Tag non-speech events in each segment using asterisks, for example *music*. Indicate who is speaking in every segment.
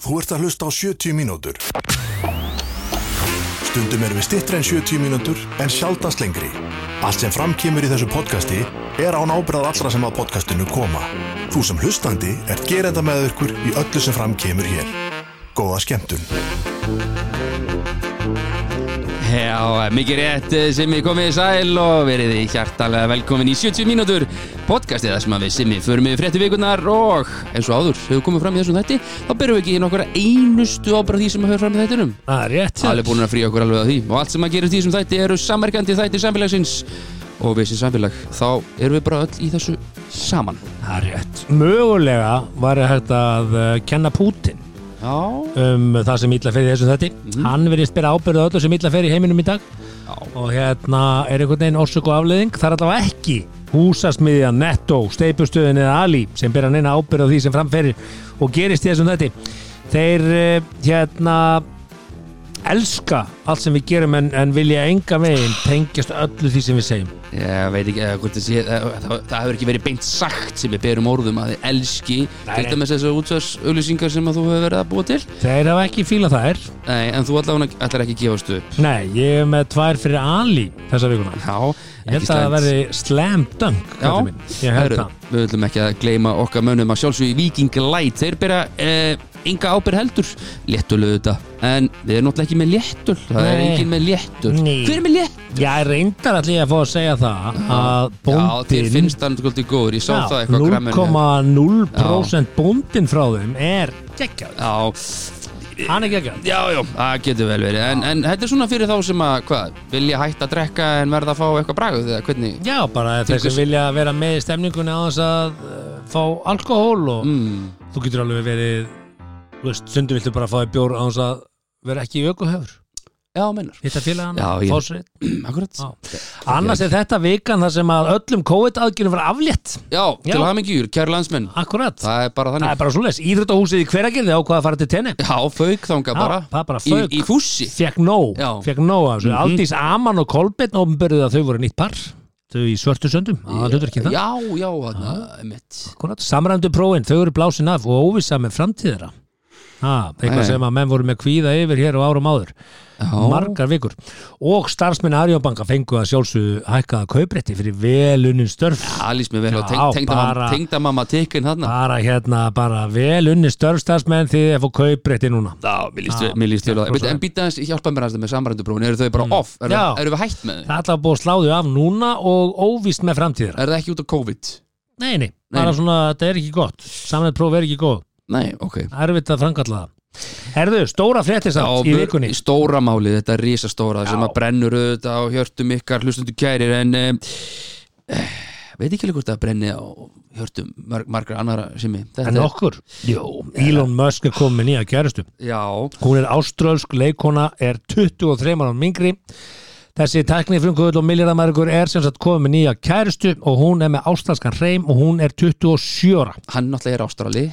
Speaker 1: Þú ert að hlusta á 70 mínútur. Stundum erum við stittri en 70 mínútur en sjaldast lengri. Allt sem framkýmur í þessu podcasti er án ábyrðað allra sem að podcastinu koma. Þú sem hlustandi ert gerenda með ykkur í öllu sem framkýmur hér. Góða skemmtun.
Speaker 2: Já, mikið rétt eh, Simmi komið í sæl og verið þið hjartalega velkomin í 70 mínútur podcastið þar sem að við Simmi förum við frétti vikunar og eins og áður hefur komið fram í þessum þætti þá berum við ekki í nokkura einustu ábyrð því sem að höfum fram í þættinum
Speaker 3: Það er rétt hjá
Speaker 2: alveg búin að frí okkur alveg að því og allt sem að gera því sem þætti eru samverkandi þætti samfélagsins og við sem samfélag þá erum við bara öll í þessu saman
Speaker 3: Það er rétt Mögulega var hægt að uh, kenna Putin
Speaker 2: Já,
Speaker 3: um það sem illa fer í þessum þetti Hann verðist bera ábyrðu öllu sem illa fer í heiminum í dag
Speaker 2: já,
Speaker 3: og hérna er einhvern veginn orsök og afleðing Það er allavega ekki húsasmiðja, netto, steipustöðin eða Ali sem bera neina ábyrðu á því sem framferir og gerist í þessum þetti Þeir uh, hérna elska allt sem við gerum en, en vilja enga megin tengjast öllu því sem við segjum
Speaker 2: ég veit ekki eh, hvort það sé, eh, það, það hefur ekki verið beint sagt sem við berum orðum að þið elski
Speaker 3: Nei.
Speaker 2: til dæmis þessar útsvarsauðlýsingar sem að þú hefur verið að búa til
Speaker 3: Þeir hafa ekki fílað þær
Speaker 2: Nei, en þú allavega ætlar ekki að gefast upp
Speaker 3: Nei, ég er með tvær fyrir Ali þessa vikuna.
Speaker 2: Já,
Speaker 3: Ég held að það verði slam dunk,
Speaker 2: Já,
Speaker 3: kallið minn. Ég held
Speaker 2: Herru,
Speaker 3: það.
Speaker 2: Við ætlum ekki að gleyma okkar mönnum að sjálfsögðu í Viking Light Þeir bera eh, enga ábyrð heldur Léttul auðvitað En við erum náttúrulega ekki með léttul Það er
Speaker 3: Nei.
Speaker 2: engin með léttul
Speaker 3: Nei.
Speaker 2: Hver er með létt?
Speaker 3: Ég reyndar allir að fá að segja það að
Speaker 2: Já, þér
Speaker 3: bóndin,
Speaker 2: finnst hann svolítið góður Ég sá það eitthvað á gramminu
Speaker 3: 0,0% bóndin frá þeim er geggjað.
Speaker 2: Já,
Speaker 3: Hann er geggjað.
Speaker 2: já, já, það getur vel verið en, en þetta er svona fyrir þá sem að, hvað, vilja hætta að drekka en verða að fá eitthvað bragð eða hvernig
Speaker 3: Já, bara þeir
Speaker 2: hvers-
Speaker 3: sem vilja vera með í stemningunni á þess að uh, fá alkohól og
Speaker 2: mm,
Speaker 3: þú getur alveg verið, þú veist, sundum viltu bara fá í bjór á þess að vera ekki í ökuhefur.
Speaker 2: Já, meinar
Speaker 3: Hitta félagana,
Speaker 2: Já, ég-
Speaker 3: fá sér.
Speaker 2: Akkurat
Speaker 3: Já. Annars er þetta vikan þar sem að öllum COVID-aðgjörnum var aflétt.
Speaker 2: Já, til
Speaker 3: Já.
Speaker 2: hamingjur, kæru landsmenn
Speaker 3: Akkurat. Það,
Speaker 2: Það er bara þannig
Speaker 3: er bara svoleiðis. Íþróttahúsið í hveragirði ákvaða að fara til tenni.
Speaker 2: Já, fauk þanga
Speaker 3: Já,
Speaker 2: bara
Speaker 3: það er bara
Speaker 2: Í,
Speaker 3: fauk.
Speaker 2: í fússi
Speaker 3: Fekk nóg.
Speaker 2: Já.
Speaker 3: Fekk nóg af þessu.
Speaker 2: Mhm.
Speaker 3: Aldís Aman og Kolbeinn ofnbörðuð að þau voru nýtt par. Þau í svörtu söndum. Það hlutur ekki það.
Speaker 2: Já, já, þarna, mitt
Speaker 3: Akkurat. Samræmdu prófin. Þau voru blásin af og óvisa með framtíðara. Ha,
Speaker 2: Nei.
Speaker 3: eitthvað sem að menn voru með kvíða yfir hér og árum áður. Margar vikur. Og starfsmenn Arjónbanka fengu að sjálfsögðu hækkaða kauprétti fyrir velunin störf.
Speaker 2: Það lýst mér vel og
Speaker 3: Já,
Speaker 2: teng, tengdamamma
Speaker 3: bara-
Speaker 2: tengdamamma tikkin þarna
Speaker 3: bara hérna, bara vel unni störfstafsmenn því þið að fá kauprétti núna
Speaker 2: Já, mér líst
Speaker 3: Já,
Speaker 2: vel- mér líst vel á það
Speaker 3: rosa
Speaker 2: Bíddu, En býta hans, hjálpa mér hans með samrændubrófin Eru þau bara off? Eru,
Speaker 3: Já.
Speaker 2: eru við hætt með þau?
Speaker 3: það er alltaf búið að sláðu af núna og óvíst með framtíðar
Speaker 2: Er það ekki út á COVID?
Speaker 3: nei, nei, bara
Speaker 2: Nei.
Speaker 3: svona, þetta er ekki gott samræmt próf er ekki góð,
Speaker 2: Nei, ok
Speaker 3: erfitt að framkalla það herðu, stóra fréttir samt í
Speaker 2: mör-
Speaker 3: vikunni
Speaker 2: Stóra málið, þetta er risastóra sem
Speaker 3: Já.
Speaker 2: að brennur auðvitað á hjörtum ykkar hlustundu kærir en um, veit ekki alveg hvort það brenni á hjörtum marg, margra annara sem ég
Speaker 3: en okkur, Jó, Elon Musk er komið nýja kærustu
Speaker 2: Já,
Speaker 3: hún er áströlsk, leikona er 23 ára mingri þessi tækni frumkvöld og miljardamærikur er sem sagt komið með nýja kærustu og hún er með ástralskan hreim og hún er 27 ára
Speaker 2: hann náttúrulega er ástrali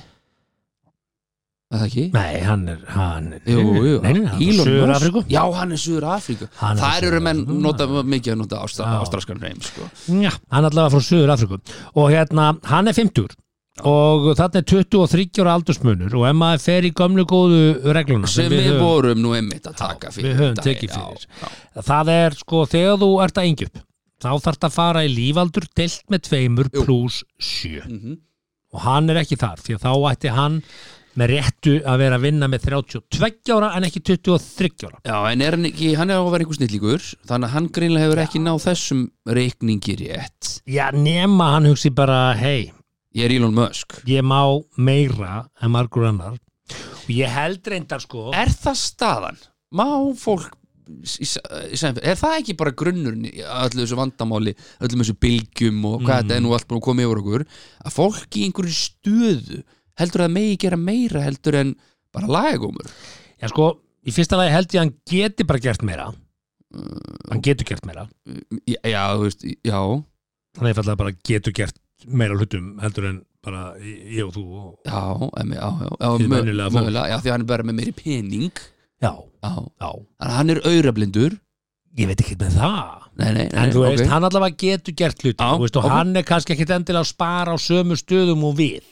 Speaker 2: Er það ekki?
Speaker 3: Nei, hann er, hann er
Speaker 2: Jú, jú,
Speaker 3: nei, nei, hann er
Speaker 2: Elon
Speaker 3: Söður
Speaker 2: Musk.
Speaker 3: Afriku
Speaker 2: Já, hann er Suður Afríku
Speaker 3: Hann er
Speaker 2: Þær eru
Speaker 3: Suður-
Speaker 2: menn nota, mikið að nota ástra,
Speaker 3: Já.
Speaker 2: ástraskan reym sko.
Speaker 3: Já, hann er allavega frá Söður Afriku og hérna, hann er 50 og þarna er 23 ára aldursmunur og ef maður fer í gömlu góðu regluna
Speaker 2: sem við
Speaker 3: höfum-
Speaker 2: vorum nú einmitt að taka fyrir
Speaker 3: við höfum
Speaker 2: daginn,
Speaker 3: tekið
Speaker 2: já,
Speaker 3: fyrir.
Speaker 2: já.
Speaker 3: það er sko, þegar þú ert að yngjup þá þarf að fara í lífaldur delt með tveimur
Speaker 2: Jú.
Speaker 3: pluss sjö
Speaker 2: Mhm.
Speaker 3: og hann er ekki þar því að þá ætti hann með réttu að vera að vinna með 32 ára en ekki 23 ára
Speaker 2: Já, en er hann ekki, hann er á að vera einhver snillíkur þannig að hann greinlega hefur ekki náð þessum reikningi rétt
Speaker 3: Já, nema hann hugsi bara, hei
Speaker 2: Ég er Elon Musk
Speaker 3: ég má meira en margur annar og ég held reyndar sko
Speaker 2: Er það staðan? Má fólk í sa- í samfél- er það ekki bara grunnurinn í öllu þessu vandamáli öllum þessu bylgjum og hvað þetta er
Speaker 3: Mm.
Speaker 2: nú allt búin að koma yfir okkur að fólk í einhverju stöðu heldur að það megi gera meira heldur en bara lagagómur
Speaker 3: já sko, í fyrsta lagi held ég að hann geti bara gert meira hann getur gert meira
Speaker 2: já, já, þú veist, já
Speaker 3: hann er fallið að bara getur gert meira hlutum heldur en bara ég og þú og...
Speaker 2: já, em, já, já, já,
Speaker 3: Fyrir
Speaker 2: mö-
Speaker 3: venjulega fólk.
Speaker 2: mögulega, já, því að hann er bara með meiri pening
Speaker 3: já,
Speaker 2: já,
Speaker 3: já,
Speaker 2: þannig að hann er aurablindur
Speaker 3: ég veit ekki með það
Speaker 2: nei, nei, nei,
Speaker 3: en þú veist,
Speaker 2: ok.
Speaker 3: hann allavega getur gert hluti
Speaker 2: Já,
Speaker 3: þú veist, og
Speaker 2: ok.
Speaker 3: hann er kannski ekkit endilega að spara á sömu stöðum og við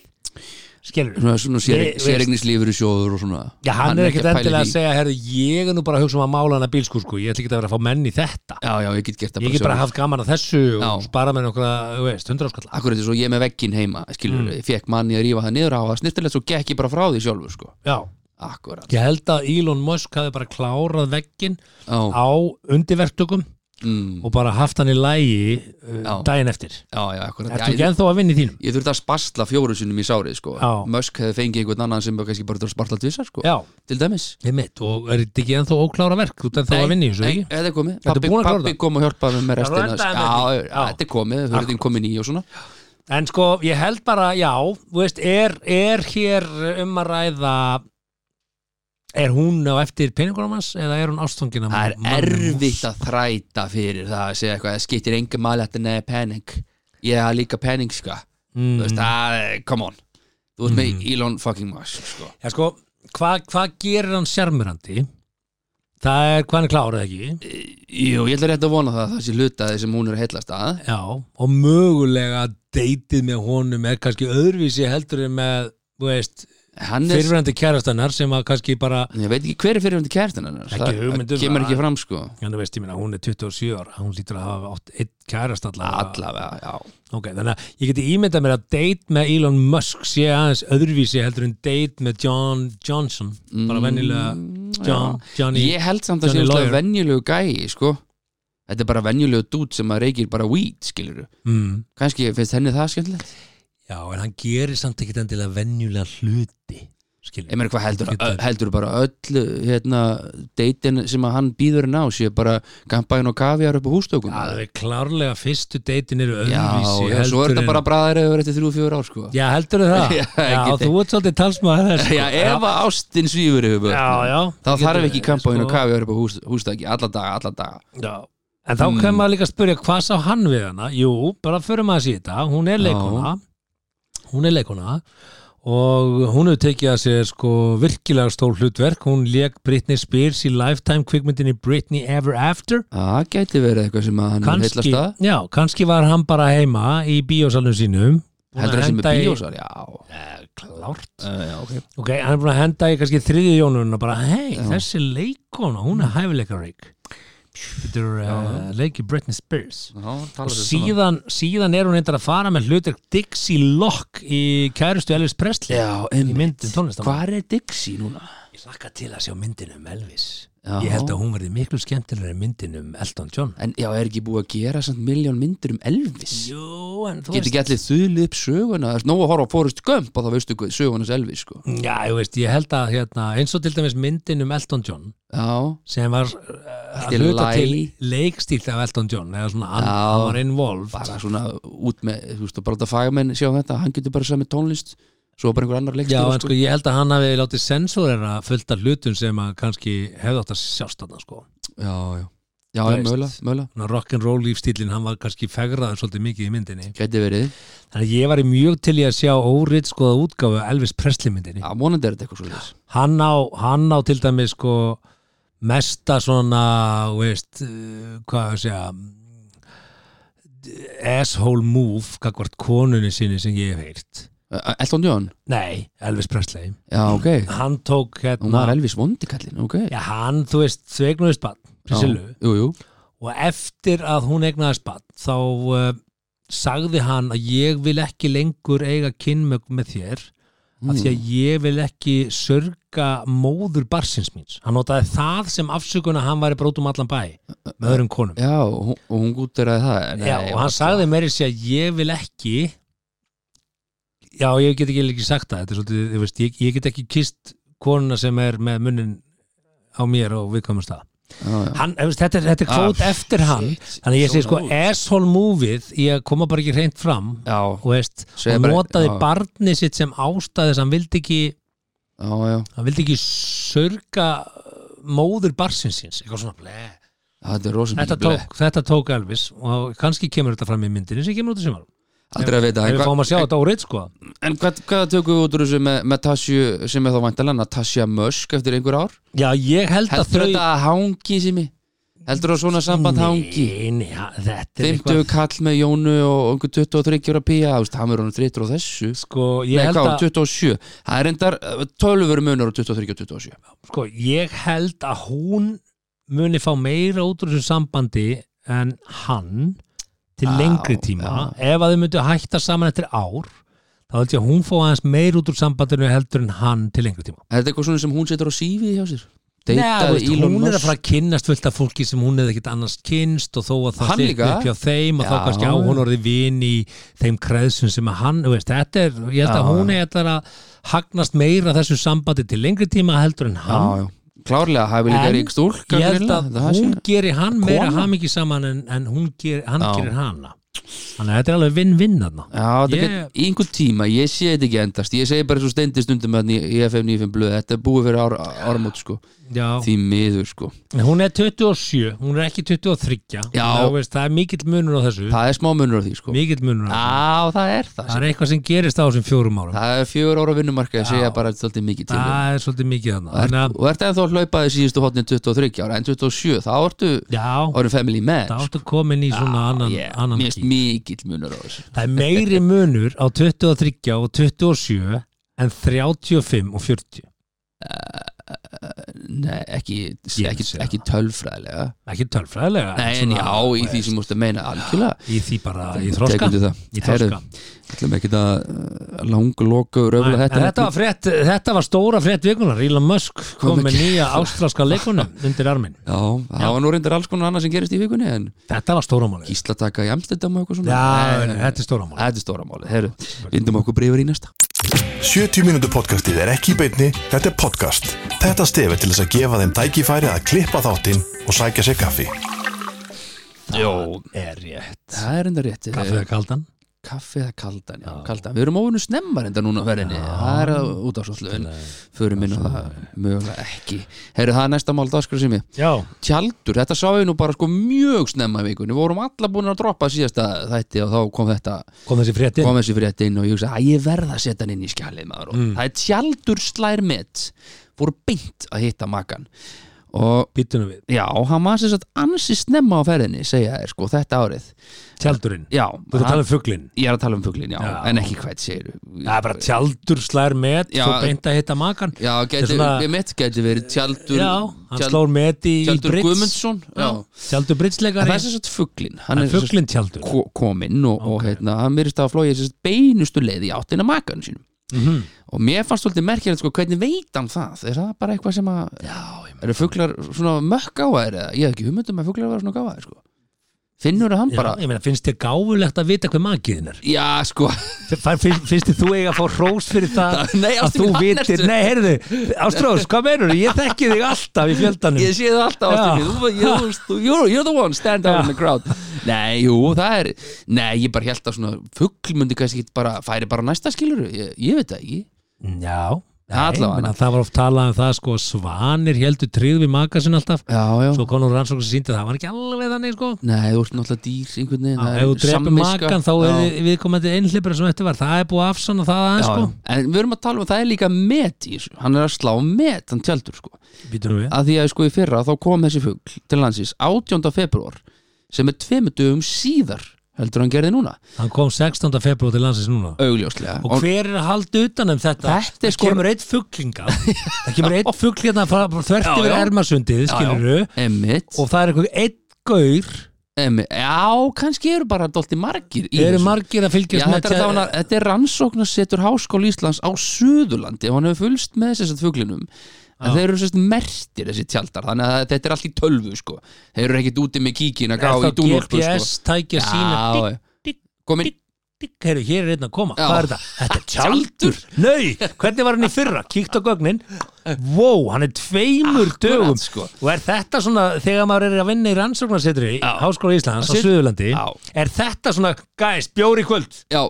Speaker 3: skilur
Speaker 2: svona, svona sér,
Speaker 3: Ég-
Speaker 2: séregnislífur í sjóður og svona
Speaker 3: Já, hann, er ekkert
Speaker 2: pæla í
Speaker 3: endilega að
Speaker 2: því.
Speaker 3: segja, herðu, ég er nú bara að hugsa um að mála hana bílskur, sko, ég ætla ekki að vera að fá menn í þetta.
Speaker 2: já, já, ég get gert það
Speaker 3: Ég get bara
Speaker 2: sjálfur.
Speaker 3: haft gaman að þessu og
Speaker 2: Já.
Speaker 3: spara með nokkra, þú veist, hundra áskall.
Speaker 2: Akkurat eins og ég með vegginn heima skilur,
Speaker 3: Mm.
Speaker 2: ég fekk manni að rífa það niður á það snirtilegt svo gekk ég bara frá því sjálfur sko.
Speaker 3: Já,
Speaker 2: Akkurat
Speaker 3: ég held að Elon Musk hafi bara klárað veggin
Speaker 2: Já,
Speaker 3: á undirverktökum
Speaker 2: mm,
Speaker 3: og bara haft hann í lægi uh,
Speaker 2: Já.
Speaker 3: daginn eftir.
Speaker 2: já, já, akkurat
Speaker 3: Ertu
Speaker 2: Já,
Speaker 3: ekki
Speaker 2: ég,
Speaker 3: ennþá að vinna í þínum?
Speaker 2: ég þurfti að spasla fjóru sinnum í sárið sko.
Speaker 3: Já.
Speaker 2: Mösk hefði fengið einhvern annan sem kannski bara þurfti að spasla tvisar sko.
Speaker 3: Já,
Speaker 2: til dæmis
Speaker 3: ég mitt, og er þetta ekki ennþá óklára verk, þú ert ennþá að vinna í þessu,
Speaker 2: nei,
Speaker 3: ekki?
Speaker 2: þetta er komið
Speaker 3: Ertu
Speaker 2: Pabbi,
Speaker 3: búin að klára
Speaker 2: pabbi
Speaker 3: það?
Speaker 2: kom og hjálpaði mér með
Speaker 3: Já, þú
Speaker 2: restina
Speaker 3: endaði
Speaker 2: Já,
Speaker 3: með því.
Speaker 2: já,
Speaker 3: Já.
Speaker 2: þetta er komið, hörðin komin í og svona
Speaker 3: En sko, ég held bara, já, þú veist, er, er hér um að ræða er hún á eftir peningunum hans eða er hún ástfangin af
Speaker 2: Það
Speaker 3: manninum?
Speaker 2: er erfitt að þræta fyrir það að segja eitthvað, það skiptir engum máli að þetta er pening Ég er líka pening sko Þú veist,
Speaker 3: mm.
Speaker 2: það er, come on Þú veist með Elon fucking Musk sko.
Speaker 3: Já, sko, hvað hva gerir hann sjarmirandi? Það er hvað hann er klárað ekki
Speaker 2: Eh, Jú, ég ætla rétt að vona það, það sé hluta af því sem hún er að heillast að
Speaker 3: Já, og mögulega deytið með honum er kannski öðruvísi heldur en með, þú veist
Speaker 2: Hann er,
Speaker 3: fyrirverandi kærastannar sem að kannski bara
Speaker 2: ég veit ekki hver er fyrirvændi kærtin hennar
Speaker 3: Ekki
Speaker 2: Það
Speaker 3: hugmynd um
Speaker 2: það kemur
Speaker 3: það.
Speaker 2: ekki fram sko
Speaker 3: en þú veist, ég minna, hún er 27 ára hún lítur að hafa átt eitt kærast allavega
Speaker 2: Allavega, já
Speaker 3: Ok, þannig að ég geti ímyndað mér að date með Elon Musk sé aðeins öðruvísi heldur en date með John Johnson bara venjulega John, Johnny
Speaker 2: Mm, Ég held samt að
Speaker 3: Johnny
Speaker 2: sé
Speaker 3: Lawyer.
Speaker 2: úrslega venjulegu gæi sko Þetta er bara venjulegu dút sem að reykir bara weed, skilur
Speaker 3: mm,
Speaker 2: Kannski finnst henni það skemmtilegt
Speaker 3: Já, en hann gerir samt ekkit endilega venjulega hluti skilur
Speaker 2: Ég meina hvað heldur,
Speaker 3: Getur-
Speaker 2: heldur bara öll hérna, deitin sem að hann býður henni á sé bara kampaðin og kaviar upp á hústökum
Speaker 3: Já, það er klárlega fyrstu deitin eru
Speaker 2: Já,
Speaker 3: öðruvísi
Speaker 2: já, svo er
Speaker 3: heldur
Speaker 2: þetta
Speaker 3: en-
Speaker 2: bara bræðar eða eftir þrjú, fjör ár sko
Speaker 3: Já, heldur það?
Speaker 2: Já,
Speaker 3: já,
Speaker 2: ekki
Speaker 3: þú ert svolítið talsmaður
Speaker 2: *laughs*
Speaker 3: þess sko.
Speaker 2: Já, ef að ástin svífur yfir
Speaker 3: Já,
Speaker 2: börn
Speaker 3: já
Speaker 2: þá þarf ekki kampaðin og
Speaker 3: Sko,
Speaker 2: kaviar upp á hús, hústöki alla daga, alla daga
Speaker 3: Já En þá
Speaker 2: Mm.
Speaker 3: kemur maður líka að spyrja hvað sá hann við hana Jú, bara förum að sýta Hún er
Speaker 2: Já.
Speaker 3: leikona Hún er leikona og hún hefur tekið að sér sko virkilega stór hlutverk hún leik Britney Spears í Lifetime kvikmyndinni Britney Ever After
Speaker 2: Það gæti verið eitthvað sem að hann
Speaker 3: kannski,
Speaker 2: heillast að
Speaker 3: já, kannski var hann bara heima í bíósalunum sínum Búinn
Speaker 2: Heldur það sem er
Speaker 3: henda í-
Speaker 2: bíósal, já
Speaker 3: Eh, Klárt
Speaker 2: Uh, já, okay.
Speaker 3: Ok, hann er búin að henda í kannski þriðju jónuna bara, hei, þessi leikona, hún er hæfileikareik Þetta er uh, leiki Britney Spears
Speaker 2: Já,
Speaker 3: og
Speaker 2: talar þér svona.
Speaker 3: síðan, síðan er hún eitthvað að fara með hlutur Dixie Locke í kærustu Elvis Presley
Speaker 2: Já,
Speaker 3: í
Speaker 2: einmitt.
Speaker 3: myndin tónlistamann
Speaker 2: Hvar er Dixie núna?
Speaker 3: Ég hlakka til að sjá myndin um Elvis
Speaker 2: Já.
Speaker 3: Ég held að hún verði miklu skemmtilega myndin um Elton John
Speaker 2: En já, er ekki búið að gera samt miljón myndir um Elvis?
Speaker 3: Jú, en þú
Speaker 2: Getur ekki allir þulið upp söguna? Það er nóg að horfa á Forrest Gump og þá veistu hvað sögunas Elvis, sko.
Speaker 3: Já, ég veist, ég held að hérna, eins og til dæmis myndin um Elton John
Speaker 2: Já,
Speaker 3: sem var uh,
Speaker 2: Allt í
Speaker 3: að hluta
Speaker 2: lagi.
Speaker 3: til leikstíl af Elton John eða svona hann,
Speaker 2: Já.
Speaker 3: hann var involved
Speaker 2: bara svona út með, þú veist, bara þetta fagamenn sjá þetta, hann getur bara sami tónlist, svo bara einhver annar
Speaker 3: Já,
Speaker 2: leikstjóra,
Speaker 3: en sko ég held að hann hafi látið sensorera fullt af hlutum sem að kannski hefði átt að sjást þarna sko
Speaker 2: Já, já. Já,
Speaker 3: Þú
Speaker 2: já,
Speaker 3: veist.
Speaker 2: mögulega, mögulega.
Speaker 3: Ná, rock'n'roll lífstílinn, hann var kannski fegraður svolítið mikið í myndinni
Speaker 2: Gæti verið.
Speaker 3: Þannig að ég var í mjög til í að sjá órit skoða útgáfu Elvis Presley myndinni
Speaker 2: Já, vonandi er þetta eitthvað svo þess.
Speaker 3: hann á, hann á til dæmis sko mesta svona þú veist, eh, hvað að segja asshole move kakvart konunni sinni sem ég hef heyrt
Speaker 2: Elton John?
Speaker 3: nei, Elvis Presley
Speaker 2: Já, ok.
Speaker 3: hann tók
Speaker 2: Hún var
Speaker 3: hérna
Speaker 2: Elvis vondikallin, ok.
Speaker 3: já, hann, þú veist, þau eignuðist bann Priscilu,
Speaker 2: Jú, jú.
Speaker 3: og eftir að hún eignaðist bann þá uh, sagði hann að ég vil ekki lengur eiga kynmög með þér
Speaker 2: Mm.
Speaker 3: af
Speaker 2: Hmm.
Speaker 3: því að ég vil ekki sörga móður barsins míns hann notaði það sem afsökun að hann væri bara út um allan bæ
Speaker 2: Eh,
Speaker 3: með öðrum konum
Speaker 2: Já, og hún- og hún gútteraði það.
Speaker 3: já, og hann sagði meiri sér að ég vil ekki já, ég get ekki, ekki sagt það þetta er svolítið, ég, veist, ég, ég get ekki kist konuna sem er með munnin á mér og viðkvæmast það
Speaker 2: Já, já.
Speaker 3: hann, ef veist, þetta, er- þetta er kvót
Speaker 2: Ah,
Speaker 3: eftir hann
Speaker 2: shit.
Speaker 3: þannig að ég segi sko,
Speaker 2: Svona út.
Speaker 3: asshole movie ég koma bara ekki hreint fram
Speaker 2: Já,
Speaker 3: og, veist,
Speaker 2: Segja
Speaker 3: og
Speaker 2: bara-
Speaker 3: notaði
Speaker 2: já.
Speaker 3: barnið sitt sem ástæði þess að hann vildi ekki
Speaker 2: já, já.
Speaker 3: hann vildi ekki sörga uh, móður barsins síns eitthvað svona ble.
Speaker 2: Þetta er rosa
Speaker 3: Þetta,
Speaker 2: mikið blei.
Speaker 3: tók, þetta tók Elvis og kannski kemur þetta fram í myndinni sem kemur út í sumar
Speaker 2: Aldrei að vita
Speaker 3: ef
Speaker 2: En,
Speaker 3: við fáum að sjá þetta árið sko
Speaker 2: en hvað, hvað tökum við út úr þessu með, með Tasju sem er þá vantalega Natasja Mösk eftir einhver ár?
Speaker 3: já ég held að
Speaker 2: Heldur
Speaker 3: þau
Speaker 2: þetta að hangi sem ég? heldur það svona samband hangi
Speaker 3: Nei, nei, ha- þetta er
Speaker 2: 50
Speaker 3: eitthvað
Speaker 2: kall með Jónu og einhver 23 ára pía, þú veist, hann verður hann 30 og þessu
Speaker 3: Sko, ég
Speaker 2: Nei,
Speaker 3: held
Speaker 2: hvað,
Speaker 3: að
Speaker 2: 27 Það er endar 12 veru munur á 23 og 27
Speaker 3: sko, ég held að hún muni fá meira út úr þessu sambandi en hann til
Speaker 2: Já,
Speaker 3: lengri tíma ef að þau myndu hætta saman eftir ár þá held ég að hún fá aðeins meir út úr sambandinu heldur en hann til lengri tíma
Speaker 2: Er þetta eitthvað svona sem hún setur á sífið hjá sér?
Speaker 3: Nei, þú
Speaker 2: Deitaði
Speaker 3: veist,
Speaker 2: Elon
Speaker 3: hún er að
Speaker 2: Musk
Speaker 3: fara að kynnast fullt af fólki sem hún hefði ekkert annars kynst og þó að það
Speaker 2: Hann
Speaker 3: slippi
Speaker 2: líka?
Speaker 3: upp hjá þeim og þá
Speaker 2: Já.
Speaker 3: kannski á hún orðið vin í þeim kreðsum sem að hann, þú veist, þetta er ég held að
Speaker 2: Já,
Speaker 3: hún er að hagnast meira þessu sambandi til lengri tíma heldur en hann
Speaker 2: Já, já, klárlega, hæfi líka
Speaker 3: En
Speaker 2: rík stúlk
Speaker 3: ég held að hún geri hann meira
Speaker 2: Kona?
Speaker 3: hamingi saman en, en hún ger, hann
Speaker 2: Já.
Speaker 3: gerir hana þannig að þetta er alveg vinn-vinn þarna
Speaker 2: Já, þetta
Speaker 3: Ég-
Speaker 2: yeah. í einhvern tíma, ég sé þetta ekki endast Ég segi bara svo steindi stundum að í FM 95 blöð Þetta er búið fyrir ár, ármót, sko
Speaker 3: já,
Speaker 2: Því miður, sko
Speaker 3: hún er 27, hún er ekki 23
Speaker 2: Já.
Speaker 3: Þá veist, það er mikill munur á þessu
Speaker 2: Það er smá munur á því, sko Já,
Speaker 3: mikill munur á þessu
Speaker 2: það er það sko.
Speaker 3: það er eitthvað sem gerist á þessum fjórum árum
Speaker 2: Það er fjögur ára vinnumarka, ég segja
Speaker 3: Já.
Speaker 2: bara þetta er mikið til um.
Speaker 3: það er svolítið mikið þarna
Speaker 2: Og
Speaker 3: þannig
Speaker 2: ert-
Speaker 3: að,
Speaker 2: og ert ennþá að hlaupaði síðustu hotnin 23 ára en 27, þá ertu
Speaker 3: já,
Speaker 2: orðin family man
Speaker 3: það áttu komin í svona annan,
Speaker 2: yeah,
Speaker 3: annan
Speaker 2: mér finnst
Speaker 3: gír.
Speaker 2: mikill munur á þessu
Speaker 3: það er meiri munur á 23 og 27 en 35 og 40
Speaker 2: Nei, ekki,
Speaker 3: Ég
Speaker 2: ekki,
Speaker 3: sé það.
Speaker 2: ekki tölfræðilega
Speaker 3: ekki tölfræðilega
Speaker 2: Nei, en
Speaker 3: svona,
Speaker 2: já, í því sem mústu að meina algjörlega
Speaker 3: í því bara, í þroska
Speaker 2: Tekundu það
Speaker 3: í þroska
Speaker 2: ætlum ekki að langloka og röfla
Speaker 3: Nei,
Speaker 2: þetta
Speaker 3: en þetta, var frétt, þetta var stóra frétt vikunar Elon Musk kom
Speaker 2: Kom
Speaker 3: með
Speaker 2: ekki.
Speaker 3: nýja ástralska leikunum undir armin
Speaker 2: Já, það var nú reyndar alls konar annað sem gerist í vikunni en
Speaker 3: þetta var stóra máli já,
Speaker 2: gíslataka í Amstendam og eitthvað svona
Speaker 3: en
Speaker 2: Nei,
Speaker 3: þetta er stóra máli
Speaker 2: Þetta er stóra máli, herru, vindum okkur breyfur í næsta
Speaker 1: 70 mínútu podcastið er ekki í beinni, þetta er podcast. Þetta stefi til þess að gefa þeim tækifæri að klippa þáttinn og sækja sér kaffi.
Speaker 3: Jó, er rétt Eh,
Speaker 2: Það er enda rétt
Speaker 3: kaffið að kaldan
Speaker 2: Kaffi eða kaldan, já,
Speaker 3: Já.
Speaker 2: kaldan Við erum óvinnu snemmar enda núna á ferðinni
Speaker 3: Já.
Speaker 2: Það er að út af svolítið en förum inn á það mögulega ekki Herru, það er næsta mál dagskrið sem ég
Speaker 3: já,
Speaker 2: Tjaldur, þetta sá ég nú bara sko mjög snemma í vikunni Við vorum alla búin að droppa síðasta þætti og þá kom þetta
Speaker 3: kom þessi frétt inn
Speaker 2: kom þessi frétt inn og ég hugsa að ég verða að setja hann inn í skjalið maður mm. það er tjaldur slær met voru beint að hitta makan og
Speaker 3: býtunum við,
Speaker 2: já, hann var sem sagt ansi snemma á ferðinni segja þér sko þetta árið
Speaker 3: tjaldurinn
Speaker 2: já,
Speaker 3: þú erum að
Speaker 2: hann-
Speaker 3: tala um fugglinn
Speaker 2: ég er að tala um fuglin, já,
Speaker 3: Já.
Speaker 2: en ekki hvað segir
Speaker 3: það er bara tjaldur slær met
Speaker 2: Já.
Speaker 3: þú beint að hitta makan
Speaker 2: já,
Speaker 3: er
Speaker 2: gæti,
Speaker 3: svona-
Speaker 2: við mitt gæti verið tjaldur
Speaker 3: já, hann
Speaker 2: tjald-
Speaker 3: slór met í, í
Speaker 2: tjaldur
Speaker 3: brits
Speaker 2: Guðmundsson já.
Speaker 3: tjaldur
Speaker 2: en það
Speaker 3: britsleikari
Speaker 2: er sem sagt fuglin hann
Speaker 3: en
Speaker 2: er sem sagt
Speaker 3: fugglinn tjaldur
Speaker 2: ko- kominn og, og hérna, hann myrist að flóið sem sagt beinustu leið í áttina makan sínum
Speaker 3: Mhm.
Speaker 2: og mér fannst svolítið merkilegt sko, hvernig veit hann það er það bara eitthvað sem að
Speaker 3: já,
Speaker 2: eru fuglar svona mökk gáðir eða ég hef ekki hugmyndum að fuglar vera svona gáðir sko. finnur hann
Speaker 3: Já,
Speaker 2: bara
Speaker 3: ég meina, finnst þér gáfulegt að vita hver makiðin er?
Speaker 2: já sko
Speaker 3: Fær- Finnst, finnst þér þú eiga að fá hrós fyrir það
Speaker 2: *laughs* Nei,
Speaker 3: að
Speaker 2: ástin
Speaker 3: þú
Speaker 2: mín, hann
Speaker 3: vitir,
Speaker 2: ertu.
Speaker 3: nei, heyrðu Ástrós, hvað meinur Ég þekki þig alltaf í fjöldanum
Speaker 2: ég sé það alltaf
Speaker 3: Já.
Speaker 2: ástinni þú, ég, þú, þú, you're, you're the one, stand out in the crowd nei, jú, það er nei, ég bara held að svona fugl myndi kannski ekki bara færi bara á næsta skilur ég, ég veit það ekki
Speaker 3: Já, nei,
Speaker 2: Allavega.
Speaker 3: menna, það var oft talað um það sko, að svanir heldur tryggð við maka sinna alltaf
Speaker 2: já, já
Speaker 3: svo konur rannsókn sem síndi að það var ekki alveg þannig sko.
Speaker 2: nei, þú ert náttúrulega dýr einhvern veginn
Speaker 3: Já,
Speaker 2: það
Speaker 3: ef þú
Speaker 2: er
Speaker 3: drefur
Speaker 2: samviska.
Speaker 3: makan þá
Speaker 2: Já.
Speaker 3: er viðkomandi einhleipur sem þetta var, það er búið að afsanna það
Speaker 2: Já,
Speaker 3: aðeins sko.
Speaker 2: já. en við erum að tala um það er líka met í þessu hann er að slá met, hann tjaldur sko
Speaker 3: Býtum við
Speaker 2: að því að sko í fyrra þá kom þessi fugl til landsins 18. februar sem er tveimur dögum síðar heldur en hann gerði núna,
Speaker 3: Hann kom 16. februar til landsins núna
Speaker 2: augljóslega
Speaker 3: Og hver er að halda utan um þetta?
Speaker 2: Þetta er
Speaker 3: það
Speaker 2: sko-
Speaker 3: kemur eitt
Speaker 2: *laughs*
Speaker 3: fugglinga Það kemur eitt fugglinga þvert
Speaker 2: Já,
Speaker 3: yfir
Speaker 2: já.
Speaker 3: ermasundið,
Speaker 2: Já, já.
Speaker 3: skilurðu
Speaker 2: Emmitt
Speaker 3: og það er eitthvað eitt gaur
Speaker 2: Emmitt, já, kannski eru bara dólti margir í
Speaker 3: eru
Speaker 2: þessu.
Speaker 3: margir að
Speaker 2: Já,
Speaker 3: fylgjast
Speaker 2: þetta, er
Speaker 3: tja-
Speaker 2: allavega- þetta er rannsóknarsetur Háskóla Íslands á Suðurlandi og hann hefur fylgst með þessast fuglinum en
Speaker 3: Já.
Speaker 2: þeir eru sérst mertir þessi tjaldar þannig að þetta er allt í tölvu sko þeir eru ekkit úti með kíkin að gá
Speaker 3: Er
Speaker 2: í
Speaker 3: þá
Speaker 2: dúnúlpu sko.
Speaker 3: GPS tækja sína
Speaker 2: Já, komin
Speaker 3: Heru, hér er einn að koma,
Speaker 2: Já.
Speaker 3: hvað er það? Þetta er tjaldur, nei, hvernig var hann í fyrra? Kíkt á gögnin, wow, hann er tveimur dögum
Speaker 2: sko.
Speaker 3: og er þetta svona, þegar maður er að vinna í rannsóknarsetri í
Speaker 2: Já.
Speaker 3: Háskóla Íslands á
Speaker 2: Sit-
Speaker 3: Suðurlandi
Speaker 2: Já.
Speaker 3: er þetta svona, gæs, bjóri kvöld
Speaker 2: Já,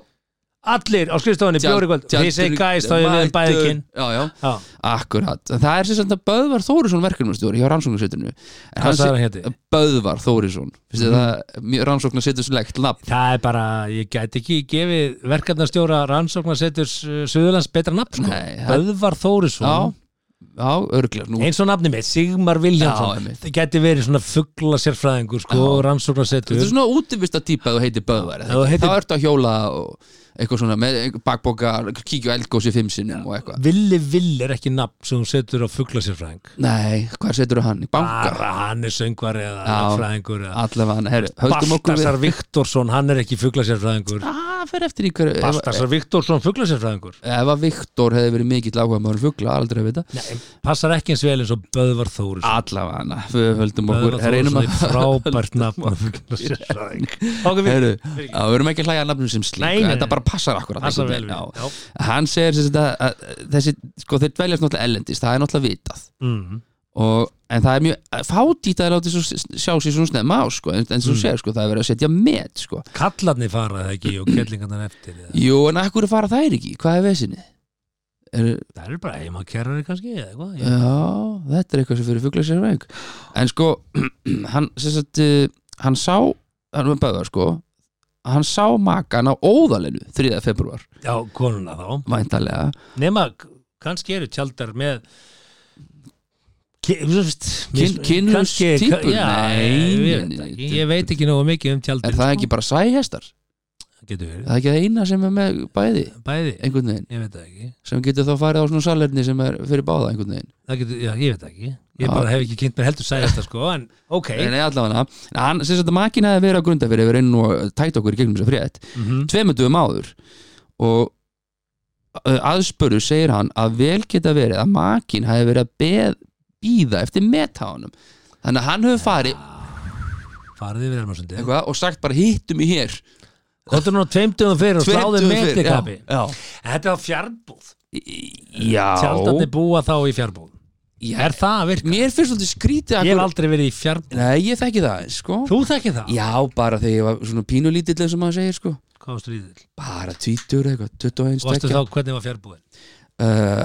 Speaker 3: allir á skrifstofunni
Speaker 2: Tjald-
Speaker 3: bjóri kvöld því segi
Speaker 2: tjaldur-
Speaker 3: gæs, þá er við
Speaker 2: mættur.
Speaker 3: bæðikinn
Speaker 2: Já, já
Speaker 3: Já,
Speaker 2: Akkurat, en það er sem sagt að Böðvar Þórisson verkefnumstjóri hjá rannsóknarsetrinu En
Speaker 3: Hvað
Speaker 2: hann
Speaker 3: sagði hann Mhm.
Speaker 2: se-
Speaker 3: héti?
Speaker 2: Böðvar Þórisson Finnst þið það rannsóknarseturslegt nafn
Speaker 3: það er bara, ég gæti ekki gefið verkefnastjóra rannsóknarseturs uh, Suðurlands betra nafn sko.
Speaker 2: Nei, það-
Speaker 3: Böðvar Þórisson
Speaker 2: Já, já, örglega nú,
Speaker 3: eins og nafni mitt, Sigmar
Speaker 2: Já,
Speaker 3: Viljánsson
Speaker 2: einmitt.
Speaker 3: það geti verið svona fuggla sérfræðingur sko,
Speaker 2: Já.
Speaker 3: rannsóknarsetur
Speaker 2: Þetta er svona útivista típa þú heitir Böðvar
Speaker 3: Já, þú
Speaker 2: heitir...
Speaker 3: heitir-
Speaker 2: þá ertu að hjóla og eitthvað svona með bakboka, kíkja á eldgósi fimm sinnum og eitthvað
Speaker 3: Villi Vill er ekki nafn sem hún setur á fuggla sérfræðing
Speaker 2: Nei, hvað setur hann í banka?
Speaker 3: bara hann er söngvar eða
Speaker 2: Já.
Speaker 3: fræðingur eða
Speaker 2: Allavega hann, herru, höldum okkur við Ah,
Speaker 3: Baltasar Viktorsson, hann er ekki fuggla sérfræðingur
Speaker 2: Það fer eftir í hverju ef-
Speaker 3: Baltasar Viktorsson, fuggla sérfræðingur
Speaker 2: Ef að Viktor hefði verið mikill áhuga maður fugla, aldrei að vita
Speaker 3: Nei, passar ekki eins vel eins og Böðvar Þóris
Speaker 2: Allavega hann, við höldum okkur
Speaker 3: Böðvar
Speaker 2: reynum
Speaker 3: Þórisson
Speaker 2: að
Speaker 3: er frábært nafn á fuggla sérfræðing Ok, við-
Speaker 2: Heru, að við erum ekki að hlæja að nafnum sem slík
Speaker 3: Nei, nei, nei.
Speaker 2: þetta bara passar akkurat
Speaker 3: Passar
Speaker 2: einhvern
Speaker 3: vel
Speaker 2: veginn,
Speaker 3: við,
Speaker 2: já. hann segir sem sagt að, að þessi, sko, þeir dveljast náttúrulega ellendis það er náttúrulega vitað
Speaker 3: Mm.
Speaker 2: og, en það er mjög fádýtt að láti svo, sjá sér svona snemma á sko, en, en svo segir sko, það er verið að setja met sko.
Speaker 3: kallarnir fara það ekki og kellingarnar eftir eða.
Speaker 2: jú, en að hverju fara þær ekki, hvað er vesinni er,
Speaker 3: það er bara heimakerrari kannski eða eitthvað ég-
Speaker 2: já, þetta er eitthvað sem fyrir fugla sér veng en sko, *clears throat* hann sem sagt, eh, hann sá hann var bæðar sko hann sá makan á óðalinu 3. februar,
Speaker 3: já, konuna þá
Speaker 2: væntalega
Speaker 3: nema, k- kannski eru tjaldar með Ki- þú veist,
Speaker 2: Kyn-
Speaker 3: mis-
Speaker 2: kynlaus
Speaker 3: kannski-
Speaker 2: típur?
Speaker 3: ka- já,
Speaker 2: Nei,
Speaker 3: ég veit
Speaker 2: nei, nei,
Speaker 3: ekki. ég veit ekki nógu mikið um tjaldur
Speaker 2: Er það ekki bara sæhestar?
Speaker 3: getur verið,
Speaker 2: Það er ekki það eina sem er með bæði
Speaker 3: bæði,
Speaker 2: einhvern veginn,
Speaker 3: ég veit það ekki
Speaker 2: sem getur þá farið á svona salerni sem er fyrir báða einhvern veginn
Speaker 3: það getur, já, ég veit það ekki ég
Speaker 2: Já.
Speaker 3: bara hef ekki kynnt mér heldur
Speaker 2: *laughs*
Speaker 3: sæðast sko, en ok
Speaker 2: Nei, nei, allavega En hann, sem sagt að makin hefði verið að grunda fyrir við reynum og tæta okkur í gegnum þess að frétt
Speaker 3: Mhm.
Speaker 2: tveimundum áður og uh, aðspurðu segir hann að vel geta verið að makin hefði verið að beð, býða eftir metháunum þannig að hann hefur farið
Speaker 3: farið yfir Elmarsundi
Speaker 2: eitthvað, og sagt bara hittum í hér
Speaker 3: kontur nú tveimtöðum fyrir og sláðið
Speaker 2: Tveimtugum
Speaker 3: með
Speaker 2: fyrr,
Speaker 3: þig kappi
Speaker 2: já,
Speaker 3: þetta er á fjárbúð
Speaker 2: já.
Speaker 3: tjaldarnir búa þá í fjárbúð
Speaker 2: Já,
Speaker 3: er það að virka?
Speaker 2: mér finnst svolítið skrítið að
Speaker 3: ég hef
Speaker 2: hver-
Speaker 3: aldrei verið í fjárbúð
Speaker 2: Nei, ég þekki það, aðeins, sko
Speaker 3: þú þekki það?
Speaker 2: Já, bara þegar ég var svona pínulítill eins og maður segir, sko
Speaker 3: hvað varstu lítill?
Speaker 2: Bara tvítur eitthvað, 21
Speaker 3: varstu
Speaker 2: stekja
Speaker 3: þá hvernig var fjárbúðin?
Speaker 2: uh,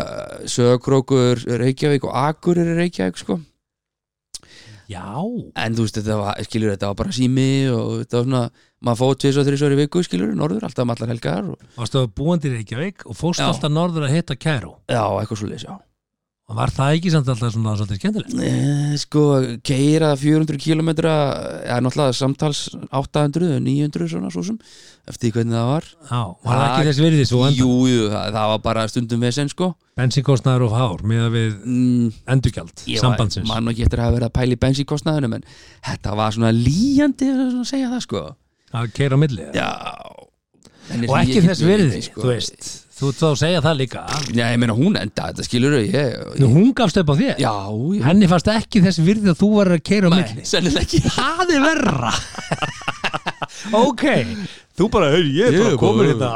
Speaker 2: Sögakrókur, Reykjavík og Akur er Reykjavík, sko
Speaker 3: já
Speaker 2: En þú veist, þetta var, skilur, þetta var bara sími og þetta var svona, maður fóð tvis og þrjus í viku, skilur, norður, alltaf um allar helgar og,
Speaker 3: varstu búandi í Reykjavík og fórst
Speaker 2: Já.
Speaker 3: alltaf norður að hitta Kæró
Speaker 2: Já, eitthvað svo leys, já
Speaker 3: og var það ekki samt alltaf svona svolítið skemmtilegt?
Speaker 2: Eh, Sko, keira 400 km eða náttúrulega samtals 800, 900 svona svo sem eftir því hvernig það var
Speaker 3: já, var það
Speaker 2: Það-
Speaker 3: ekki þess virði svo enda?
Speaker 2: Jú, jú, það, það var bara stundum vesen, sko
Speaker 3: bensinkostnaður og hár með að við
Speaker 2: mm,
Speaker 3: endurgjald
Speaker 2: Ég var-
Speaker 3: sambandsins
Speaker 2: man nú ekki eftir að hafa verið að pæla í bensíkostnaðunum en þetta var svona líjandi að segja það sko
Speaker 3: að keira á milli eða?
Speaker 2: já En
Speaker 3: og
Speaker 2: ég-
Speaker 3: ekki
Speaker 2: ég-
Speaker 3: þess
Speaker 2: ég-
Speaker 3: virði,
Speaker 2: ég-
Speaker 3: þú veist þú ert þá að segja það líka
Speaker 2: sko. já ég meina hún enda þetta skilur ég,
Speaker 3: Nú,
Speaker 2: ég
Speaker 3: hún gafst upp á þér
Speaker 2: já, ég
Speaker 3: henni fannst ekki þess virði að þú var að keira á milli
Speaker 2: sennilega ekki
Speaker 3: það er
Speaker 2: *laughs*
Speaker 3: verra ok þú bara, hérna hey, ég
Speaker 2: Ég er bara-
Speaker 3: þetta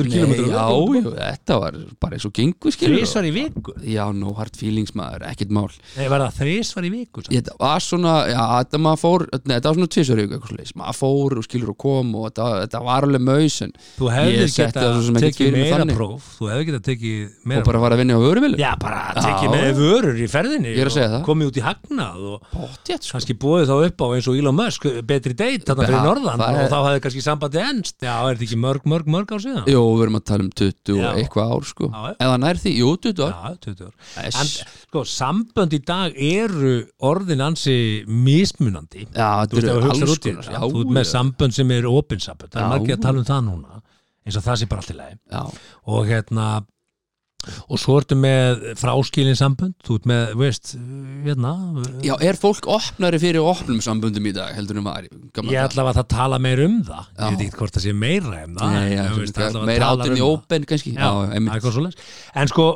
Speaker 3: 800
Speaker 2: Nei, já, já, þetta var bara eins og gengu skilur
Speaker 3: þrísvar í viku
Speaker 2: já, no hard feelings maður, ekkert mál
Speaker 3: Nei, var það þrísvar í viku samt?
Speaker 2: Ég- þetta var svona, já, þetta maður fór neða, þetta var svona tvisar ykkur, eitthvað slags maður fór og skilur og kom og þetta, þetta var alveg maus en
Speaker 3: Þú
Speaker 2: Ég
Speaker 3: hefðir
Speaker 2: setti
Speaker 3: geta
Speaker 2: það svo sem ekkert
Speaker 3: tekið
Speaker 2: fyrir mig
Speaker 3: meira
Speaker 2: þannig.
Speaker 3: próf Þú hefðir geta tekið meira
Speaker 2: og bara var að vinna á vöruvilu
Speaker 3: Já, bara
Speaker 2: Já.
Speaker 3: tekið með vörur í ferðinni
Speaker 2: Ég er að
Speaker 3: og
Speaker 2: segja það.
Speaker 3: Komið út í hagnað og
Speaker 2: Pottþétt, sko.
Speaker 3: kannski búið þá upp á eins og Elon Musk Betri date þarna fyrir
Speaker 2: Já,
Speaker 3: norðan
Speaker 2: það
Speaker 3: Og
Speaker 2: er-
Speaker 3: þá hefði kannski sambandi ennst Já, er þetta ekki mörg, mörg, mörg ár síðan?
Speaker 2: Jú, við erum að tala um 20
Speaker 3: Já.
Speaker 2: og eitthvað ár sko
Speaker 3: Já, já.
Speaker 2: Eða nær því, jú, 20 ár
Speaker 3: Já, 20 ár
Speaker 2: Æs.
Speaker 3: En sko, sambönd í dag eru orðin ansi mismunandi
Speaker 2: Já,
Speaker 3: Þú veist,
Speaker 2: þetta
Speaker 3: ef
Speaker 2: eru
Speaker 3: þú
Speaker 2: alls
Speaker 3: hugsar út í
Speaker 2: konar
Speaker 3: þetta Þú ert með
Speaker 2: já,
Speaker 3: sambönd sem er opinsambönd Það er
Speaker 2: Já.
Speaker 3: margir að tala um það núna eins og það sé bara allt í lagi
Speaker 2: já,
Speaker 3: og hérna og svo ertu með fráskilin sambönd þú ert með, veist, hérna
Speaker 2: já, er fólk opnari fyrir opnum sambundum í dag heldur en var í gamla
Speaker 3: ég
Speaker 2: daga?
Speaker 3: ætla að það tala meir um það
Speaker 2: Já.
Speaker 3: ég veit ekki hvort það sé meira um það
Speaker 2: Nei,
Speaker 3: en,
Speaker 2: já,
Speaker 3: þú veist,
Speaker 2: svona,
Speaker 3: allavega
Speaker 2: Meira
Speaker 3: talar
Speaker 2: átinn í
Speaker 3: um það.
Speaker 2: open kannski
Speaker 3: já,
Speaker 2: Já,
Speaker 3: það er
Speaker 2: einmitt.
Speaker 3: eitthvað svoleiðis. en sko,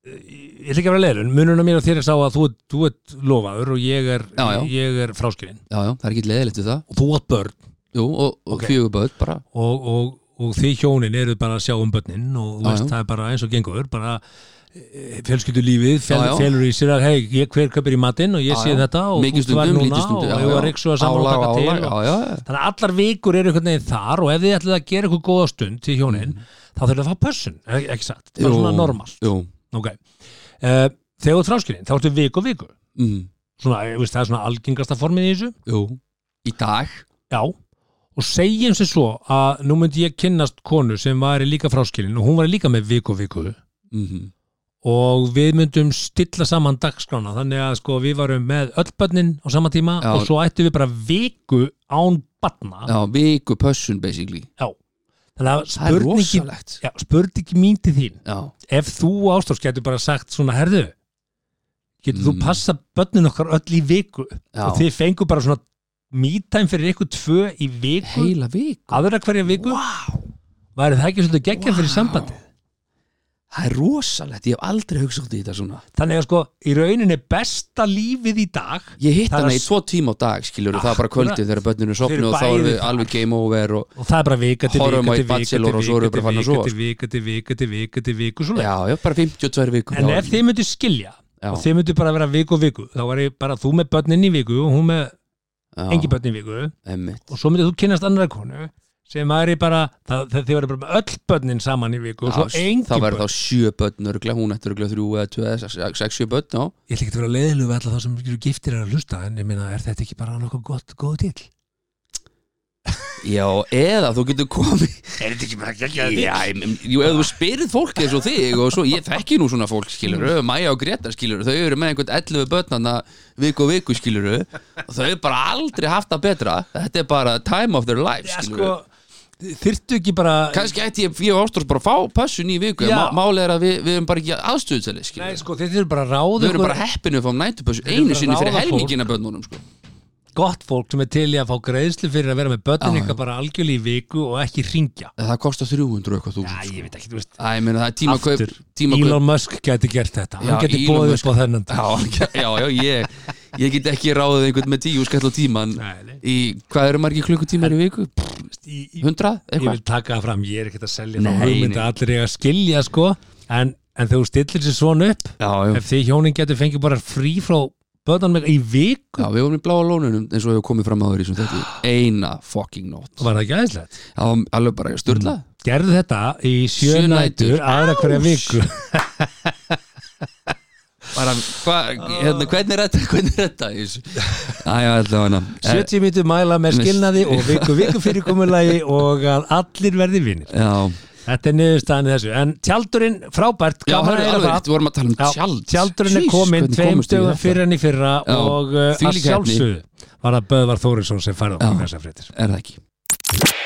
Speaker 3: ég ætla ekki að vera leiður en munurinn á mér og þér er sá að þú, ert- þú ert lofaður og ég er,
Speaker 2: Já, já.
Speaker 3: ég er fráskilin
Speaker 2: já, já, það er ekki leðilegt við það
Speaker 3: og þú átt börn
Speaker 2: Jú, og, og
Speaker 3: Ok.
Speaker 2: okay. fjögur börn bara
Speaker 3: og, og, og því hjónin eru bara að sjá um börnin og þú
Speaker 2: Já,
Speaker 3: veist,
Speaker 2: já.
Speaker 3: það er bara eins og gengur bara fjölskyldu lífið fel,
Speaker 2: Já, já.
Speaker 3: felur í sér að hei, ég hver kaupir í matinn og ég
Speaker 2: Já,
Speaker 3: sé
Speaker 2: já.
Speaker 3: þetta og
Speaker 2: Mikið
Speaker 3: þú tvær
Speaker 2: stundum,
Speaker 3: núna
Speaker 2: lítið stundum
Speaker 3: og ég var reyksu að saman
Speaker 2: Álag,
Speaker 3: og taka
Speaker 2: álag,
Speaker 3: til og,
Speaker 2: já, já, já.
Speaker 3: þannig að allar vikur eru einhvern veginn þar og ef þið ætlið að gera eitthvað góða stund til hjónin, þá þurfum að fá pössun ekki, ekki satt, það er
Speaker 2: Mhm. Jú,
Speaker 3: svona normal
Speaker 2: Jú,
Speaker 3: okay. uh, þegar þú þráskilin, þá ertu viku og viku
Speaker 2: mm,
Speaker 3: svona, ég veist, það er svona algengasta formið í þessu
Speaker 2: jú Í dag
Speaker 3: Já, og segjum sér svo að nú myndi ég kynnast konu sem var líka fráskilin og hún var líka með viku og viku
Speaker 2: mm -hmm.
Speaker 3: og við myndum stilla saman dagskrána þannig að sko við varum með öll börnin á sama tíma
Speaker 2: Já.
Speaker 3: og svo ættum við bara viku án barna
Speaker 2: Já, viku pössun basically
Speaker 3: Já. þannig að
Speaker 2: Það er
Speaker 3: spurningin
Speaker 2: rosalegt
Speaker 3: já, spurningin mín til þín
Speaker 2: Já,
Speaker 3: ef þú ástofs getur bara sagt svona herðu getur þú
Speaker 2: Mm.
Speaker 3: passa börnin okkar öll í viku og
Speaker 2: já
Speaker 3: þið fengu bara svona mítæm fyrir ykkur tvö í viku
Speaker 2: Heila viku
Speaker 3: aðra hverja viku
Speaker 2: Vá,
Speaker 3: væri það ekki svolítið geggjað fyrir
Speaker 2: Vá.
Speaker 3: sambandi
Speaker 2: það er rosalegt Ég hef aldrei hugsað út í þetta svona
Speaker 3: þannig að sko í rauninni besta lífið í dag
Speaker 2: Ég hitt
Speaker 3: Það er
Speaker 2: hana í
Speaker 3: s- Ah,
Speaker 2: tvo tíma á dag skilur Það er bara
Speaker 3: Akkurat.
Speaker 2: kvöldið þegar börninu
Speaker 3: Þeir eru
Speaker 2: sopnu og þá
Speaker 3: bæði
Speaker 2: erum við
Speaker 3: þar.
Speaker 2: alveg game over og,
Speaker 3: og það er bara vika til vika
Speaker 2: Horfum á
Speaker 3: til
Speaker 2: eitt
Speaker 3: vika til
Speaker 2: Bachelor og svo erum við bara farin að
Speaker 3: vika
Speaker 2: sofa,
Speaker 3: til vika til vika til vika til viku svo
Speaker 2: Já, já, bara 52 viku
Speaker 3: en ef þið myndu skilja
Speaker 2: Já.
Speaker 3: og þið myndu bara vera viku og viku þá væri bara þú með börnin í viku og hún með engi börnin í viku
Speaker 2: Emmitt
Speaker 3: og svo myndið þú kynnast annara konu sem væri bara, það, það, þið væri bara með öll börnin saman í viku og svo engi
Speaker 2: Það
Speaker 3: börn
Speaker 2: verður þá sjö börn örgla, hún ætti örgla þrjú eða tvö eða sex- sex, sjö börn, já
Speaker 3: ég ætla ekki að vera leiðilug við alla þá sem eru giftir er að hlusta en ég meina, er þetta ekki bara nokkuð gott, góð til?
Speaker 2: Já, eða þú getur komið
Speaker 3: Er þetta ekki bara
Speaker 2: Já,
Speaker 3: geggjað
Speaker 2: ég meina, jú, ef þú spyrir fólk eins og þig og svo, ég þekki nú svona fólk, skilur
Speaker 3: Mm.
Speaker 2: Maja og Greta, skilur, þau eru með einhvern 11 börnana viku og viku, skilur og þau eru bara aldrei haft það betra þetta er bara time of their life,
Speaker 3: Já,
Speaker 2: skilur
Speaker 3: sko, þyrftu ekki bara
Speaker 2: kannski ætti ég, ég og Ástrós bara að fá pössun í viku,
Speaker 3: Já.
Speaker 2: en má- málið er að við, við erum bara ekki aðstöðsæli,
Speaker 3: Nei,
Speaker 2: skilur
Speaker 3: sko, þeir þurfum bara að ráða
Speaker 2: við erum
Speaker 3: ykkur
Speaker 2: bara heppinu að fá nætupössu
Speaker 3: erum
Speaker 2: einu
Speaker 3: bara
Speaker 2: sinni fyrir
Speaker 3: ráða fólk.
Speaker 2: helmingina börnunum, sko
Speaker 3: gott fólk sem er til í að fá greiðslu fyrir að vera með börnin
Speaker 2: Já,
Speaker 3: ykkar bara algjörlega í viku og ekki ringja
Speaker 2: En það kostar 300 eitthvað
Speaker 3: Já,
Speaker 2: þúsund,
Speaker 3: ég veit ekki, þú veist
Speaker 2: sko Æ, ég meina, það er tímakaup
Speaker 3: Aftur,
Speaker 2: tímakaup-
Speaker 3: Elon Musk geti gert þetta,
Speaker 2: Já,
Speaker 3: hann geti
Speaker 2: Elon
Speaker 3: bóðið
Speaker 2: Musk.
Speaker 3: upp á þennan dag.
Speaker 2: *laughs* Já, já, já, ég, ég get ekki ráðið einhvern með tíu skall á tíman
Speaker 3: Nei, nei.
Speaker 2: í, hvað eru margir klukkutímar í viku?
Speaker 3: Í- í-
Speaker 2: Hundra?
Speaker 3: Ég
Speaker 2: Eitthvað?
Speaker 3: vil taka það fram, ég er ekkert að selja
Speaker 2: Nei,
Speaker 3: þá hugmynda
Speaker 2: nei.
Speaker 3: allir eiga að skilja sko en, en þegar þú stillir sér svona upp
Speaker 2: Já, já,
Speaker 3: ef þið hjónin getur fengið bara frí frá börnunum ykkar í viku
Speaker 2: já, við vorum í bláa lónunum eins og hefur komið fram áður í svona þetta
Speaker 3: Ah.
Speaker 2: eina fucking nótt
Speaker 3: var það ekki aðeinslegt
Speaker 2: Já, alveg bara styrla
Speaker 3: gerðu þetta í
Speaker 2: Sjö nætur.
Speaker 3: sjönætur aðra hverja
Speaker 2: Ás.
Speaker 3: viku
Speaker 2: bara, hva, hérna, hvernig er þetta, hvernig er þetta Æja, alltaf hana
Speaker 3: 70 mítur mæla með
Speaker 2: Nei.
Speaker 3: skilnaði og viku viku fyrirkomulagi og að allir verði vinnir
Speaker 2: Eh, Já,
Speaker 3: þetta er niðurstaðan í þessu en tjaldurinn frábært
Speaker 2: já,
Speaker 3: gaman að
Speaker 2: hörðu,
Speaker 3: heyra
Speaker 2: alveg
Speaker 3: það.
Speaker 2: rétt, við vorum að tala um
Speaker 3: Já,
Speaker 2: tjald
Speaker 3: tjaldurinn er
Speaker 2: Jeez,
Speaker 3: komin
Speaker 2: hvernig
Speaker 3: tveim
Speaker 2: komumst við í
Speaker 3: dögum
Speaker 2: þetta?
Speaker 3: fyrir enn í fyrra
Speaker 2: Já,
Speaker 3: og uh, að
Speaker 2: þvílík heppni.
Speaker 3: sjálfsögðu var það Böðvar Þórisson sem færði okkur
Speaker 2: Já.
Speaker 3: þessar fréttir
Speaker 2: Er það ekki?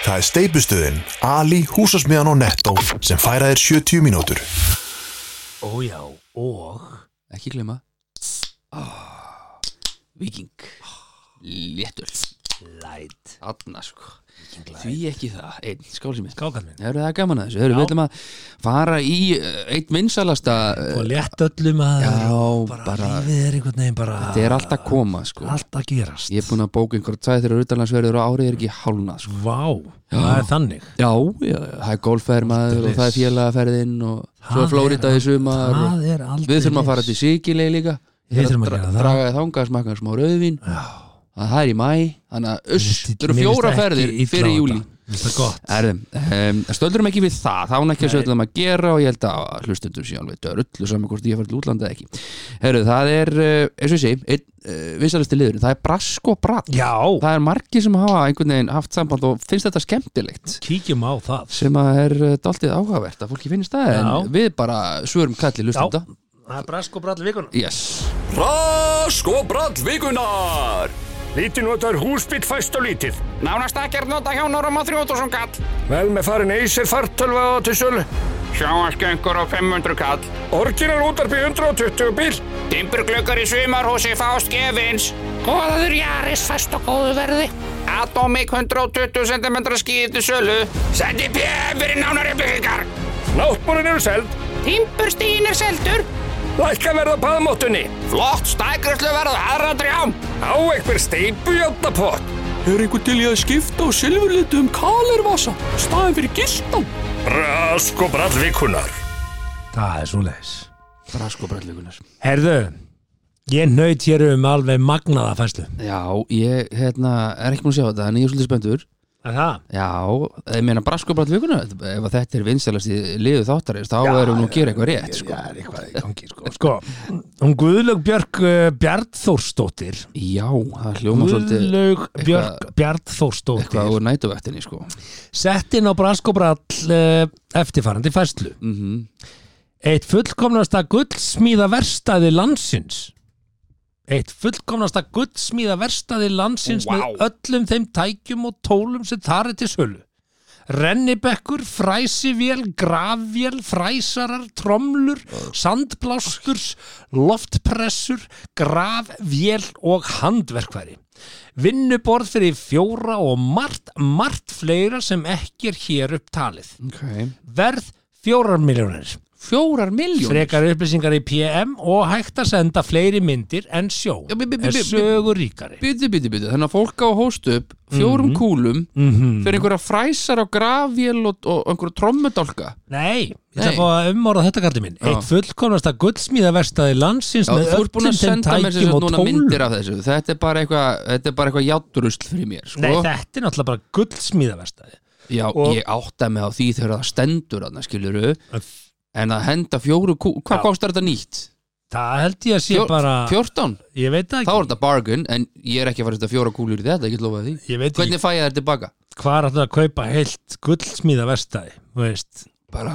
Speaker 1: Það er steipustöðin, Ali, húsasmiðan og Netto sem færa þér 70 mínútur.
Speaker 3: ójá, og
Speaker 2: ekki Ah, glema Viking Léttul
Speaker 3: light
Speaker 2: Þarna sko Því ekki það, einn skál sem ég
Speaker 3: skákan minn
Speaker 2: Hefur það er gaman að þessu, Heyrðu,
Speaker 3: Já.
Speaker 2: við ætlum að fara í eh, einn vinsalasta eh,
Speaker 3: og létt öllum að
Speaker 2: Já,
Speaker 3: bara,
Speaker 2: bara-
Speaker 3: lífið er einhvern veginn bara
Speaker 2: Þetta er allt að koma sko
Speaker 3: allt að gerast
Speaker 2: Ég er búin að bóka einhverja tvæð þegar utanlandsverður og árið er ekki hálna sko
Speaker 3: vá, það er þannig
Speaker 2: Já, já, já, það er golffermaður og það er félagaferðin og svo
Speaker 3: Það
Speaker 2: er Flórida
Speaker 3: er-
Speaker 2: í sumar og
Speaker 3: það er aldrei
Speaker 2: Við þurfum að fara til Sikilei líka Ég
Speaker 3: Við
Speaker 2: er
Speaker 3: þurfum að
Speaker 2: dra-
Speaker 3: gera það.
Speaker 2: Draga þið þangað smakka smá rauðvín að það er í mæ þannig að uss,
Speaker 3: Mér
Speaker 2: það eru
Speaker 3: finnst
Speaker 2: fjóra
Speaker 3: ekki
Speaker 2: ferðir
Speaker 3: illa á
Speaker 2: fyrir
Speaker 3: þetta.
Speaker 2: júli
Speaker 3: Mér finnst það gott
Speaker 2: Erðum, um, stöldurum ekki við það þá er ekki að
Speaker 3: Nei.
Speaker 2: sögðum að gera og ég held að hlustendur sé alveg dörullu saman hvort ég fara til útlanda eða ekki Herru, það er, eh, eins og ég segi einn uh, vinsalisti liðurinn, það er brask og bratt
Speaker 3: já,
Speaker 2: það er margir sem hafa einhvern veginn haft samband og finnst þetta skemmtilegt
Speaker 3: kíkjum á það
Speaker 2: sem að er eh, dálítið áhugavert að fólki finnst það
Speaker 3: Já.
Speaker 2: en við bara svörum kalli hlustenda
Speaker 3: það er brask og brall vikuna
Speaker 2: Yes.
Speaker 4: Rask og brall vikunar
Speaker 5: Lítið notar húsbygg fæst og lítið.
Speaker 6: Nánast ekkert nota hjónur á 3000 kall.
Speaker 5: Vel með farin Acer fartölva á til sölu.
Speaker 6: Sjáasköngur á 500 kall.
Speaker 5: Orginal útarpi 120 bíl.
Speaker 6: Timburglöggar í sumarhúsi fást gefins. Góður jaris fast og góðu verði. Atomic 120 cm skýði til sölu. Sendi PF fyrir nánari byggingar.
Speaker 5: Náttbúrin eru seld.
Speaker 6: Timburstín er seldur.
Speaker 5: Lækka verða paðmóttunni.
Speaker 6: Flott stækrislu verð aðra drjám.
Speaker 5: Á einhver steipu játapott.
Speaker 4: Er einhver til í að skipta á silfurlitum kalervasa staðin fyrir gistan?
Speaker 5: Rask og brall vikunar.
Speaker 3: það er svo leiðis
Speaker 2: brask og bratt vikunar
Speaker 3: herðu, ég nöyt hér um alveg magnaða fæslu
Speaker 2: Já, ég hérna, er ekki múin að sjá þetta en ég er svolítið spenntur
Speaker 3: er það?
Speaker 2: Já, ég meina braskobrat vikuna ef að þetta er vinsalast í liðu þáttarins þá erum við nú að gera eitthvað rétt sko.
Speaker 3: það er eitthvað í gangi sko, sko hún Guðlaug Björk uh, Bjarnþórsdóttir
Speaker 2: Já, það hljóma svolítið
Speaker 3: Guðlaug Björk
Speaker 2: eitthvað-
Speaker 3: Bjarnþórsdóttir
Speaker 2: eitthvað úr nætuvættinni sko.
Speaker 3: eh, sett inn á Brask og Brall uh, eftirfarandi fæslu
Speaker 2: mm -hmm.
Speaker 3: eitt fullkomnasta gullsmíða verstaði landsins eitt fullkomnasta gullsmíða verstaði landsins
Speaker 6: Vá.
Speaker 3: með öllum þeim tækjum og tólum sem þar er til sölu rennibekkur, fræsivél, grafvél, fræsarar, tromlur, sandblásturs, loftpressur, grafvél og handverkværi. Vinnuborð fyrir fjóra og margt, margt fleira sem ekki er hér upp talið.
Speaker 2: okay.
Speaker 3: Verð fjórar miljónir.
Speaker 2: Fjórar miljónir
Speaker 3: Frekar upplýsingar í PM og hægt að senda fleiri myndir en sjón.
Speaker 2: Já, bí- bí- bí-
Speaker 3: Er
Speaker 2: bí-
Speaker 3: sögur ríkari.
Speaker 2: Byttu, byttu, byttu, þannig að fólk á að hósta upp fjórum
Speaker 3: Mhm.
Speaker 2: kúlum fyrir einhverja fræsar og grafvél og, og einhverja trommudálka
Speaker 3: Nei, ég ætla
Speaker 2: Nei.
Speaker 3: að fá að umorða þetta kallir minn
Speaker 2: Já.
Speaker 3: Eitt fullkomnasta gullsmíðaverstaði landsins
Speaker 2: Já,
Speaker 3: með
Speaker 2: þú ert búin að
Speaker 3: öllum þeim
Speaker 2: senda mér sem
Speaker 3: tækjum
Speaker 2: sagt
Speaker 3: og
Speaker 2: núna
Speaker 3: tólum
Speaker 2: myndir af þessu Þetta er bara eitthvað, þetta er bara eitthvað játrusl fyrir mér sko.
Speaker 3: Nei, þetta er náttúrulega bara gullsmíðaverstaði
Speaker 2: Já,
Speaker 3: og-
Speaker 2: ég átta mig á því þegar það stendur þarna, skiluru En að henda fjóru kú,
Speaker 3: Já.
Speaker 2: hvað kostar þetta nýtt?
Speaker 3: Það held ég að sé
Speaker 2: Fjó-
Speaker 3: bara
Speaker 2: 14?
Speaker 3: Ég veit
Speaker 2: Þá
Speaker 3: það ekki,
Speaker 2: er þetta bargain, en ég er ekki að fara að setja fjóra kúlur í þetta, ég get lofað því
Speaker 3: ég veit ekki
Speaker 2: Hvernig fæ ég þetta tilbaka?
Speaker 3: hvað er alltaf að kaupa heilt gullsmíðaverstaði Þú veist,
Speaker 2: Bara,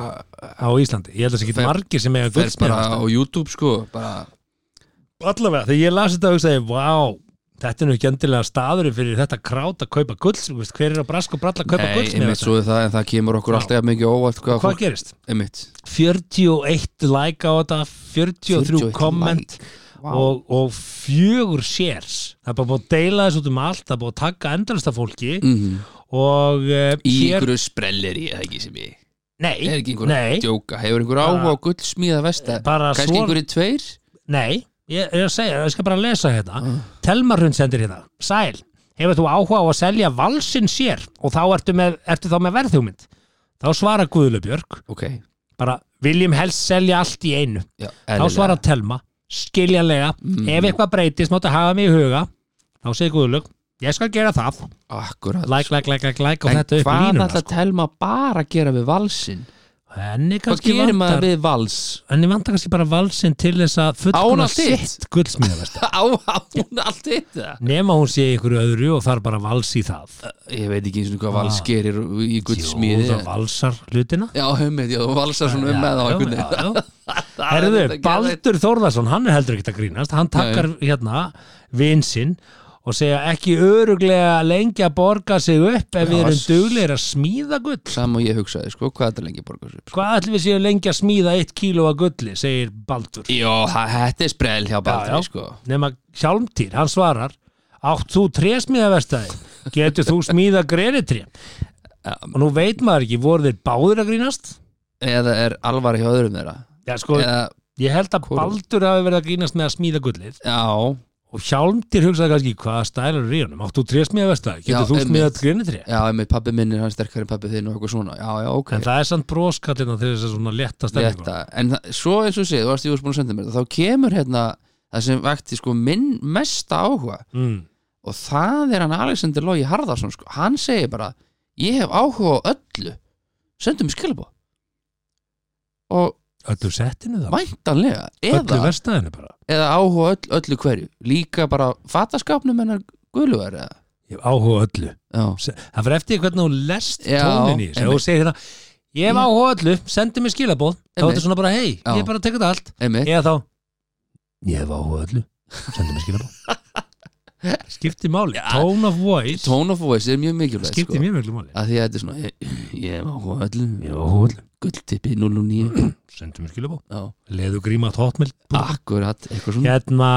Speaker 3: á Íslandi Ég held að sé ekki
Speaker 2: Fer-
Speaker 3: margir sem eiga
Speaker 2: fer bara á
Speaker 3: gullsmíðaverstaði
Speaker 2: YouTube, sko bara,
Speaker 3: Allavega, þegar ég las þetta og hugsaði Vá, þetta er nú ekki endilega staðurinn fyrir þetta krát að kaupa gullsmíðaverstaði Hver er á brask og bralla að kaupa
Speaker 2: Nei, einmitt svo
Speaker 3: gullsmíðaverstaði
Speaker 2: er það, en það kemur okkur
Speaker 3: Já.
Speaker 2: alltaf jafn mikið á óvart hvað,
Speaker 3: Hvað
Speaker 2: fólk,
Speaker 3: gerist?
Speaker 2: einmitt
Speaker 3: 41 like á þetta 43
Speaker 2: 41
Speaker 3: komment
Speaker 2: like.
Speaker 3: og, og fjögur shares það er bara búið að deila þessu út um allt það er búið að taka endalasta fólki
Speaker 2: Mhm.
Speaker 3: og uh,
Speaker 2: Í
Speaker 3: hér,
Speaker 2: einhverju sprellir ég það ekki sem ég
Speaker 3: nei,
Speaker 2: Er ekki einhver
Speaker 3: nei,
Speaker 2: að djóka? Hefur einhver áhuga á gullsmíða vestar?
Speaker 3: bara
Speaker 2: Kannski
Speaker 3: svona-
Speaker 2: einhverju tveir?
Speaker 3: nei ég, ég, er að segja, ég skal bara lesa þetta
Speaker 2: Mm.
Speaker 3: uh. Telmarhund sendir hérna, sæl hefur þú áhuga á að selja valsinn sér og þá ertu, með, ertu þá með verðhugmynd þá svarar Guðlubjörg
Speaker 2: Ok,
Speaker 3: bara viljum helst selja allt í einu
Speaker 2: já,
Speaker 3: þá
Speaker 2: eðlilega. Mm.
Speaker 3: svarar Telma skiljanlega, ef eitthvað breytist máttu hafa mig í huga þá segir Guðlug, ég skal gera það
Speaker 2: Akkurat
Speaker 3: like, like, like, like, like og
Speaker 2: En
Speaker 3: þetta upp í
Speaker 2: hvað
Speaker 3: línuna
Speaker 2: ætla
Speaker 3: sko.
Speaker 2: Telma bara að gera við valsinn?
Speaker 3: henni
Speaker 2: Hvað
Speaker 3: kannski
Speaker 2: gerir
Speaker 3: vantar
Speaker 2: maður við vals?
Speaker 3: henni vantar kannski bara valsinn til þess að
Speaker 2: Án
Speaker 3: fullkona
Speaker 2: allt
Speaker 3: sitt gullsmíðaversta
Speaker 2: *laughs* Á á hún allt þetta?
Speaker 3: nema hún sé í einhverju öðru og þarf bara vals í það
Speaker 2: Ég veit ekki eins og hvað vals gerir í
Speaker 3: Ah. Jú,
Speaker 2: gullsmíði
Speaker 3: það valsar hlutina
Speaker 2: Já, heimitt, já, þú valsar svona um með á einhvern veginn.
Speaker 3: veginn
Speaker 2: *laughs* Það er
Speaker 3: Herðu,
Speaker 2: þetta ekki alveg-
Speaker 3: Baldur Þórðarsson, hann er heldur ekkert að grínast hann takkar hérna vinsinn og segja ekki öruglega lengi að borga sig upp ef við
Speaker 2: Já,
Speaker 3: erum
Speaker 2: s-
Speaker 3: duglegir að smíða gull
Speaker 2: Sama og ég hugsaði, sko, hvað þetta lengi borgar sér?
Speaker 3: hvað ætlum við séum lengi að smíða eitt kíló að gulli segir Baldur
Speaker 2: Jó, það- þetta er sprell hjá Baldri, sko
Speaker 3: nema Hjálmtýr, hann svarar átt þú trésmíðaverstaði getur þú smíða grenitré og nú veit maður ekki, voru þeir báður að grínast
Speaker 2: Eða er alvar hjá öðrum þeirra?
Speaker 3: já sko,
Speaker 2: Eða,
Speaker 3: ég held að
Speaker 2: hvoru?
Speaker 3: Baldur hafi verið að grínast með að smíða gullið
Speaker 2: já,
Speaker 3: og Hjálmtýr hugsaði kannski hvað stælar er í honum, átt þú trésmíðaverstaði
Speaker 2: Já,
Speaker 3: getur þú smíða
Speaker 2: einmitt.
Speaker 3: grenitré
Speaker 2: já, einmitt, pappi minn er hann sterkari en pappi þinn og eitthvað svona, já, já, ok
Speaker 3: en það er samt broskallina til þess að svona létta stælingu
Speaker 2: Létta, en það, svo eins og séð, þú varst í úrspunum að senda mér þetta, þá kemur hérna það sem vekti sko minn mesta áhuga
Speaker 3: mm.
Speaker 2: og það er hann Alexander Lógi Harðarsson sko, hann segir bara ég hef áhuga á öllu sendum skilabó og
Speaker 3: öllu settinu það,
Speaker 2: væntanlega
Speaker 3: öllu
Speaker 2: eða,
Speaker 3: verstaðinu bara
Speaker 2: eða áhuga á öll, öllu hverju líka bara fataskapnum hennar guðlugar eða
Speaker 3: ég hef áhuga á öllu
Speaker 2: já,
Speaker 3: Se- það fyrir eftir því hvernig hún lest
Speaker 2: Já,
Speaker 3: tónin í þessu Ef
Speaker 2: einmitt.
Speaker 3: hún segir hérna ég
Speaker 2: Já.
Speaker 3: hef áhuga á öllu, sendi mér skilabóð þá er
Speaker 2: Einmitt.
Speaker 3: þetta svona bara hei,
Speaker 2: Já.
Speaker 3: ég er bara að teka þetta allt
Speaker 2: einmitt
Speaker 3: eða þá ég hef áhuga á öllu, sendi
Speaker 2: *laughs*
Speaker 3: mér skilabóð skipti máli, tone of voice
Speaker 2: tone of voice er mjög mikilvægt
Speaker 3: skipti
Speaker 2: sko,
Speaker 3: mjög mjög máli
Speaker 2: að því að þetta er svona ég, ég hef áhuga á öllu
Speaker 3: ég hef áhuga á öllu,
Speaker 2: gulltippi 009
Speaker 3: sendi mér skilabóð
Speaker 2: já,
Speaker 3: leðu gríma tóttmjöld
Speaker 2: Ah. akkurat, eitthvað svona
Speaker 3: hérna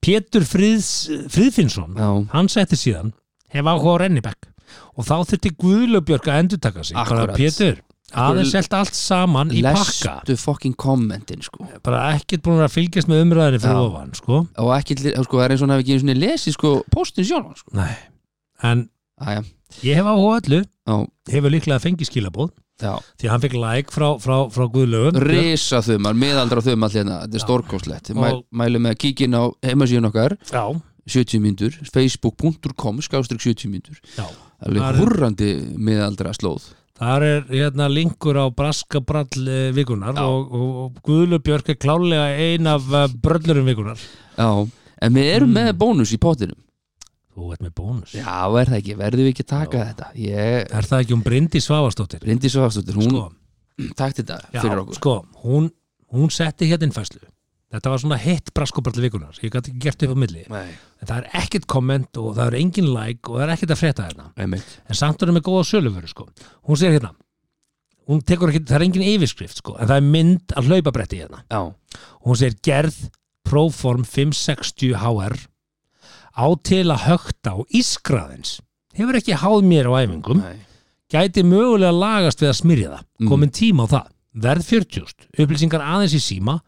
Speaker 3: Pétur Friðs, Friðfinnsson
Speaker 2: já,
Speaker 3: hann setti síðan hef áhuga á Rennibæk og þá þurfti Guðlöfbjörg að endurtaka sig bara
Speaker 2: Akkúrat.
Speaker 3: Pétur, aðeins selt allt saman í pakka,
Speaker 2: lestu fucking kommentin sko.
Speaker 3: bara ekkert búin að fylgjast með umræðinni fyrir
Speaker 2: Já.
Speaker 3: ofan, sko
Speaker 2: og ekki, sko, það er eins og hann hafi ekki einu sinni lesið sko, postin sjálf sko.
Speaker 3: Nei. en
Speaker 2: Æja,
Speaker 3: ég hef áhuga á öllu
Speaker 2: já,
Speaker 3: hefur líklega fengið skilabóð
Speaker 2: já,
Speaker 3: því að hann fekk like frá, frá, frá Guðlöfum
Speaker 2: risa þumar, miðaldra þumar hérna, þetta er stórkostlegt Mæl,
Speaker 3: Og-
Speaker 2: mælum með að kíkja inn á heimasíðun okkar
Speaker 3: já,
Speaker 2: 70 myndur, facebook.com skástrík 70 myndur,
Speaker 3: já Þar
Speaker 2: alveg
Speaker 3: er-
Speaker 2: hurrandi miðaldra slóð
Speaker 3: Þar er hérna linkur á braskabrall eh, vikunar
Speaker 2: Já.
Speaker 3: og, og, og Guðlöfbjörg er klálega ein af eh, bröllurum vikunar
Speaker 2: já, en við erum
Speaker 3: Mm.
Speaker 2: með bónus í pottinum
Speaker 3: Þú ert með bónus
Speaker 2: já, er það ekki, verðum við ekki að taka þetta ég,
Speaker 3: Er það ekki um Bryndi Svavastóttir?
Speaker 2: Bryndís Svafstóttir, hún
Speaker 3: Sko,
Speaker 2: takt þetta
Speaker 3: Já,
Speaker 2: fyrir okkur
Speaker 3: sko, hún, hún setti hérna innfæslu þetta var svona hitt braskobrall vikunar ég gæti ekki gert upp á milli
Speaker 2: Nei,
Speaker 3: en það er ekkert komment og það er engin like og það er ekkert að frétta hérna
Speaker 2: einmitt
Speaker 3: en samt er hún með góða söluföru sko. hún segir hérna hún tekur ekki, það er engin yfirskrift sko, en það er mynd að hlaupabretti hérna
Speaker 2: Já,
Speaker 3: hún segir gerð Proform 560 HR á til að högta og ískraðins hefur ekki háð mér á æfingum
Speaker 2: nei,
Speaker 3: gæti mögulega lagast við að smyrja það komin tíma á það, verð 40 upplýsingar aðeins í síma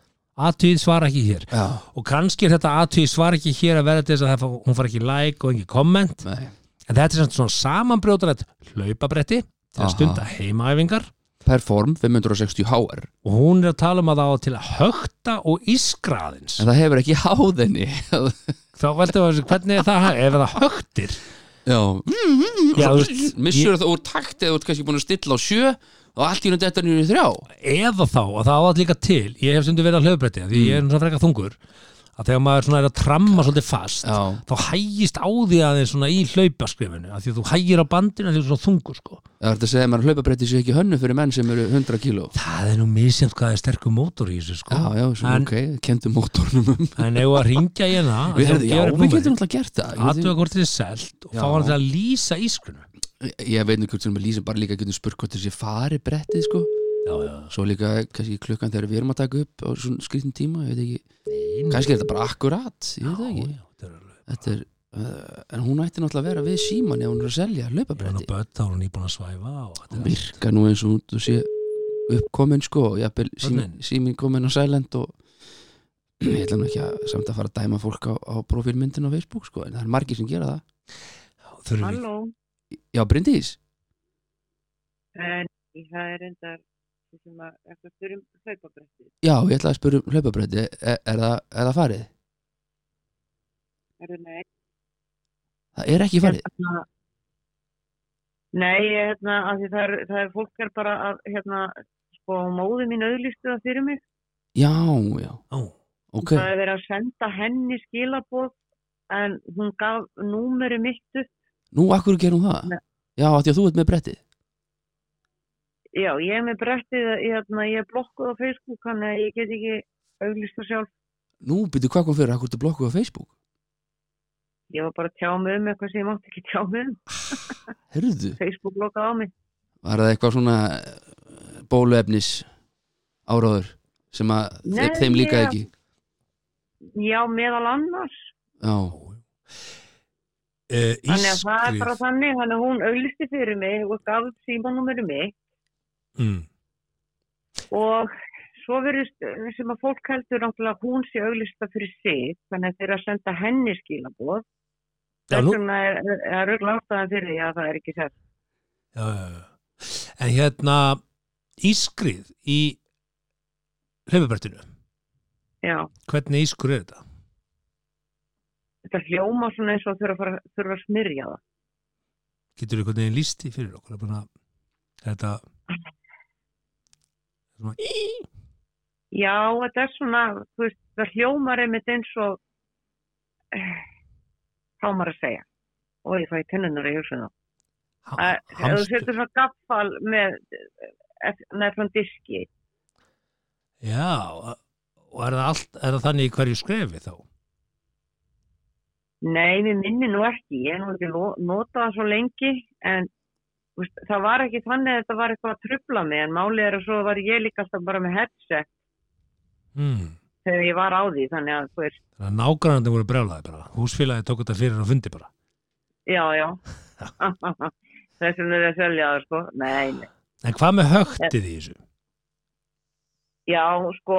Speaker 3: aðtöð svara ekki hér
Speaker 2: já,
Speaker 3: og kannski er þetta aðtöð svara ekki hér að verða til þess að það, fá- hún fara ekki like og ekki komment
Speaker 2: nei
Speaker 3: en þetta er samt svona samanbrjótarætt hlaupabretti til að
Speaker 2: Aha.
Speaker 3: stunda heimaæfingar
Speaker 2: Perform 560 HR
Speaker 3: og hún er að tala um að það á til að högta og ískra aðeins
Speaker 2: En það hefur ekki háð
Speaker 3: *laughs*
Speaker 2: henni
Speaker 3: þá veltum við að hvernig er það hæ- ef það högtir
Speaker 2: Já,
Speaker 3: já, þú veist,
Speaker 2: missur það úr takt eða þú ert kannski búin að stilla á sjö og allt í hún þetta nýri þrjá
Speaker 3: ég, eða þá, og það á það líka til ég hef stundu verið að hlöfbretti því ég er svona freka þungur að þegar maður svona er að tramma svolítið fast
Speaker 2: Já.
Speaker 3: þá hægist á því aðeins svona í hlaupaskrifinu að því að þú hægir á bandinu að því að þú er svona þungur sko.
Speaker 2: Það er þetta að segja að maður hlaupabretti sér ekki hönnu fyrir menn sem eru 100 kíló
Speaker 3: það er nú misjönd hvað það er sterkur mótor í þessu sko.
Speaker 2: Já, já, svo,
Speaker 3: en,
Speaker 2: ok, kendum mótornum um
Speaker 3: en ef að ringja í hana
Speaker 2: Við hefðum, já, við getum alltaf gert það Ég-
Speaker 3: aðtöða hvort þið er selt og fá
Speaker 2: Já.
Speaker 3: hann til að lýsa ískrunu
Speaker 2: Ég ég veit nú hvort sem við lýsum bara líka getum spurt hvort þessi fari brettið, sko
Speaker 3: já, já,
Speaker 2: Svo líka kannski klukkan þegar við erum að taka upp á svona skrítin tíma, ég veit ekki Kannski er þetta bara akkurat, ég veit það
Speaker 3: Mm. já,
Speaker 2: ekki
Speaker 3: já, þetta er alveg-
Speaker 2: Þetta er, uh, en hún ætti náttúrulega að vera við síman ef hún er að selja
Speaker 3: Ef hún á
Speaker 2: hlaupabretti
Speaker 3: börn, þá er hún íbúin að svæfa og þetta er-
Speaker 2: virka nú eins og þú sé uppkomin sko, jafnvel símin,
Speaker 3: Börnin.
Speaker 2: símin komin á silent og *clears throat* ég ætla nú ekki að samt að fara að dæma fólk á, á profilmyndin á Facebook sko, en það er margir sem gera það
Speaker 3: þurfum við
Speaker 7: Halló,
Speaker 2: Já, Bryndís,
Speaker 7: en það er enda sem að eftir að spyrjum hlaupabretti.
Speaker 2: já, ég ætla að spyrja um hlaupabretti, er, er, það, er það farið?
Speaker 7: Er það nei?
Speaker 2: Það er ekki farið,
Speaker 7: Hérna- Nei, ég, hérna, af því það er, það er fólk er bara að, hérna, sko, móði mín auðlýstu það fyrir mig.
Speaker 2: já, já
Speaker 3: Ó,
Speaker 2: ok,
Speaker 7: Það er verið að senda henni skilaboð, en hún gaf númeri mitt upp.
Speaker 2: nú akkur gerum það
Speaker 7: Nei.
Speaker 2: Já, af því að þú ert með brettið
Speaker 7: Já, ég er með brettið, hérna, ég er blokkuð á Facebook, þannig að ég get ekki auðlýst það sjálf.
Speaker 2: Nú byrju hvað kom fyrir, akkur ertu blokkuð á Facebook
Speaker 7: Ég var bara að tjá mig um eitthvað sem ég mátti ekki tjá mig um.
Speaker 2: Herðu,
Speaker 7: Facebook lokaði á mig.
Speaker 2: var það eitthvað svona eh, bóluefnis áráður sem að
Speaker 7: Nei,
Speaker 2: þe- þeim líka
Speaker 7: ég-
Speaker 2: ekki
Speaker 7: Já, meðal annars.
Speaker 2: Já,
Speaker 3: Uh,
Speaker 7: Þannig að það er bara
Speaker 3: ískrið
Speaker 7: þannig, þannig að hún auðlisti fyrir mig og gaf upp símanúmeru mig
Speaker 3: mm.
Speaker 7: og svo verðist sem að fólk heldur náttúrulega að hún sé auðlista fyrir sig, þannig að þeir eru að senda henni skilaboð.
Speaker 3: Já, nú-
Speaker 7: Þess vegna er, er auðvitað ástæðan fyrir því að það er ekki sett.
Speaker 3: já, já, já. en hérna ískrið í hlaupabertinu
Speaker 7: Já,
Speaker 3: hvernig ískur er þetta?
Speaker 7: þetta hljóma svona eins og þurfa að, fara, þurfa að smyrja það.
Speaker 3: getur þú hvernig listi fyrir okkur Bara svona, þetta svona, í-
Speaker 7: Já, þetta er svona, þú veist, það hljómar einmitt eins og eh, þá maður að segja. Og ég fæ tennunar í hugsun þá.
Speaker 3: ha-
Speaker 7: Að- Ef þú
Speaker 3: hamstur
Speaker 7: setur svona gaffal með nærfram diski
Speaker 3: já, og er það, allt, er það þannig í hverju skrefi þá?
Speaker 7: nei, við minni nú ekki ég er nú ekki lo- notað það svo lengi en þú veist, það var ekki þannig að þetta var eitthvað að trubla mig en málið er að svo var ég líka alltaf bara með headset
Speaker 3: Mm.
Speaker 7: þegar ég var á því þannig að þú veist,
Speaker 3: þannig að nágrannandi voru brjálaði bara húsfélagi tók þetta fyrir og fundi bara
Speaker 7: já, já þessum er að selja það sko nei, nei,
Speaker 3: en hvað með högtið í þessu?
Speaker 7: já, sko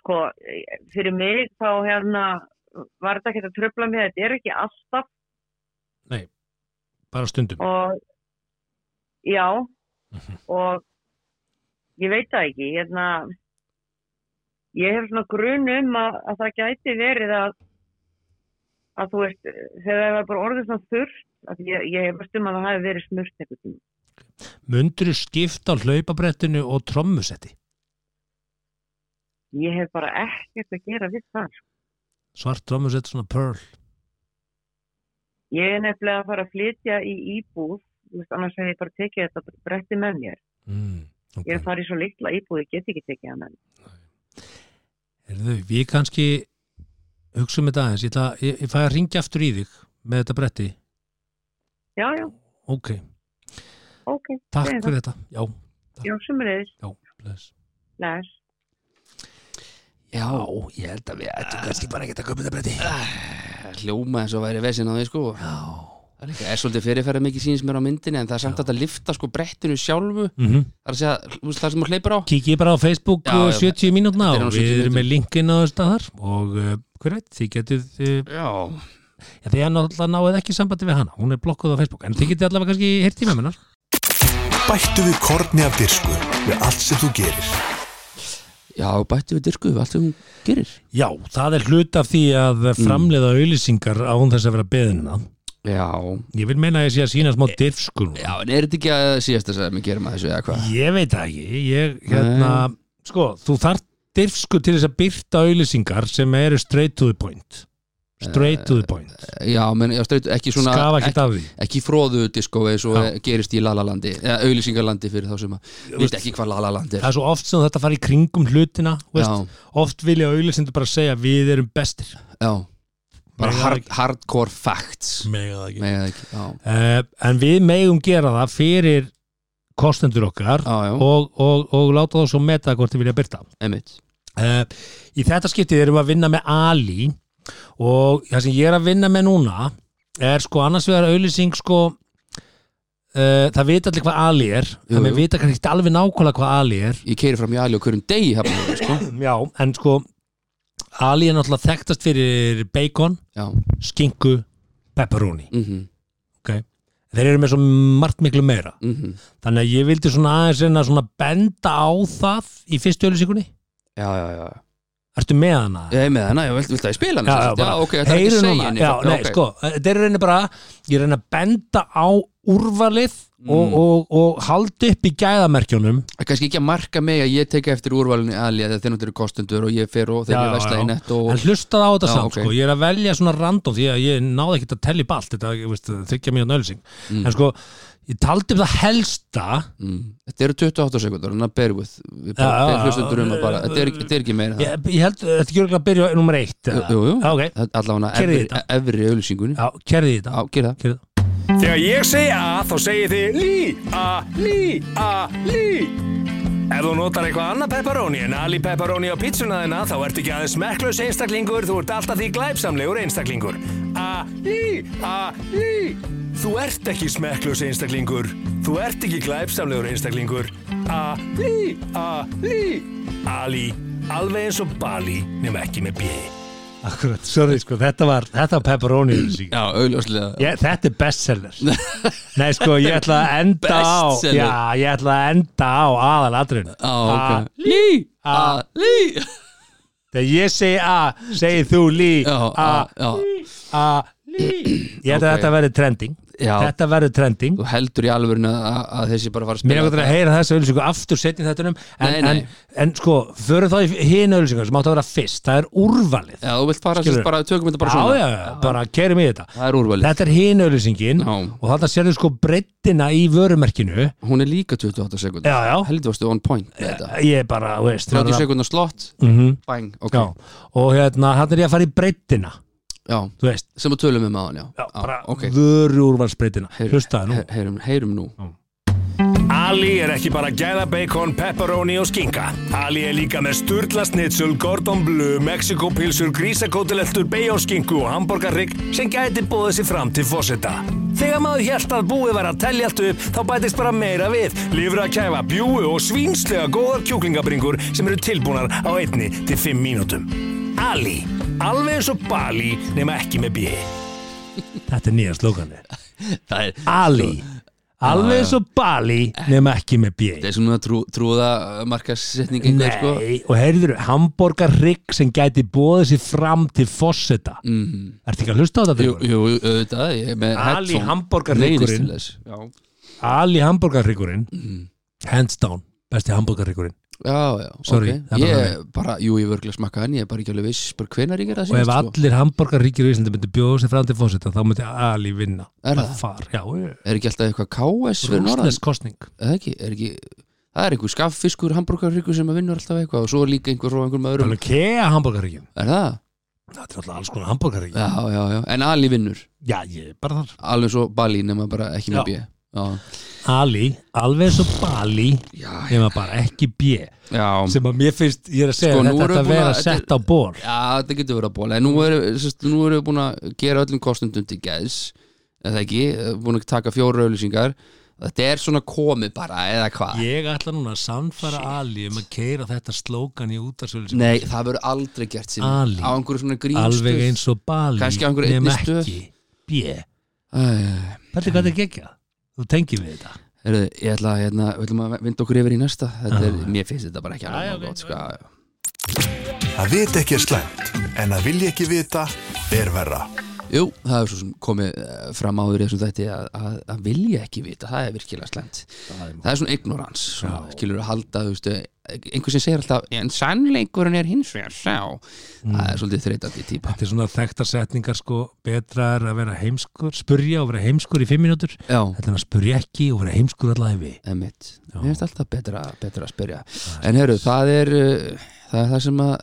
Speaker 7: sko fyrir mig þá hérna var þetta ekki að trubla mig þetta er ekki alltaf
Speaker 3: bara stundum
Speaker 7: og já
Speaker 3: Mhm.
Speaker 7: og ég veit það ekki hérna ég hef svona grun um að, að það gæti verið að að þú veist þegar það var bara orðið svona þurft að ég, ég hef veist um að það hafi verið smurt eitthvað tíma.
Speaker 3: mundur þú skipta á hlaupabrettinu og trommusetti?
Speaker 7: ég hef bara ekkert að gera við það sko.
Speaker 3: svart trommusett svona pearl
Speaker 7: ég er nefnilega að fara að flytja í íbúð þú veist, annars hef ég bara tekið þetta bretti með mér.
Speaker 3: mm,
Speaker 7: Ég
Speaker 3: okay.
Speaker 7: er farið í svo litla íbúð, ég get ekki tekið hann.
Speaker 3: Herðu, við kannski hugsa um þetta aðeins ég, ætla, ég, ég fæ að ringja aftur í þig með þetta bretti
Speaker 7: Já, já,
Speaker 3: ok,
Speaker 7: ok.
Speaker 3: takk
Speaker 7: Segðu
Speaker 3: fyrir þetta já,
Speaker 7: það. Já, sem er eðis.
Speaker 3: já, bless
Speaker 7: Læs.
Speaker 2: Já, ég held að við ættum kannski bara ekkert að köpa þetta
Speaker 3: Ah.
Speaker 2: breyti Hljóma eins og væri vesin á því sko Já Það er líka, er svolítið fyrirferða mikið síns mér á myndinni en það er samt hægt að lifta sko brettinu sjálfu
Speaker 3: mm
Speaker 2: Það er að segja, þú veist það sem þú hleypur á
Speaker 3: Kikið bara á Facebook
Speaker 2: Já,
Speaker 3: og
Speaker 2: já,
Speaker 3: 70 mínútna
Speaker 2: þetta er á
Speaker 3: og
Speaker 2: 70
Speaker 3: við erum
Speaker 2: mínútum.
Speaker 3: með linkin á þess staðar og uh, hver veit, þið getið uh,
Speaker 2: Já,
Speaker 3: því að náttúrulega náið ekki sambandi við hana, hún er blokkuð á Facebook en þið getið allavega kannski heyrt í með minnar
Speaker 1: Bættu við korni af dirsku við allt sem þú gerir.
Speaker 2: já bættu við dyrku, allt sem hún gerir
Speaker 3: Já, það er hlut af því að framleiða auðlýsingar án þess að vera beðina
Speaker 2: Já,
Speaker 3: ég vil meina að ég sé að sína smá dirfskun
Speaker 2: já, en er þetta ekki að síðast þess að við gerum að þessu eða hvað?
Speaker 3: ég veit það ekki ég, hérna, sko, þú þarf dirfsku til þess að byrta auðlýsingar sem eru straight to the point straight to the point
Speaker 2: Já, menn, já, streit, ekki svona
Speaker 3: skafa ekki af því
Speaker 2: ekki fróðu disko eins og
Speaker 3: Já.
Speaker 2: gerist í Lalalandi eða auðlýsingarlandi fyrir þá sem að veit ekki hvað Lalalandi
Speaker 3: það
Speaker 2: er
Speaker 3: er svo oft sem þetta fara í kringum hlutina þú veist, oft vilja auðlýsindu bara segja við erum bestir
Speaker 2: Já, bara
Speaker 3: Mega
Speaker 2: hard,
Speaker 3: ekki.
Speaker 2: hardcore facts
Speaker 3: Mega það ekki.
Speaker 2: Nei, það ekki, já
Speaker 3: Uh, en við megum gera það fyrir kostendur okkar
Speaker 2: Já, já,
Speaker 3: og, og, og láta þá svo meta hvort þið vilja byrta
Speaker 2: einmitt
Speaker 3: uh, í þetta skiptið erum við að vinna með Ali og það sem ég er að vinna með núna er sko annars vegar auðlýsing sko uh, það vita allir hvað Ali er
Speaker 2: Jú,
Speaker 3: en
Speaker 2: jú.
Speaker 3: við vita kannski ekki alveg nákvæmlega hvað Ali er
Speaker 2: Ég keiri fram í Ali og hverjum degi hafnum, sko.
Speaker 3: já, en sko Ali er náttúrulega þekktast fyrir bacon
Speaker 2: Já,
Speaker 3: skinku, pepperoni
Speaker 2: mhm, mhm
Speaker 3: þeir eru með svo margt miklu meira
Speaker 2: mhm.
Speaker 3: þannig að ég vildi svona aðeins reyna svona benda á það í fyrstu öllusikunni
Speaker 2: Já, já, já
Speaker 3: ertu með hana?
Speaker 2: Ég er með hana, ég vilt, vilt að ég spila hana sem sagt? já, ok, þetta er ekki
Speaker 3: heyru
Speaker 2: að segja
Speaker 3: núna,
Speaker 2: henni
Speaker 3: já,
Speaker 2: fólk,
Speaker 3: nei,
Speaker 2: ok.
Speaker 3: sko, þeir eru reyna bara ég reyna að benda á úrvalið
Speaker 2: Mm.
Speaker 3: og, og, og haldi upp í gæðamerkjunum
Speaker 2: Það er Kannski ekki að marka mig að ég teka eftir úrvalinu Ali að þeir náttúrulega eru kostendur og ég fer og þeir
Speaker 3: Já,
Speaker 2: eru
Speaker 3: já,
Speaker 2: vestla
Speaker 3: já.
Speaker 2: í nett og
Speaker 3: en hlustaði á þetta
Speaker 2: Já,
Speaker 3: samt,
Speaker 2: ok.
Speaker 3: sko, ég er að velja svona random því að ég náði ekkert að telli balt þetta, ég veist, þykja mjög nölsing en sko, ég taldi um það helsta
Speaker 2: mm. Þetta eru 28 sekundar, þannig að bear with Við bara,
Speaker 3: Já, já,
Speaker 2: bear hlustundur um
Speaker 3: já.
Speaker 2: að bara Þetta er, þetta er ekki meira en það
Speaker 3: ég, ég held, þetta er ekki að byrja á nummer eitt eða?
Speaker 2: Jú, jú,
Speaker 3: Já, ok.
Speaker 2: Það er allavega
Speaker 3: Gerið
Speaker 2: efri,
Speaker 3: þetta.
Speaker 2: efri auðlýsingunni
Speaker 3: Já, kerði þetta
Speaker 2: Já, gera það
Speaker 3: Gerðu það.
Speaker 5: Þegar ég segi A þá segir þið lí, a, lí, a, lí Ef þú notar eitthvað annað pepperoni en Ali pepperoni á pizzuna þina þá ertu ekki aðeins smekklaus einstaklingur þú ert alltaf því glæpsamlegur einstaklingur A, lí, a, lí Þú ert ekki smekklaus einstaklingur þú ert ekki glæpsamlegur einstaklingur A, lí, a, lí Ali, alveg eins og Bali nema ekki með B
Speaker 3: Akkurat, sorry sko, þetta var, þetta var pepperoni
Speaker 2: Já, auðljóslega
Speaker 3: ég, Þetta er bestseller Nei sko, ég ætla
Speaker 2: *laughs*
Speaker 3: að enda á
Speaker 2: Bestseller.
Speaker 3: Já, ég ætla að enda á
Speaker 2: *laughs*
Speaker 3: aðalatrinu
Speaker 2: Já, ok Lí, a, lí
Speaker 3: Þegar ég segi A, segir þú lí
Speaker 2: Já,
Speaker 3: A,
Speaker 2: a, já
Speaker 3: A, lí Ég
Speaker 2: Ok.
Speaker 3: ætla að þetta verður trending
Speaker 2: Já.
Speaker 3: Þetta verður trending
Speaker 2: Þú heldur í alvörinu að, að þessi bara fara að
Speaker 3: Mér er
Speaker 2: spila
Speaker 3: gott að heyra þessu ölsingu aftur setjum þetta um en,
Speaker 2: Nei, nei.
Speaker 3: En, en sko, förum þá í hinn ölsingu sem átt að vera fyrst, það er úrvalið
Speaker 2: Já, þú vilt fara
Speaker 3: Skilurðu?
Speaker 2: sérst bara, tökum þetta bara
Speaker 3: já,
Speaker 2: svona
Speaker 3: já, já, bara kerum í þetta
Speaker 2: Það er úrvalið
Speaker 3: Þetta er hin auðlýsingin
Speaker 2: Já.
Speaker 3: og þetta sérðu sko breyttina í vörumerkinu
Speaker 2: Hún er líka 28 sekund
Speaker 3: Já, já.
Speaker 2: Heldur varstu on point með þetta
Speaker 3: ég er bara, þú veist
Speaker 2: 30
Speaker 3: það-
Speaker 2: sekundar slott
Speaker 3: Mhm.
Speaker 2: Bang, ok
Speaker 3: Já, og hérna, hann er ég að fara í breyttina
Speaker 2: Já.
Speaker 3: þú veist,
Speaker 2: Sem að tölum við með hann, já
Speaker 3: já, bara
Speaker 2: ok
Speaker 3: vöruúrvalsbreyttina
Speaker 2: Heyr-
Speaker 3: hlustaði nú
Speaker 2: he- Heyrum, heyrum nú
Speaker 5: Ali er ekki bara gæða bacon, pepperoni og skinka. Ali er líka með sturla snitsel, gordon bleu, mexikopilsur, grísakótileltur, beionskingu og hamburgarrygg sem gæti bóðið sér fram til fósetta. Þegar maður hjælt að búið var að telja allt upp, þá bætist bara meira við. Lifur að kæfa bjúu og svínslega góðar kjúklingabringur sem eru tilbúnar á einni til fimm mínútum. Ali, alveg eins og Bali, nema ekki með bíi.
Speaker 3: þetta er nýja slókanu
Speaker 2: *laughs* Það er
Speaker 3: Ali, Sko, alveg eins og Bali nema ekki með
Speaker 2: Það
Speaker 3: bjeg
Speaker 2: er svona trú, trúða markasetning
Speaker 3: Nei,
Speaker 2: einhver, sko
Speaker 3: og heyrður, hambúrgarrygg sem gæti bóðið sér fram til fossetta mm -hmm. Ertu ekki að hlusta á þetta?
Speaker 2: Jú,
Speaker 3: Drengur?
Speaker 2: jú, auðvitað, ég er með
Speaker 3: Ali
Speaker 2: headphone.
Speaker 3: hamborgarhryggurinn.
Speaker 2: Neyðist til þess, já. Mm.
Speaker 3: Ali hambúrgarryggurinn hands down, besti hambúrgarryggurinn
Speaker 2: Já, já,
Speaker 3: Sorry,
Speaker 2: ok
Speaker 3: það er bara
Speaker 2: Ég
Speaker 3: þannig.
Speaker 2: bara, jú, ég vörglega smakka en ég er bara ekki alveg viss bara hvenær ég gera það
Speaker 3: og ef
Speaker 2: síðast, sko.
Speaker 3: allir hambúrgarríkir í Íslandi myndi bjóða sig fram til fósita þá myndi Ali vinna
Speaker 2: Er
Speaker 3: Bara
Speaker 2: það?
Speaker 3: far, já,
Speaker 2: Er ekki alltaf eitthvað KS fyrir norðan?
Speaker 3: rúsnesk kostning
Speaker 2: Er Það ekki, er ekki Það er einhver skafffiskur, hambúrgarryggur sem að vinnur alltaf eitthvað og svo er líka einhver frá einhverjum öðrum
Speaker 3: alveg kea hambúrgarríkjum
Speaker 2: Er það?
Speaker 3: það er alltaf alls konar hambúrgarríkjum
Speaker 2: Já, já, já, en Ali vinnur
Speaker 3: já, ég er bara þar
Speaker 2: Alveg svo Bali nema bara ekki með
Speaker 3: Já.
Speaker 2: B Já,
Speaker 3: Ali, alveg svo Bali
Speaker 2: já, já,
Speaker 3: nema bara ekki B
Speaker 2: já.
Speaker 3: sem að mér finnst, ég er að segja
Speaker 2: Sko,
Speaker 3: sko,
Speaker 2: nú erum við
Speaker 3: þetta að
Speaker 2: búin
Speaker 3: vera
Speaker 2: að-
Speaker 3: sett á ból
Speaker 2: já þetta getur verið að bóla En nú erum sest, nú erum við búin að gera öllum kostendum til geðs eða ekki, búin að taka fjóra auðlýsingar Þetta er svona komið bara, eða hvað
Speaker 3: ég ætla núna að samfara Ali um að keira þetta slókan í útarsölu
Speaker 2: Nei, það verður aldrei gert sem
Speaker 3: Ali.
Speaker 2: á einhverju svona grínstöð
Speaker 3: alveg eins og Bali
Speaker 2: Kannski á einhverju einni
Speaker 3: nema
Speaker 2: stöð.
Speaker 3: ekki B
Speaker 2: Æ,
Speaker 3: Þetta er hvað þetta gekja Þú tengir við þetta
Speaker 2: heyrðu, Ég ætla að hérna, við ætlum að vinda okkur yfir í næsta Þetta er,
Speaker 3: Já.
Speaker 2: Mér finnst þetta bara ekki alveg nóg gott sko.
Speaker 1: Að vita ekki er slæmt, en að vilja ekki vita er verra.
Speaker 2: Jú, það er svo sem komið eh, fram áður í þessum þætti að, að, að vilja ekki vita, það er virkilega slæmt Það er svona ignorans, skilur að halda þú veistu, einhver sem segir alltaf en sannleikurinn er hins vegar sá það er svolítið þreytandi típa
Speaker 3: Þetta er svona þekktar setningar sko Betra er að vera heimskur Spurja og vera heimskur í fimm mínútur
Speaker 2: Já,
Speaker 3: Þetta er að spurja ekki og vera heimskur allavega við
Speaker 2: emitt, mér finnst alltaf betra, betra að spyrja En herru, það er uh, það er það sem að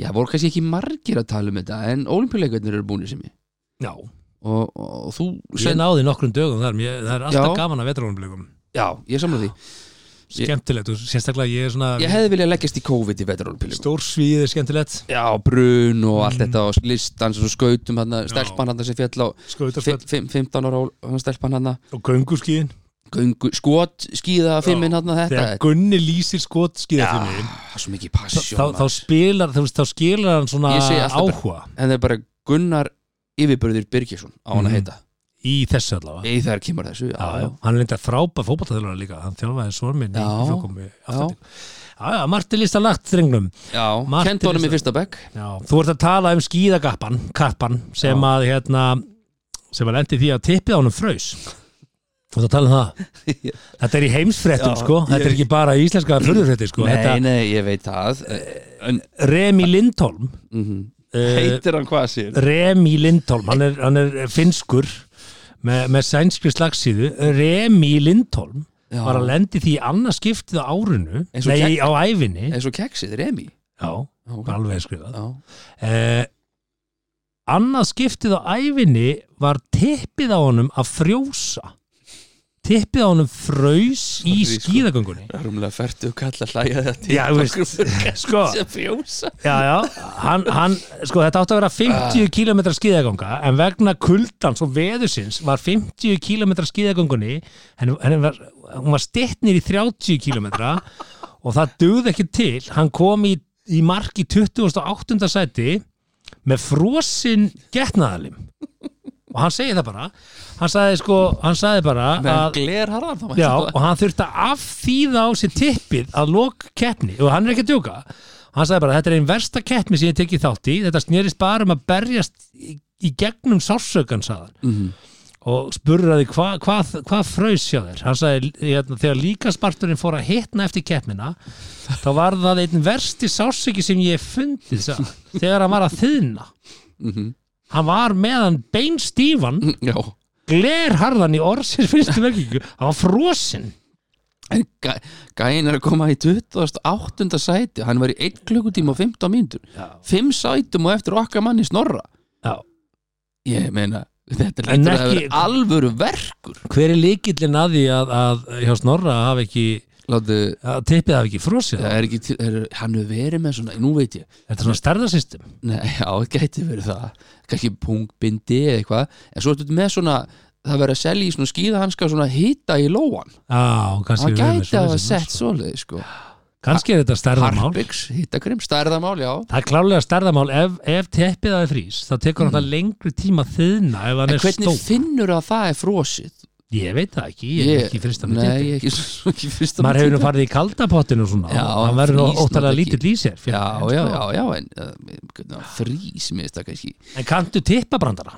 Speaker 2: já, voru kannski ekki margir að tala um þetta en ólimpíuleikarnir eru búinir sem ég
Speaker 3: Já
Speaker 2: og, og, og þú
Speaker 3: Ég
Speaker 2: sen,
Speaker 3: náði nokkrum dögum þar mér, Það er alltaf
Speaker 2: Já.
Speaker 3: gaman að vetraunumlegum
Speaker 2: Já, ég samla því Ég-
Speaker 3: Skemmtilegt og sérstaklega ég er svona
Speaker 2: Ég hefði viljað leggjast í COVID í vetarólpílum
Speaker 3: Stórsvíð er skemmtilegt
Speaker 2: Já, brun og
Speaker 3: Mhm.
Speaker 2: allt þetta og listans og skautum hann, stelpan hann sem fjall á
Speaker 3: Skautarfell
Speaker 2: fi- fimm- 15 ára ól- hann stelpan hann
Speaker 3: og gönguskíðin
Speaker 2: göngu, skot, skíða, fimmin hann þetta
Speaker 3: Þegar Gunni lýsir skot skíða
Speaker 2: Já,
Speaker 3: fyrir mig
Speaker 2: það er svo mikið
Speaker 3: Þá,
Speaker 2: passjón
Speaker 3: þá spilar, þú veist, þá skilar hann svona
Speaker 2: Ég segi alltaf bara-
Speaker 3: áhuga
Speaker 2: en það er bara Gunnar yfirbörðir Birgisson á hann að
Speaker 3: Mhm.
Speaker 2: heita
Speaker 3: í þessu allavega
Speaker 2: Eða þar kemur þessu já,
Speaker 3: já, já. hann er lindað frábæð fótballtæðulega líka hann þjálfaði svon minn
Speaker 2: Já.
Speaker 3: já, já, Marti Lista lagt strengnum
Speaker 2: já.
Speaker 3: Martin
Speaker 2: kent honum í
Speaker 3: Lýsa.
Speaker 2: fyrsta bekk
Speaker 3: já. þú ert að tala um skíðagappan kappan sem
Speaker 2: Já.
Speaker 3: að hérna, sem að lendi því að tippið á honum frös þú ert að tala um
Speaker 2: *laughs*
Speaker 3: það þetta er í heimsfréttum
Speaker 2: Já,
Speaker 3: sko, þetta er ekki bara í íslenska fröðurfrétti sko,
Speaker 2: Nei,
Speaker 3: þetta Eh,
Speaker 2: nei, ég veit það Eh, en,
Speaker 3: Remi Lindholm
Speaker 2: mm
Speaker 3: uh,
Speaker 2: Heitir hann hvað sér?
Speaker 3: Remi Lindholm, hann er, hann er finskur með, með sænskri slagsíðu Remi Lindholm
Speaker 2: Já.
Speaker 3: var að lendi því í annað skiptið á árunu
Speaker 2: Eins og
Speaker 3: nei,
Speaker 2: gegn-
Speaker 3: á ævinni
Speaker 2: Eins og keksið, Remi
Speaker 3: já,
Speaker 2: ok.
Speaker 3: bara alveg skrifað
Speaker 2: Já,
Speaker 3: eh, annað skiptið á ævinni var tippið á honum að frjósa tippið á honum frjós í
Speaker 2: Sorry, sko.
Speaker 3: skíðagöngunni
Speaker 2: rúmlega fertu kalla hlæja þetta
Speaker 3: Já, þú veist, sko,
Speaker 2: sem fjósa
Speaker 3: já, já, hann, hann, sko, þetta átti að vera 50 km skíðaganga en vegna kuldans og veðusins var 50 km skíðagangunni henni, henni var, hún var stittnir í 30 km og það döði ekki til hann kom í, í mark í 28. sæti með frosin getnaðalim og hann segi það bara hann sagði sko, hann sagði bara
Speaker 2: Menn
Speaker 3: að
Speaker 2: gler harðan þá
Speaker 3: Já, og hann þurfti að afþýða á sér tippið að lok keppni og hann er ekki að djóka hann sagði bara, þetta er einn versta keppni sem ég hef tekið þátt í þetta snerist bara um að berjast í, í gegnum sársökan sagðan
Speaker 2: Mhm.
Speaker 3: og spurði hvað hva, hva hvað fraus hjá þér hann sagði, hérna, þegar líkasparturinn fór að hitna eftir keppnina þá var það einn versti sársöki sem ég hef fundið sagði hann, þegar hann var að þýðna hann var meðan beinstífan
Speaker 2: Já,
Speaker 3: glerharðan í orðsins fyrstu verkingu hann var frosinn
Speaker 2: en gæ, gæin er að koma í 28. sæti Hann var í 1 klukkutíma og 15 mínútur 5 sætum og eftir okkar manni snorra
Speaker 3: Já.
Speaker 2: Ég meina, þetta
Speaker 3: En
Speaker 2: lítur að
Speaker 3: ekki-
Speaker 2: vera alvöru verkur
Speaker 3: hver er líkillin að því að, að hjá Snorra hafi ekki
Speaker 2: Láttu,
Speaker 3: að tippið hafi ekki frosið
Speaker 2: það
Speaker 3: það
Speaker 2: er ekki til, er, Hann hefur verið með svona, nú veit ég
Speaker 3: þetta er svona stærðarsystem
Speaker 2: Nei, *laughs* já, það gæti verið það kannski punktbindi eða eitthvað en svo ertu með svona, það verið að selja í svona skíðahanska svona hita í lóan
Speaker 3: á, kannski,
Speaker 2: það
Speaker 3: við erum með
Speaker 2: gæti að hafa
Speaker 3: svoleiðis,
Speaker 2: sett svoleið sko.
Speaker 3: kannski er þetta stærðamál
Speaker 2: Harpiks, hittakrim, stærðamál, já
Speaker 3: það er klálega stærðamál ef, ef tippið hafi frís þá tekur hann það lengri tíma að þiðna ef hann
Speaker 2: Hmm. En
Speaker 3: er
Speaker 2: hvernig
Speaker 3: stór
Speaker 2: finnur að það er frosið?
Speaker 3: ég veit það ekki, ég er ekki fyrst að
Speaker 2: Nei,
Speaker 3: með
Speaker 2: ég er
Speaker 3: tippið
Speaker 2: ekki, *laughs* ekki fyrst að
Speaker 3: maður hefur nú farið í kaldapottinu og svona
Speaker 2: Já,
Speaker 3: og hann
Speaker 2: hann frýs
Speaker 3: verður nú óttalega
Speaker 2: náttúrulega
Speaker 3: lítill í sér
Speaker 2: Já,
Speaker 3: fyrir- en
Speaker 2: já,
Speaker 3: sko.
Speaker 2: já, já, en uh, frís, mér finnst það kannski
Speaker 3: en kanntu tippabrandara?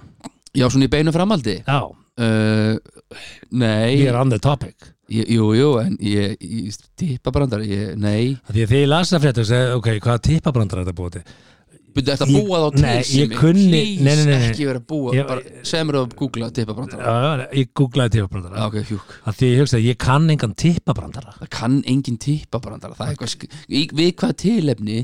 Speaker 2: Já, svona í beinu framaldi
Speaker 3: já,
Speaker 2: uh, Nei,
Speaker 3: ég er on the topic
Speaker 2: Ég- Jú, jú, en ég, ég tippa brandara, ég, nei
Speaker 3: Af Því að þegar ég las það fréttum, sagði, ok, hvaða tippabrandar er þetta búið til?
Speaker 2: Byrðu þetta að
Speaker 3: Ég-
Speaker 2: búa þá til
Speaker 3: nei,
Speaker 2: Simmi?
Speaker 3: ég kunni-
Speaker 2: Please,
Speaker 3: nei, nei, nei, nei.
Speaker 2: ekki vera að búa
Speaker 3: Ég-
Speaker 2: bara, Semur að googla tippa brandara
Speaker 3: Já, já, ég googlaði tippabrandara.
Speaker 2: Já, ok, hjúk
Speaker 3: Af Því að ég hugsaði, ég kann engan tippabrandara.
Speaker 2: Það kann engin tippa brandara Það er eitthvað, sk- í- við hvað tilefni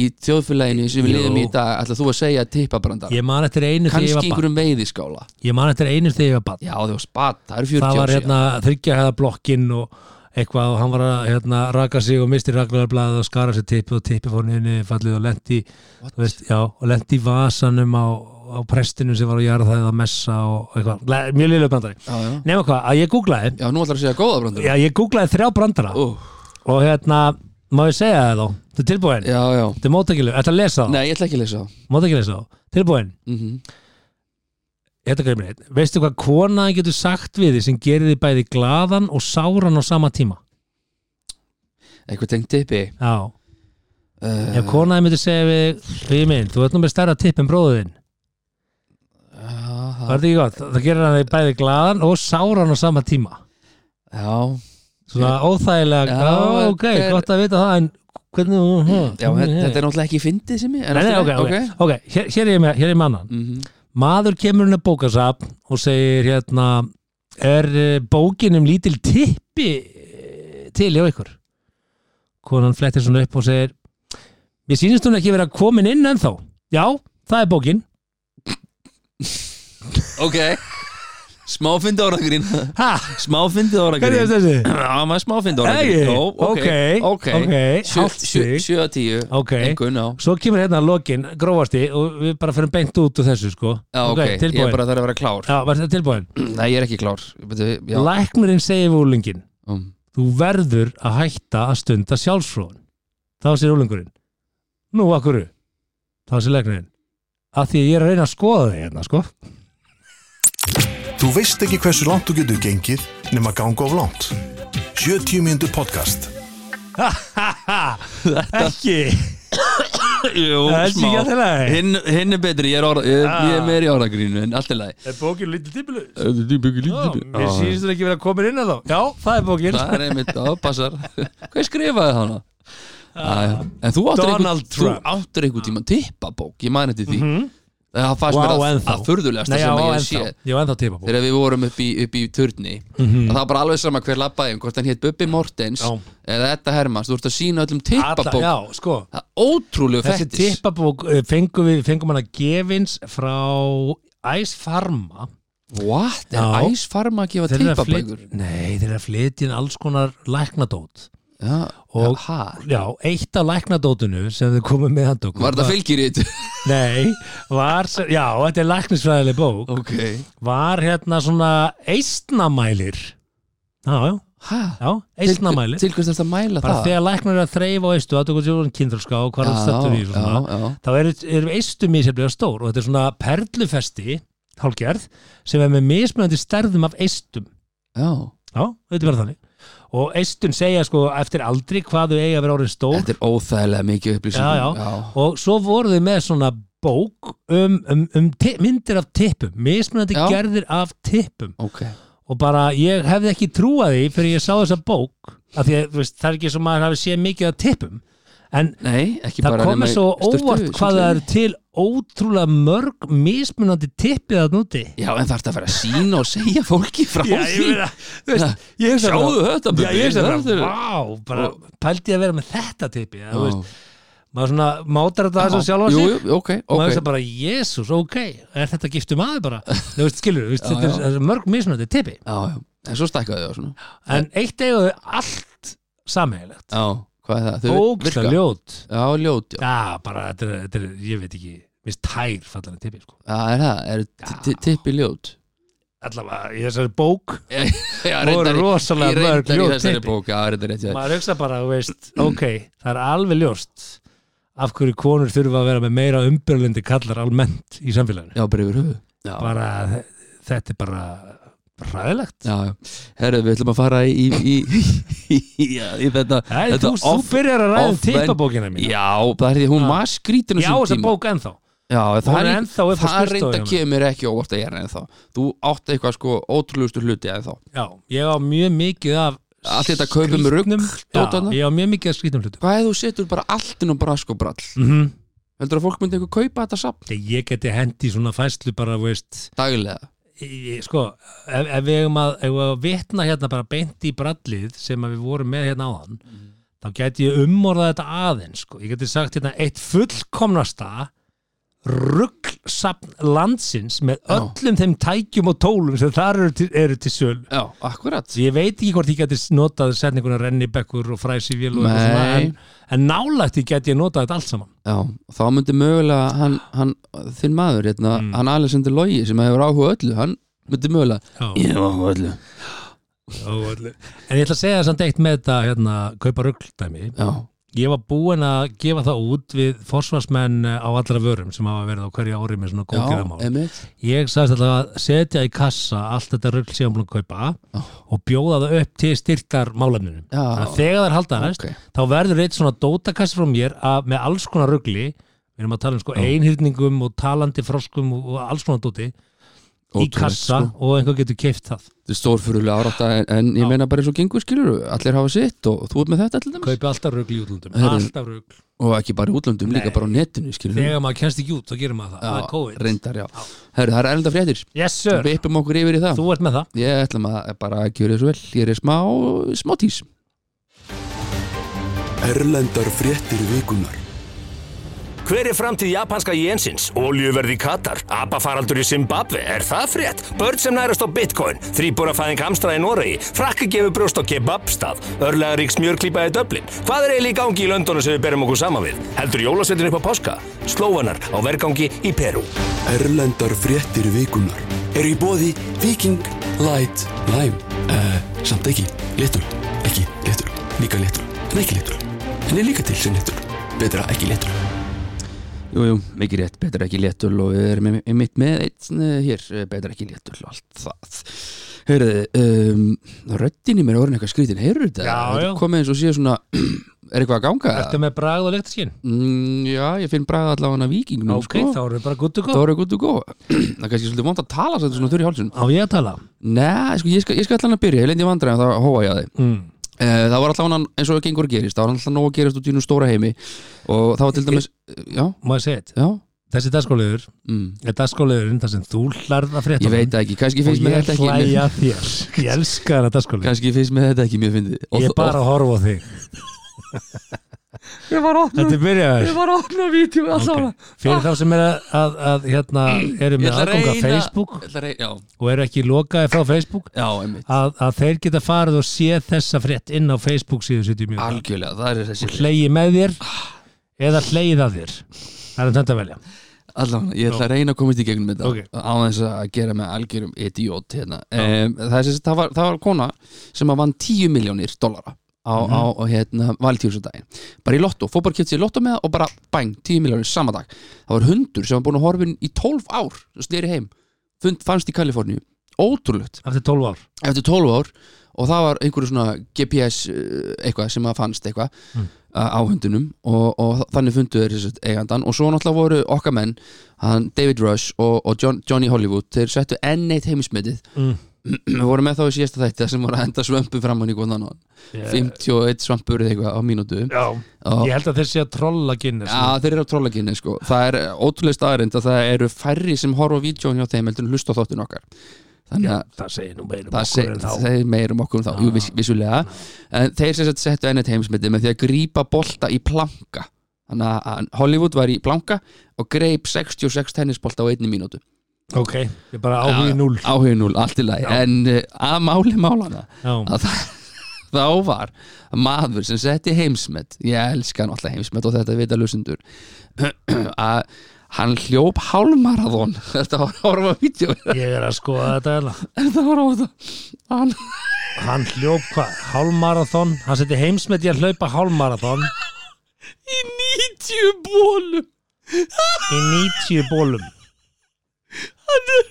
Speaker 2: í þjóðfélaginu sem við
Speaker 3: Jú.
Speaker 2: liðum í dag ætla þú að segja tippa brandara
Speaker 3: Ég man eftir einu þegar ég
Speaker 2: Kannski
Speaker 3: var barn.
Speaker 2: einhverjum veiðiskála
Speaker 3: Ég man eftir einu þegar ég var barn.
Speaker 2: Já, það var spatt, það eru 40
Speaker 3: Það var
Speaker 2: ár síðan.
Speaker 3: hérna þryggja hæða blokkinn og eitthvað og hann var að hérna, raka sig og misti raglarblað og skara sér tippi og tippi fór niður fallið og lendi veist, já, og lendi í vasanum á, á prestinu sem var á jarðaðið að messa og eitthvað, Le, mjög liðlega brandari
Speaker 2: Já, já.
Speaker 3: nema hvað, að ég googlaði
Speaker 2: Já, nú ætlar að segja góða brandara
Speaker 3: já, ég googlaði þrjá brandara
Speaker 2: Ú,
Speaker 3: og hérna, má ég segja það þá þetta er tilbúin,
Speaker 2: Já, já
Speaker 3: þetta er mótækileg ætla að lesa það,
Speaker 2: Nei, ég ætla ekki að lesa það
Speaker 3: mótækileg lesa það, tilbúin
Speaker 2: Mhm.
Speaker 3: Þetta greiðum neitt. Veistu hvað konaðin getur sagt við því sem gerir því bæði glaðan og sáran á sama tíma?
Speaker 2: Eitthvað tengt tippi
Speaker 3: Já.
Speaker 2: uh,
Speaker 3: Ef konaði myndi segja við Því minn, þú ert nú með stærra tipp en bróðin
Speaker 2: Já,
Speaker 3: Var þetta ekki gott? Það gerir hann þig bæði glaðan og sáran á sama tíma
Speaker 2: já
Speaker 3: Svona óþægilega
Speaker 2: Já,
Speaker 3: Já, ok,
Speaker 2: þetta er-
Speaker 3: gott að vita það en hvernig
Speaker 2: Já, þetta þetta er náttúrulega ekki fyndið sem ég
Speaker 3: Nei, nei, ok, ok, ok, hér, hér er ég með, hér er ég með annan
Speaker 2: Mhm.
Speaker 3: Maður kemur henni bókasap og segir hérna Er eh, bókin um lítil tippi eh, til hjá ykkur? Konan flettir svona upp og segir Mér sýnist hún ekki vera komin inn ennþá Já, það er bókin
Speaker 2: Ok Smá fyndið áragrín
Speaker 3: Ha,
Speaker 2: Smá fyndið
Speaker 3: hvernig er
Speaker 2: áragrín
Speaker 3: þessi?
Speaker 2: Já, maður smá fyndið
Speaker 3: Nei,
Speaker 2: áragrín Jó, ok
Speaker 3: ok, ok, hálft
Speaker 2: Ok
Speaker 3: stig.
Speaker 2: 7 að 10
Speaker 3: Ok.
Speaker 2: Engun, já
Speaker 3: Svo kemur hérna lokin, grófasti og við bara fyrir beint út úr þessu sko
Speaker 2: Já, ok, ég
Speaker 3: tilbúin
Speaker 2: er bara þarf að vera klár
Speaker 3: Já, var þetta tilbúin?
Speaker 2: Nei, ég er ekki klár Byrju, Já,
Speaker 3: Læknirinn segir við úlingin
Speaker 2: um.
Speaker 3: Þú verður að hætta að stunda sjálfsfróðun Þá segir úlingurinn Nú, akkur Þá segir læknirinn Að því að ég er að reyna að skoða þig hérna sko
Speaker 1: Þú veist ekki hversu langt þú getur gengið nema ganga of langt. 70 mínútur podcast.
Speaker 3: *laughs* Ekki
Speaker 2: Jú,
Speaker 3: Það er ekki hérna. að þeirra
Speaker 2: Hinn, hinn er betri, ég er, orð, ég,
Speaker 3: Ah.
Speaker 2: ég er meir í áragrínu En allt er læg
Speaker 3: Er bókin lítið típilu?
Speaker 2: Þetta er byggja
Speaker 3: Mér sýnist þú ekki vera komin inn að þá Já, það er bókin
Speaker 2: Það er einmitt
Speaker 3: *laughs*
Speaker 2: ápassar Hvað skrifaði hana? Æ, en þú áttur
Speaker 3: Ah. Donald
Speaker 2: einhvern- þú
Speaker 3: Trump.
Speaker 2: áttur einhver tíma tippabók, ég man eftir því það fannst
Speaker 3: Vá,
Speaker 2: mér að,
Speaker 3: ennþá.
Speaker 2: að furðulegasta
Speaker 3: Nei, já,
Speaker 2: sem að ég hef
Speaker 3: ennþá
Speaker 2: séð
Speaker 3: Ég var ennþá tíma bókin
Speaker 2: þegar við vorum upp í, upp í turni
Speaker 3: Mhm.
Speaker 2: það var bara alveg sama hver labbaði um hvort hann hétt Bubbi Mortens
Speaker 3: Já.
Speaker 2: eða þetta Hermans, þú ert að sína öllum tippabók
Speaker 3: Já, sko
Speaker 2: það er ótrúlegu
Speaker 3: Þessi
Speaker 2: fettis
Speaker 3: tippabók eh, fengum við, fengum hana gefins frá Ice Pharma
Speaker 2: what,
Speaker 3: Já.
Speaker 2: er æsfarma að gefa
Speaker 3: Þeir eru að flyt-
Speaker 2: tippabækur
Speaker 3: Nei, þeir eru að flytja inn alls konar læknadót
Speaker 2: ja.
Speaker 3: Og-
Speaker 2: ha,
Speaker 3: Já, eitt af læknadótinu sem þau komið með handtökum
Speaker 2: var þetta fylgirít
Speaker 3: Nei, var, sem- já, þetta er læknisfræðileg bók
Speaker 2: *laughs* ok,
Speaker 3: Var hérna svona eistnamælir Já, já,
Speaker 2: ha
Speaker 3: já, eistnamælir
Speaker 2: til hvers þarf að mæla
Speaker 3: Bara
Speaker 2: það
Speaker 3: þegar læknar eru að þreifa á eistu að tökur tjóðan kindröska og hvað það stöttur í og svona
Speaker 2: já, já.
Speaker 3: þá eru, eru eistum misjaflega stór og þetta er svona perlufesti hálgerð sem er með mismunandi stærðum af eistum
Speaker 2: Já,
Speaker 3: já, þetta er bara þannig og eistun segja sko eftir aldri hvað þau eiga að vera orðin stór
Speaker 2: þetta er óþægilega mikið upplýsingum
Speaker 3: Já, já. og svo voru þau með svona bók um, um, um ti- myndir af tippum mismunandi
Speaker 2: Já.
Speaker 3: gerðir af tippum
Speaker 2: ok
Speaker 3: og bara ég hefði ekki trúað því fyrir ég sá þessa bók af því að þú veist, það er ekki svo maður hafi séð mikið af tippum en
Speaker 2: Nei, ekki
Speaker 3: það
Speaker 2: bara nema
Speaker 3: komið
Speaker 2: í
Speaker 3: svo
Speaker 2: sturtu,
Speaker 3: óvart hvað
Speaker 2: sundlauginni.
Speaker 3: það eru til ótrúlega mörg mismunandi tippið að núti
Speaker 2: Já, en þarf þetta að vera að sína og segja fólki frá því
Speaker 3: þú veist, ég hef
Speaker 2: Sjáðu þetta,
Speaker 3: Já, ég hef
Speaker 2: Bubbi,
Speaker 3: það,
Speaker 2: þetta er-
Speaker 3: vá, bara
Speaker 2: Og-
Speaker 3: pældi ég að vera með þetta tippi, eða, þú
Speaker 2: Já.
Speaker 3: veist, maður svona mátar þetta
Speaker 2: Já.
Speaker 3: þess að sjálfa
Speaker 2: Jú,
Speaker 3: sig
Speaker 2: jú, ok,
Speaker 3: og maður
Speaker 2: ok
Speaker 3: veist bara, jésús, ok er þetta giftum aður
Speaker 2: *laughs*
Speaker 3: bara, þú veist, skilur þú veist,
Speaker 2: Já,
Speaker 3: þetta er-
Speaker 2: já.
Speaker 3: þetta er mörg mismunandi tippi
Speaker 2: Já, já, en svo stækkaði það svona
Speaker 3: en eitt eiga þau allt samhegilegt,
Speaker 2: Já, hvað er það? Þau
Speaker 3: ógsta
Speaker 2: virka?
Speaker 3: ljót
Speaker 2: Já, ljót, já
Speaker 3: já, bara, þetta er, þetta er, ég veit ekki minnst tær fallan að tippi, sko
Speaker 2: Það er það, er ti- ti- tippi ljót
Speaker 3: allavega, í þessari bók
Speaker 2: *laughs* Já,
Speaker 3: Voru
Speaker 2: reyndar í-
Speaker 3: rosalega
Speaker 2: í reyndar
Speaker 3: mörg ljót
Speaker 2: í þessari
Speaker 3: tippi.
Speaker 2: bók, já, reyndar rétt hjá þér.
Speaker 3: maður hugsa bara, þú veist, ok það er alveg ljóst af hverju konur þurfa að vera með meira umbyrlindi kallar almennt í samfélaginu
Speaker 2: Já, bara yfir höfu Já,
Speaker 3: bara, þe- þetta er bara ræðilegt
Speaker 2: já, já Herru, við ætlum að fara í í, í, í, í, í þetta
Speaker 3: Æ,
Speaker 2: þetta
Speaker 3: þú, þú
Speaker 2: off-
Speaker 3: byrjar að ræða um
Speaker 2: off-
Speaker 3: tippabókina mín
Speaker 2: Já, það er því hún var skrítin á
Speaker 3: já,
Speaker 2: sínum
Speaker 3: þessa
Speaker 2: tíma.
Speaker 3: bók ennþá
Speaker 2: Já,
Speaker 3: Hún
Speaker 2: það,
Speaker 3: er
Speaker 2: er
Speaker 3: ennþá upp á
Speaker 2: það
Speaker 3: skrifstofu
Speaker 2: reynda
Speaker 3: hjá mér.
Speaker 2: kemur ekki óvart að ég er ennþá Þú átt eitthvað sko ótrúlegustu hluti ennþá
Speaker 3: já, ég á mjög mikið af
Speaker 2: allt þetta kaupum rugg dótana.
Speaker 3: Já, ég á mjög mikið að skrítum hlutum
Speaker 2: hvað ef þú setur bara allt inn á brask og brall
Speaker 3: mm
Speaker 2: heldur að fólk myndi einhver kaupa þetta samt
Speaker 3: Ég geti hendi svona fæslu bara, þú veist
Speaker 2: daglega
Speaker 3: Í- í- sko, ef, ef við eigum að, ef við eigum að vitna hérna bara beint í brallið sem að við vorum með hérna áðan
Speaker 2: Mhm.
Speaker 3: þá gæti ég umorðað þetta aðeins sko. ég gæti sagt hérna eitt fullkomnasta ruggsapn landsins með
Speaker 2: Já.
Speaker 3: öllum þeim tækjum og tólum sem þar eru til, eru til söl
Speaker 2: já, akkurat
Speaker 3: ég veit ekki hvort ég gæti notað setninguna rennibekkur og fræsivél og eitthvað svona,
Speaker 2: Nei.
Speaker 3: en, en nálægt ég gæti ég notað þetta allt saman
Speaker 2: já, þá myndi mögulega hann, hann, þinn maður, hérna,
Speaker 3: Mm.
Speaker 2: hann Alexander Logi sem hefur áhuga á öllu, hann myndi mögulega
Speaker 3: Já.
Speaker 2: ég hef áhuga á öllu
Speaker 3: en ég ætla að segja þess að eitt með þetta hérna, kaupa ruggdæmi
Speaker 2: já,
Speaker 3: ég var búinn að gefa það út við forsvarsmenn eh, á allra vörum sem hafa verið á hverju ári með svona
Speaker 2: já,
Speaker 3: góðgerðamál
Speaker 2: emitt
Speaker 3: ég sagðist alltaf að setja í kassa allt þetta rögl sem hún kaupa
Speaker 2: Já.
Speaker 3: og bjóða það upp til styrkar málefnunum
Speaker 2: Já.
Speaker 3: Þannig að þegar þær halda þess
Speaker 2: Ok.
Speaker 3: þá verður eitt svona dótakassi frá mér að, með alls konar rögli við erum að tala um sko einhyrningum og talandi froskum og, og alls konar dóti í
Speaker 2: Ótrúlegt,
Speaker 3: kassa
Speaker 2: sko.
Speaker 3: og einhver getur keift það
Speaker 2: þetta er stórfyrulega árátta en, en ég meina bara eins og gengur skilur allir hafa sitt og þú ert með þetta allir dæmis
Speaker 3: kaupi alltaf rögl í útlundum,
Speaker 2: Heyrðu.
Speaker 3: alltaf rögl
Speaker 2: og ekki bara í útlöndum, líka
Speaker 3: Nei.
Speaker 2: bara á netinu skilur
Speaker 3: þegar maður kennst ekki út þá gerir maður það, það er COVID
Speaker 2: reyndar, já. Herru, það er erinda fréttir
Speaker 3: yes sir,
Speaker 2: við yppum okkur yfir í það
Speaker 3: þú ert með það
Speaker 2: ég ætlum að bara að gjöra þessu vel ég er smá, smá tís
Speaker 1: Erlendar fréttir vikunar
Speaker 5: Hver er framtíð japanska jensins? Oljuverð í Katar? Abafaraldur í Zimbabwe? Er það frétt? Börn sem nærast á bitcoin? Þrýbúrafæðing hamstra í Noregi? Frakka gefur brjóst á kebabstað? Örlegarík smjörklípa í Dublin? Hvað er eiginlega í gangi í Londonu sem við berum okkur saman við? Heldur jólasveitin upp á páska? Slóvanar á vergangi í Peru?
Speaker 4: Erlendar fréttir vikunar Er í bóði Viking Light Lime uh, Samt ekki, léttur, ekki léttur Líka léttur, en ekki léttur En er líka til sem léttur Betra ekki léttur
Speaker 2: Jú, jú, mikið rétt, betra ekki léttul og við erum einmitt- einmitt með eitt eh, hér, eh, betra ekki léttul og allt það Heyrðu, um, röddin í mér er orðin eitthvað skrítin, heyrðu þetta?
Speaker 3: Já,
Speaker 2: Þetta
Speaker 3: já.
Speaker 2: er Komið eins og séu svona, *clears throat* er eitthvað að ganga?
Speaker 3: Ertu með bragð og leiktaskinn?
Speaker 2: Mm, já, ég finn bræða allavega sko. hana vikingnum,
Speaker 3: Ok, þá erum við bara gutt og
Speaker 2: Þá
Speaker 3: góð
Speaker 2: eru gutt og góð Það er kannski svolítið vond að tala svolítið svona þurr í hálsun
Speaker 3: Á ég að tala?
Speaker 2: Nei, sko, ég skal, ég skal allan að byrja, ég lendi í vandræðum þá hóa ég að þið
Speaker 3: Mm.
Speaker 2: Eh, Það var allan eins og gengur gerist, það var allan nóg að gerast út í nú stóra heimi og það var til dæmis, já,
Speaker 3: Má ég segja eitt?
Speaker 2: já,
Speaker 3: Þessi dagskóliður
Speaker 2: mm.
Speaker 3: er dagskóliðurinn þar sem þú hlærð að frétta
Speaker 2: ég veit það ekki, kannski finnst mér þetta
Speaker 3: ekki
Speaker 2: ekki
Speaker 3: Og ég hlæja þér Ég elska þennan dagskólið
Speaker 2: kannski finnst mér þetta ekki mjög fyndið
Speaker 3: Ég er bara að horfa á þig Þetta er byrjaður Ég var að opna vídeo okay. Fyrir þá sem er að, að, að hérna, eru
Speaker 2: Ég
Speaker 3: með
Speaker 2: ætla að
Speaker 3: aðgónga
Speaker 2: reyna-
Speaker 3: Facebook
Speaker 2: Ég ætla að reyna- já,
Speaker 3: og eru ekki lokaði frá Facebook
Speaker 2: já, einmitt,
Speaker 3: að, að þeir geta farið og séð þessa frétt inn á Facebook síðu 70 mjög
Speaker 2: algjörlega, það er þessi
Speaker 3: hlegi með þér eða hlegið að þér það er um þetta að velja
Speaker 2: allan, ég ætla að reyna að komast í gegnum þetta
Speaker 3: Ok.
Speaker 2: á þess að gera með algjörum idiot hérna, um, það, er, sem sagt- það, var, það var kona sem að vann 10 miljónir dollara á, á hérna, valtjóðsundaginn bara í lotto, fór bara að kjöta sér lotto með það og bara bang, 10 miljónir sama dag það var hundur sem var búin að horfin í 12 ár sem sneri heim, Fund, fannst í Kaliforníu ótrúlegt
Speaker 3: eftir 12 ár
Speaker 2: eftir 12 ár og það var einhverju svona GPS eh, eitthvað sem að fannst eitthvað mm. á hundunum og, og þannig fundu þeir þessi eigandan og svo náttúrulega voru okkar menn hann David Rush og, og John, Johnny Hollywood þeir settu enn eitt heimismitið
Speaker 3: Mm.
Speaker 2: *clears throat* við vorum með þá í síðasta þætti þar sem voru að henda svömpu fram hann í góðan annan 51 svampur eða eitthvað á mínútu
Speaker 3: Já,
Speaker 2: og
Speaker 3: ég held að þeir sé að trolla Guinness
Speaker 2: Já, þeir eru á trollaginni sko Það er ótrúlega staðarind að það eru færri sem horfa á vídjón hjá þeim heldur en hlusta á þáttin okkar Þannig að
Speaker 3: það segir nú meira um
Speaker 2: það
Speaker 3: okkur en þá
Speaker 2: segir meir um okkur um þá, jú, viss, vissulega en þeir sem sagt settu ennett heimsmyndi með því að grípa bolta í planka þannig að- að Hollywood var í planka og greip 66 tennisbolta á einni mínútu
Speaker 3: ok, ég bara áhugi núl
Speaker 2: áhugin 0, allt í lagi en eh, að máli málana
Speaker 3: já,
Speaker 2: að *laughs* það þá var maður sem setti heimsmet ég elska hann alltaf heimsmet og þetta vita lusendur *clears throat* að hann hljóp hálmarathon *laughs* þetta var að horfa á vídeo
Speaker 3: ég er að skoða þetta hérna.
Speaker 2: *laughs* þetta var að horfa á þetta hann *laughs*
Speaker 3: hann hljóp hvað, hálmarathon hann seti heimsmet í að hlaupa hálmarathon
Speaker 2: í 90 bólum
Speaker 3: í 90 bólum
Speaker 2: hann er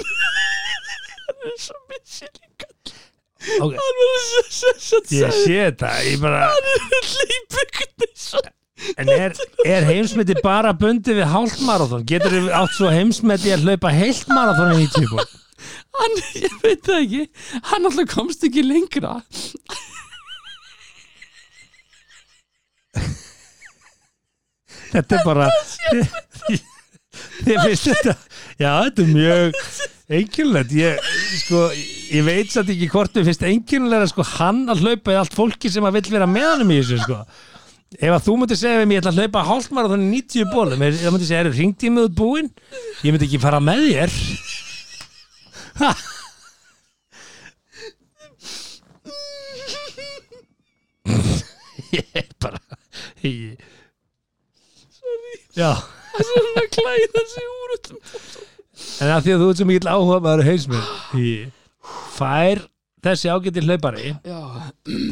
Speaker 2: hann er svo missilíka
Speaker 3: ok,
Speaker 2: hann var að sessa
Speaker 3: ég sé þetta ég bara, en er, er heimsmeti bara bundið við hálmarathon getur þið átt svo heimsmeti að hlaupa heilt marathon í 90 bólum
Speaker 2: hann, ég veit það ekki hann alltaf komst ekki lengra
Speaker 3: þetta er bara þið finnst þetta já þetta er mjög einkjörlegt ég, sko, ég veit satt ekki hvort við finnst einkjörlega sko, hann að hlaupa í allt fólki sem að vill vera með hann í þessu sko. ef að þú myndir segja við mér ég ætla að hlaupa hálfmar og þannig 90 bólum ég myndi segja, eru hringt í mig út búinn ég myndi ekki fara með þér Ha. *laughs* ég er bara ég... já
Speaker 2: hann er hann að klæða sig úr öllum
Speaker 3: En af því að þú ert svo mikill áhuga maður hausmur Fær þessi ágæti hlaupari
Speaker 2: já,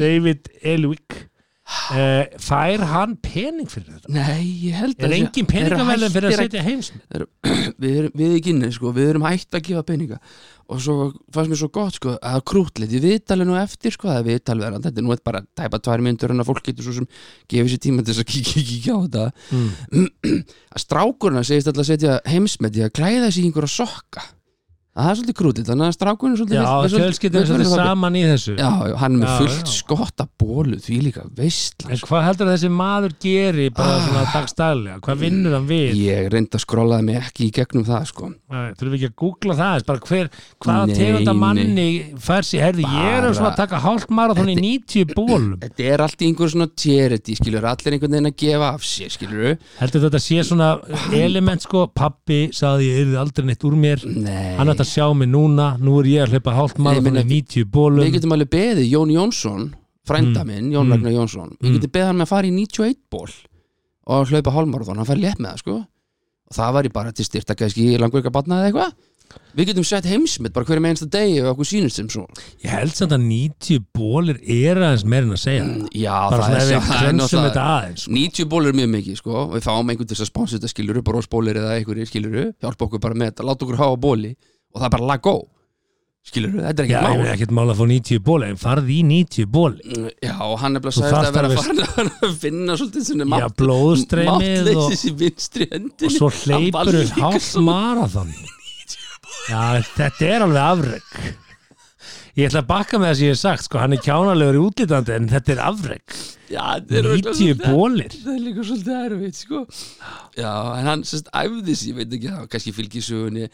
Speaker 3: David Elwick uh, Fær hann pening fyrir þetta?
Speaker 2: nei, ég held að
Speaker 3: Er
Speaker 2: sé-
Speaker 3: engin
Speaker 2: Þeir
Speaker 3: peningavelin
Speaker 2: eru
Speaker 3: fyrir að
Speaker 2: hættir
Speaker 3: setja heimsmynd?
Speaker 2: Þeir- við, erum- við ekki inni sko, við erum hægt að gefa peninga og svo fannst mér svo gott sko að krútlið, ég viðtalið nú eftir sko það er viðtalverðan, þetta er nú bara tæpa tvær myndur en að fólk getur svo sem gefið sér tíma til þess að kíkja *laughs* kík, kík á þetta
Speaker 3: Mm.
Speaker 2: *clears throat* að strákurna segist alltaf að setja heimsmet í að klæða sig í einhverja sokka það er svolítið krútlið, þannig að strákurinn er svolítið
Speaker 3: Já,
Speaker 2: vill- vill-
Speaker 3: fjölskyldur
Speaker 2: vill-
Speaker 3: er svolítið
Speaker 2: vill-
Speaker 3: saman í þessu
Speaker 2: Já, já, hann er með
Speaker 3: Já,
Speaker 2: fullt
Speaker 3: já.
Speaker 2: skotta bólu því líka veistla
Speaker 3: En hvað heldur þessi maður geri bara svona dagstæðlega? Hvað vinnur hann við?
Speaker 2: Ah. ég reyndi að skrollaði mig ekki í gegnum það sko
Speaker 3: Æ, Þurfum við ekki að googla það aðeins, bara hver, hvaða
Speaker 2: Nei,
Speaker 3: tegunda
Speaker 2: nei.
Speaker 3: manni fær sér, herði, ég er
Speaker 2: Bara-
Speaker 3: að svona að taka hálft marathon í 90 bólum
Speaker 2: Þetta er allt í einhverjum svona charity, skilur, allir einhvern veginn að gefa af sér, skilur
Speaker 3: Heldur þetta sé svona element sko, pappi sagði ég yrði aldrei neitt úr mér
Speaker 2: Nei,
Speaker 3: hann ætti að sjá mig núna, nú er ég að hlaupa hálft
Speaker 2: Nei,
Speaker 3: marathon
Speaker 2: ég
Speaker 3: í
Speaker 2: meina,
Speaker 3: 90 bólum
Speaker 2: við getum alveg beðið Jón Jónsson, frænda minn, Jón
Speaker 3: Mm.
Speaker 2: Ragnar Jónsson Við
Speaker 3: Mm.
Speaker 2: getum beðið hann með að fara í 91 ból og hlaupa hálmarðan, hann fær létt með það, sko og það var ég bara til styrta kannski langverka batna eða eitthvað Við getum sett heimsmynd bara hverjum einsta degi og okkur sýnist sem svo
Speaker 3: ég held samt að 90 bólir er aðeins meir en að segja það
Speaker 2: Mm, Já,
Speaker 3: bara
Speaker 2: það
Speaker 3: svona
Speaker 2: er
Speaker 3: ef við
Speaker 2: það er
Speaker 3: krönsum
Speaker 2: náttúrulega- Mm,
Speaker 3: þetta aðeins sko.
Speaker 2: 90 bólur er mjög mikið sko og við fáum einhvern til þess að sponsa þetta skiluru bara óspólir eða einhverjir skiluru hjálpa okkur bara með þetta, láta okkur hafa bóli og það er bara lag go skiluru, þetta er
Speaker 3: já, ég
Speaker 2: ekki
Speaker 3: er ekkert mála að fá 90 bóli en farði í 90 bóli
Speaker 2: mál Já, og hann er bara
Speaker 3: Þú
Speaker 2: sagðist
Speaker 3: þarft
Speaker 2: að vera
Speaker 3: alveg-
Speaker 2: farin að *laughs* finna svolítið svona
Speaker 3: já, blóðstreymið og,
Speaker 2: máttleysis í vinstri hendinni
Speaker 3: og svo
Speaker 2: Hann
Speaker 3: hleypur
Speaker 2: valdi
Speaker 3: við
Speaker 2: líka
Speaker 3: hálft
Speaker 2: svona- *laughs*
Speaker 3: marathon já, þetta er alveg afreg ég ætla að bakka með það sem ég hef sagt sko, hann er kjánalegur í útlítandi en þetta er afreg
Speaker 2: Já, þetta er örugglega
Speaker 3: 90
Speaker 2: svolítið-
Speaker 3: bólir
Speaker 2: Það er líka svolítið erfitt sko Já, en hann sérst æfði sig, ég veit ekki það, kannski fylgisugunni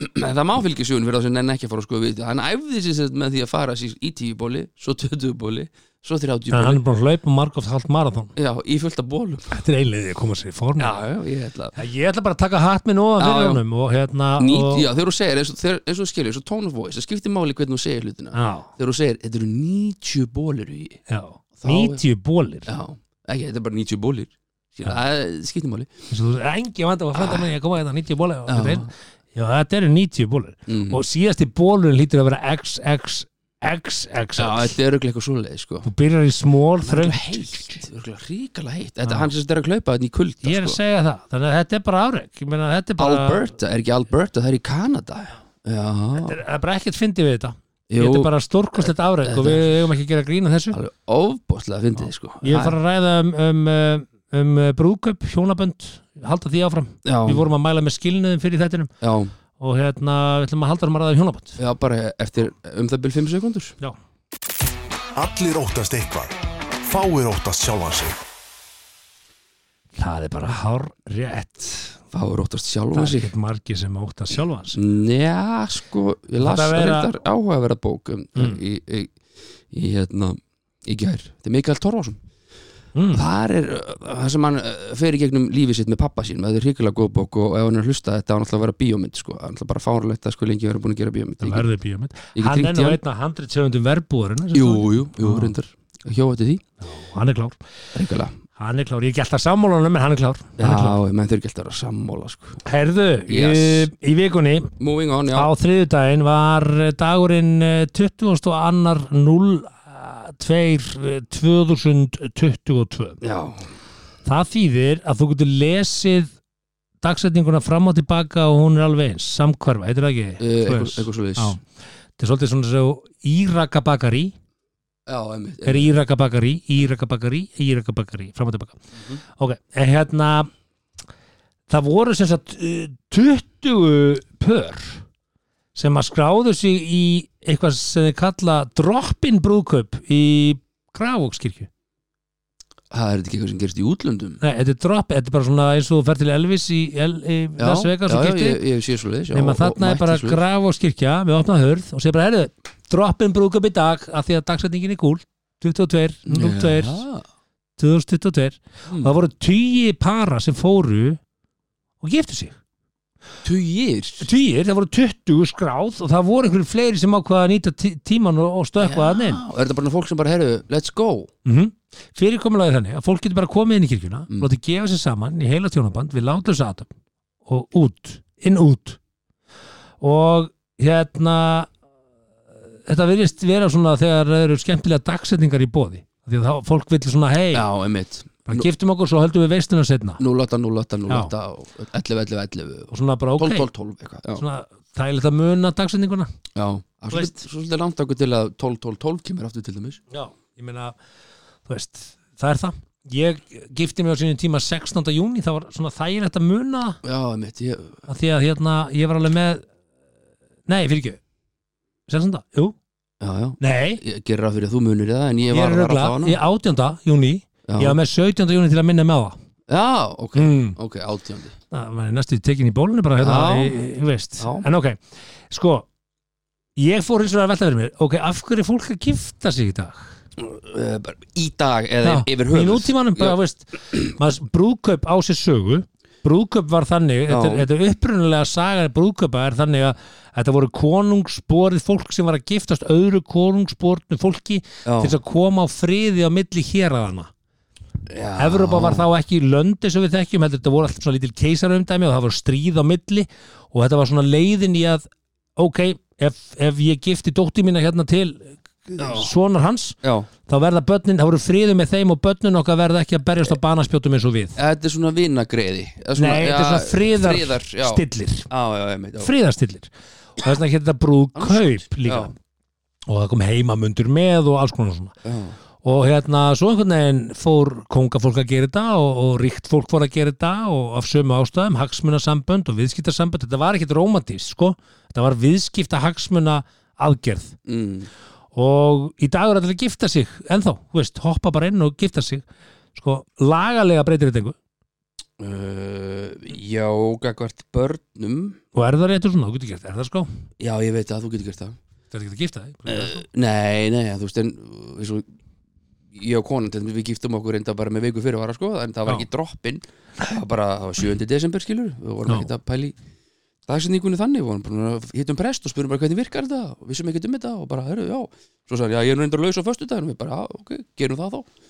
Speaker 2: en það má fylgisugunni fyrir það sem nenn ekki að fara að sko við hann æfði sig sérst með því að fara sér í 10 bóli svo 20 bóli, svo 30 bóli
Speaker 3: hann er búin að hlaupa margóft hálft marathon
Speaker 2: Já, í fullta bólum
Speaker 3: þetta er einlega að koma sér í form
Speaker 2: Já, já, ég ætla að
Speaker 3: Já, Ég ætla bara að taka hatt minn ofan
Speaker 2: Já,
Speaker 3: fyrir
Speaker 2: já.
Speaker 3: honum og hérna
Speaker 2: Nýt,
Speaker 3: og,
Speaker 2: já, þegar þú segir, eins og, þegar- eins og þú skilur, eins og tone of voice, það skiptir máli hvernig þú segir hlutina
Speaker 3: já,
Speaker 2: Þegar þú segir, þetta eru 90 bólir í
Speaker 3: já,
Speaker 2: Þá-
Speaker 3: 90 bólir
Speaker 2: Já, ekki, þetta er bara 90 bólir Skilur, Það skiptir máli
Speaker 3: eins og þú er engi vanda að frænda með ég að koma hérna 90 bólir og
Speaker 2: Ah. Já.
Speaker 3: þetta er, já, þetta eru 90 bólir
Speaker 2: mm.
Speaker 3: og síðasti bólurinn lítur að vera xxxx
Speaker 2: Já, þetta er auðvitað eitthvað svoleið sko.
Speaker 3: þú byrjar í
Speaker 2: Það
Speaker 3: smól
Speaker 2: er
Speaker 3: þröng
Speaker 2: örugglega heitt, það er örugglega ríkala heitt Þetta er hann sem þetta er að klaupa þetta í kulda
Speaker 3: ég er að
Speaker 2: sko.
Speaker 3: segja það, þannig að þetta er bara afreg ég meina þetta er bara
Speaker 2: Alberta, er ekki Alberta, það er í Kanada Já,
Speaker 3: þetta er- það er bara ekkert fyndi við þetta
Speaker 2: jú,
Speaker 3: þetta er bara stórkostlegt afreg og við eigum ekki að gera grína þessu
Speaker 2: alveg ofbóðslega fyndið þið sko
Speaker 3: ég er að fara að ræða um, um, um, um brúköp, hjónabönd halda því áfram
Speaker 2: Já,
Speaker 3: við vorum að mæla með skilniðum fyrir þettinum
Speaker 2: já,
Speaker 3: og hérna, við ætlum að halda um að ræða um hjónaband
Speaker 2: já, bara eftir um það byrjum 5 sekundur
Speaker 3: Já.
Speaker 1: Allir óttast eitthvað. Fáir óttast sjálfan sig.
Speaker 3: það er bara hár rétt
Speaker 2: Þá er óttast
Speaker 3: það
Speaker 2: sjálfum
Speaker 3: er
Speaker 2: sig
Speaker 3: ekkert margir sem ótt að sjálfa hans
Speaker 2: Já, sko, ég las
Speaker 3: Þetta vera-
Speaker 2: reyndar áhugaverða bók um,
Speaker 3: Mm.
Speaker 2: í, í, í hérna í gær, þetta er Mikael Torfason
Speaker 3: mm.
Speaker 2: þar er uh, það sem hann uh, fer í gegnum lífið sitt með pappa sín það er hrikilega góð bók og ef hann er að hlusta þetta á hann alltaf að vera bíómynd sko, hann alltaf bara fárlegt að sko lengi vera búin að gera bíómynd
Speaker 3: það
Speaker 2: Ég get-
Speaker 3: verður bíómynd
Speaker 2: ég get
Speaker 3: hann
Speaker 2: hringt í
Speaker 3: er nú
Speaker 2: hann.
Speaker 3: einn af 170 verbúarinn
Speaker 2: jú, jú, jú,
Speaker 3: Já.
Speaker 2: reyndar hjóa til því,
Speaker 3: hann er klár,
Speaker 2: hrikilega
Speaker 3: hann er klár ég er ekki alltaf sammálanum, en hann er klár, Hann er klár.
Speaker 2: já, menn þau eru gælt að vera sammála sko.
Speaker 3: herðu,
Speaker 2: Yes.
Speaker 3: í, í vikunni
Speaker 2: moving on, já,
Speaker 3: á þriðjudaginn var dagurinn eh, 22.02 eh, 2022
Speaker 2: já.
Speaker 3: Það þýðir að þú getur lesið dagsetninguna fram og tilbaka og hún er alveg eins, samkvarfa, heitir það
Speaker 2: Eh,
Speaker 3: ekki? Þú
Speaker 2: eitthvað
Speaker 3: veist.
Speaker 2: eitthvað svo
Speaker 3: Já. Þetta er svolítið svona svo Írakabakari,
Speaker 2: já, einmitt,
Speaker 3: er Írakabakari, Írakabakari, Írakabakari, fram og tilbaka.
Speaker 2: Mhm.
Speaker 3: Ok, en hérna, það voru sem sagt eh, 20 pör sem að skráðu sig í eitthvað sem þið kalla droppin brúðkaup í Grafókskirkju.
Speaker 2: Það er þetta ekki eitthvað sem gerist í útlöndum
Speaker 3: Nei, þetta er dropp, þetta er bara svona eins og þú fer til Elvis í, El, í Las Vegas og
Speaker 2: já,
Speaker 3: gifti.
Speaker 2: ég, ég sé svo leiðis
Speaker 3: Nefna þarna er bara Grafókskirkja með opnað hörð og segir bara, herðu, droppin brúðkaup í dag af því að dagsetningin er gúl, 22, 02,
Speaker 2: Mm.
Speaker 3: 2022. Og það voru tíu para sem fóru og giftu sig.
Speaker 2: Tugir
Speaker 3: Týr, það voru 20 skráð og það voru einhverjum fleiri sem ákvaða að nýta tí- tíman og, og stökkvaða hann inn
Speaker 2: Er þetta bara fólk sem bara, herru, let's go
Speaker 3: mm -hmm. fyrirkomulagið þannig að fólk getur bara komið inn í kirkjuna
Speaker 2: Mm.
Speaker 3: mm. látið gefa sér saman í heila tjónaband við látlösa aðtöfn og út, inn út og hérna þetta verðist vera svona þegar það eru skemmtilega dagsetningar í bóði því að þá, fólk vill svona hei,
Speaker 2: Já, einmitt
Speaker 3: bara giftum okkur svo höldum við veistuna setna
Speaker 2: 08, 08,
Speaker 3: Já.
Speaker 2: 08 og 11, 11, 11
Speaker 3: og svona bara ok,
Speaker 2: 12, 12, 12 eitthvað Já,
Speaker 3: svona þægilegt að muna dagsetninguna
Speaker 2: já Það er
Speaker 3: Þú veist.
Speaker 2: svolítið- svolítið langt okkur til að 12, 12, 12 kemur aftur til dæmis
Speaker 3: Já, ég meina, þú veist, það er það. Ég gifti mig á sínum tíma 16. júni, það var svona þægilegt að muna það,
Speaker 2: Já, einmitt, ég,
Speaker 3: af því að hérna, ég var alveg með, nei, fyrir ekki, 16. Jú,
Speaker 2: já, já
Speaker 3: nei,
Speaker 2: Ég gerir ráð fyrir að þú munir það en ég
Speaker 3: ég,
Speaker 2: var
Speaker 3: er
Speaker 2: að
Speaker 3: rögla,
Speaker 2: ráða hana
Speaker 3: ég 18. júni, ég
Speaker 2: Já,
Speaker 3: var með 17. júni til að minna með það.
Speaker 2: já ok,
Speaker 3: Mm.
Speaker 2: ok, átjóndi
Speaker 3: Það var næstu tekin í bólunni bara, hérna,
Speaker 2: Já.
Speaker 3: ég, ég veist.
Speaker 2: Já.
Speaker 3: En ok, sko, ég fór hins vegar að velta fyrir mér, ok, af hverju er fólk að gifta sig í dag?
Speaker 2: Eh, bara Í dag eða
Speaker 3: Já,
Speaker 2: yfir
Speaker 3: í
Speaker 2: höfus
Speaker 3: nútímanum bara, veist, maður, brúðkaup á sér sögu brúðkaup var þannig þetta, er-
Speaker 2: Já.
Speaker 3: þetta er upprunalega saga brúðkaupa er þannig að þetta voru konungsborið fólk sem var að giftast öðru konungsbornu fólki til
Speaker 2: Já,
Speaker 3: þess að koma á friði á milli héraðana
Speaker 2: já
Speaker 3: Evrópa var þá ekki löndi sem við þekkjum heldur þetta voru alltaf svona lítil keisarumdæmi og það var stríð á milli og þetta var svona leiðin í að ok, ef, ef ég gifti dótti mína hérna til sonar hans
Speaker 2: Já,
Speaker 3: þá verða börnin, þá voru friðu með þeim og börnin okkar verða ekki að berjast á banaspjótum eins og við
Speaker 2: þetta er svona vinagreiði Eða svona-
Speaker 3: Nei, þetta er
Speaker 2: já,
Speaker 3: svona friðar,
Speaker 2: já.
Speaker 3: stillir
Speaker 2: Já, já, einmitt já.
Speaker 3: friðarstillir og þess vegna hérna brúðkaup líka
Speaker 2: Já.
Speaker 3: og það kom heimamundur með og alls konar svona
Speaker 2: Já.
Speaker 3: og hérna svo einhvern veginn fór kongafólk að gera þetta og, og ríkt fólk fór að gera þetta og af sömu ástæðum hagsmunasambönd og viðskiptasambönd þetta var ekkit rómatíst sko þetta var viðskipta hagsmuna aðgerð
Speaker 2: Mm.
Speaker 3: og í dag er allir að gifta sig ennþá, þú veist, hoppa bara inn og gifta sig sko, lagalega breytir þetta engu
Speaker 2: Uh, já, gagvart börnum
Speaker 3: og er það réttur svona, þú getur gert, er það sko
Speaker 2: Já, ég veit að þú getur gert það
Speaker 3: þetta getur gifta þig
Speaker 2: Eh, Nei, nei, þú veist en uh, eins og ég og konan, til dæmis, við giftum okkur enda bara með viku fyrir vara sko, en það var
Speaker 3: Já.
Speaker 2: ekki droppin það var bara, það var 7. desember skilur við vorum
Speaker 3: Já.
Speaker 2: ekki að pæli dagsetningunni þannig, við vorum bara að hittum prest og spurum bara hvernig virkar þetta, og vissum ekki um þetta og bara, herru, já, svo sagði, hann, já, ég er nú endur laus á föstu daginn, við bara, já, ok, gerum það þá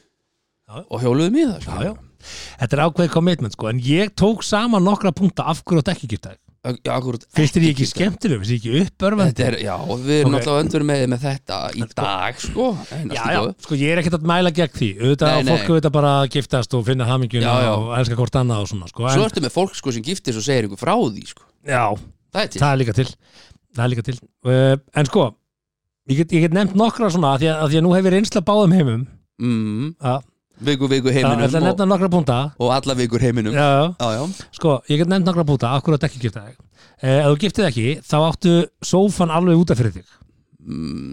Speaker 3: Já.
Speaker 2: og hjóluðum í það
Speaker 3: Já, já. þetta er ákveðið commitment sko, en ég tók saman nokkra punkta af hverju þetta ekki gifta þig
Speaker 2: já, akkurat,
Speaker 3: finnst þér ég ekki
Speaker 2: gifta.
Speaker 3: skemmtileg, finnst þér ég ekki uppörfandi
Speaker 2: Þetta er, já, við erum
Speaker 3: Ok.
Speaker 2: náttúrulega öndur með, með þetta í dag, sko en, allt í
Speaker 3: já, já,
Speaker 2: góðu.
Speaker 3: sko ég er ekkert að mæla gegn því auðvitað
Speaker 2: Nei,
Speaker 3: að
Speaker 2: nei.
Speaker 3: fólk auðvitað bara að giftast og finna hamingjuna
Speaker 2: Já, já.
Speaker 3: og elska hvort annað og svona sko, en,
Speaker 2: Svo ertu með fólk, sko, sem giftir og segir ykkur frá því, sko
Speaker 3: já,
Speaker 2: Það er til,
Speaker 3: það er líka til það er líka til uh, en sko, ég get, ég get nefnt nokkra svona af því að, að því að nú hefur reynsla báðum heimum
Speaker 2: mm,
Speaker 3: að,
Speaker 2: viku, viku
Speaker 3: að,
Speaker 2: heiminum
Speaker 3: að
Speaker 2: og,
Speaker 3: nefna nokkra púnta
Speaker 2: og alla vikur heiminum Já,
Speaker 3: já,
Speaker 2: já,
Speaker 3: sko, ég get nefnt nokkra púnta akkur að ekki gifta þig eh, ef þú giftið ekki, þá áttu sófan alveg út af fyrir þig
Speaker 2: mm,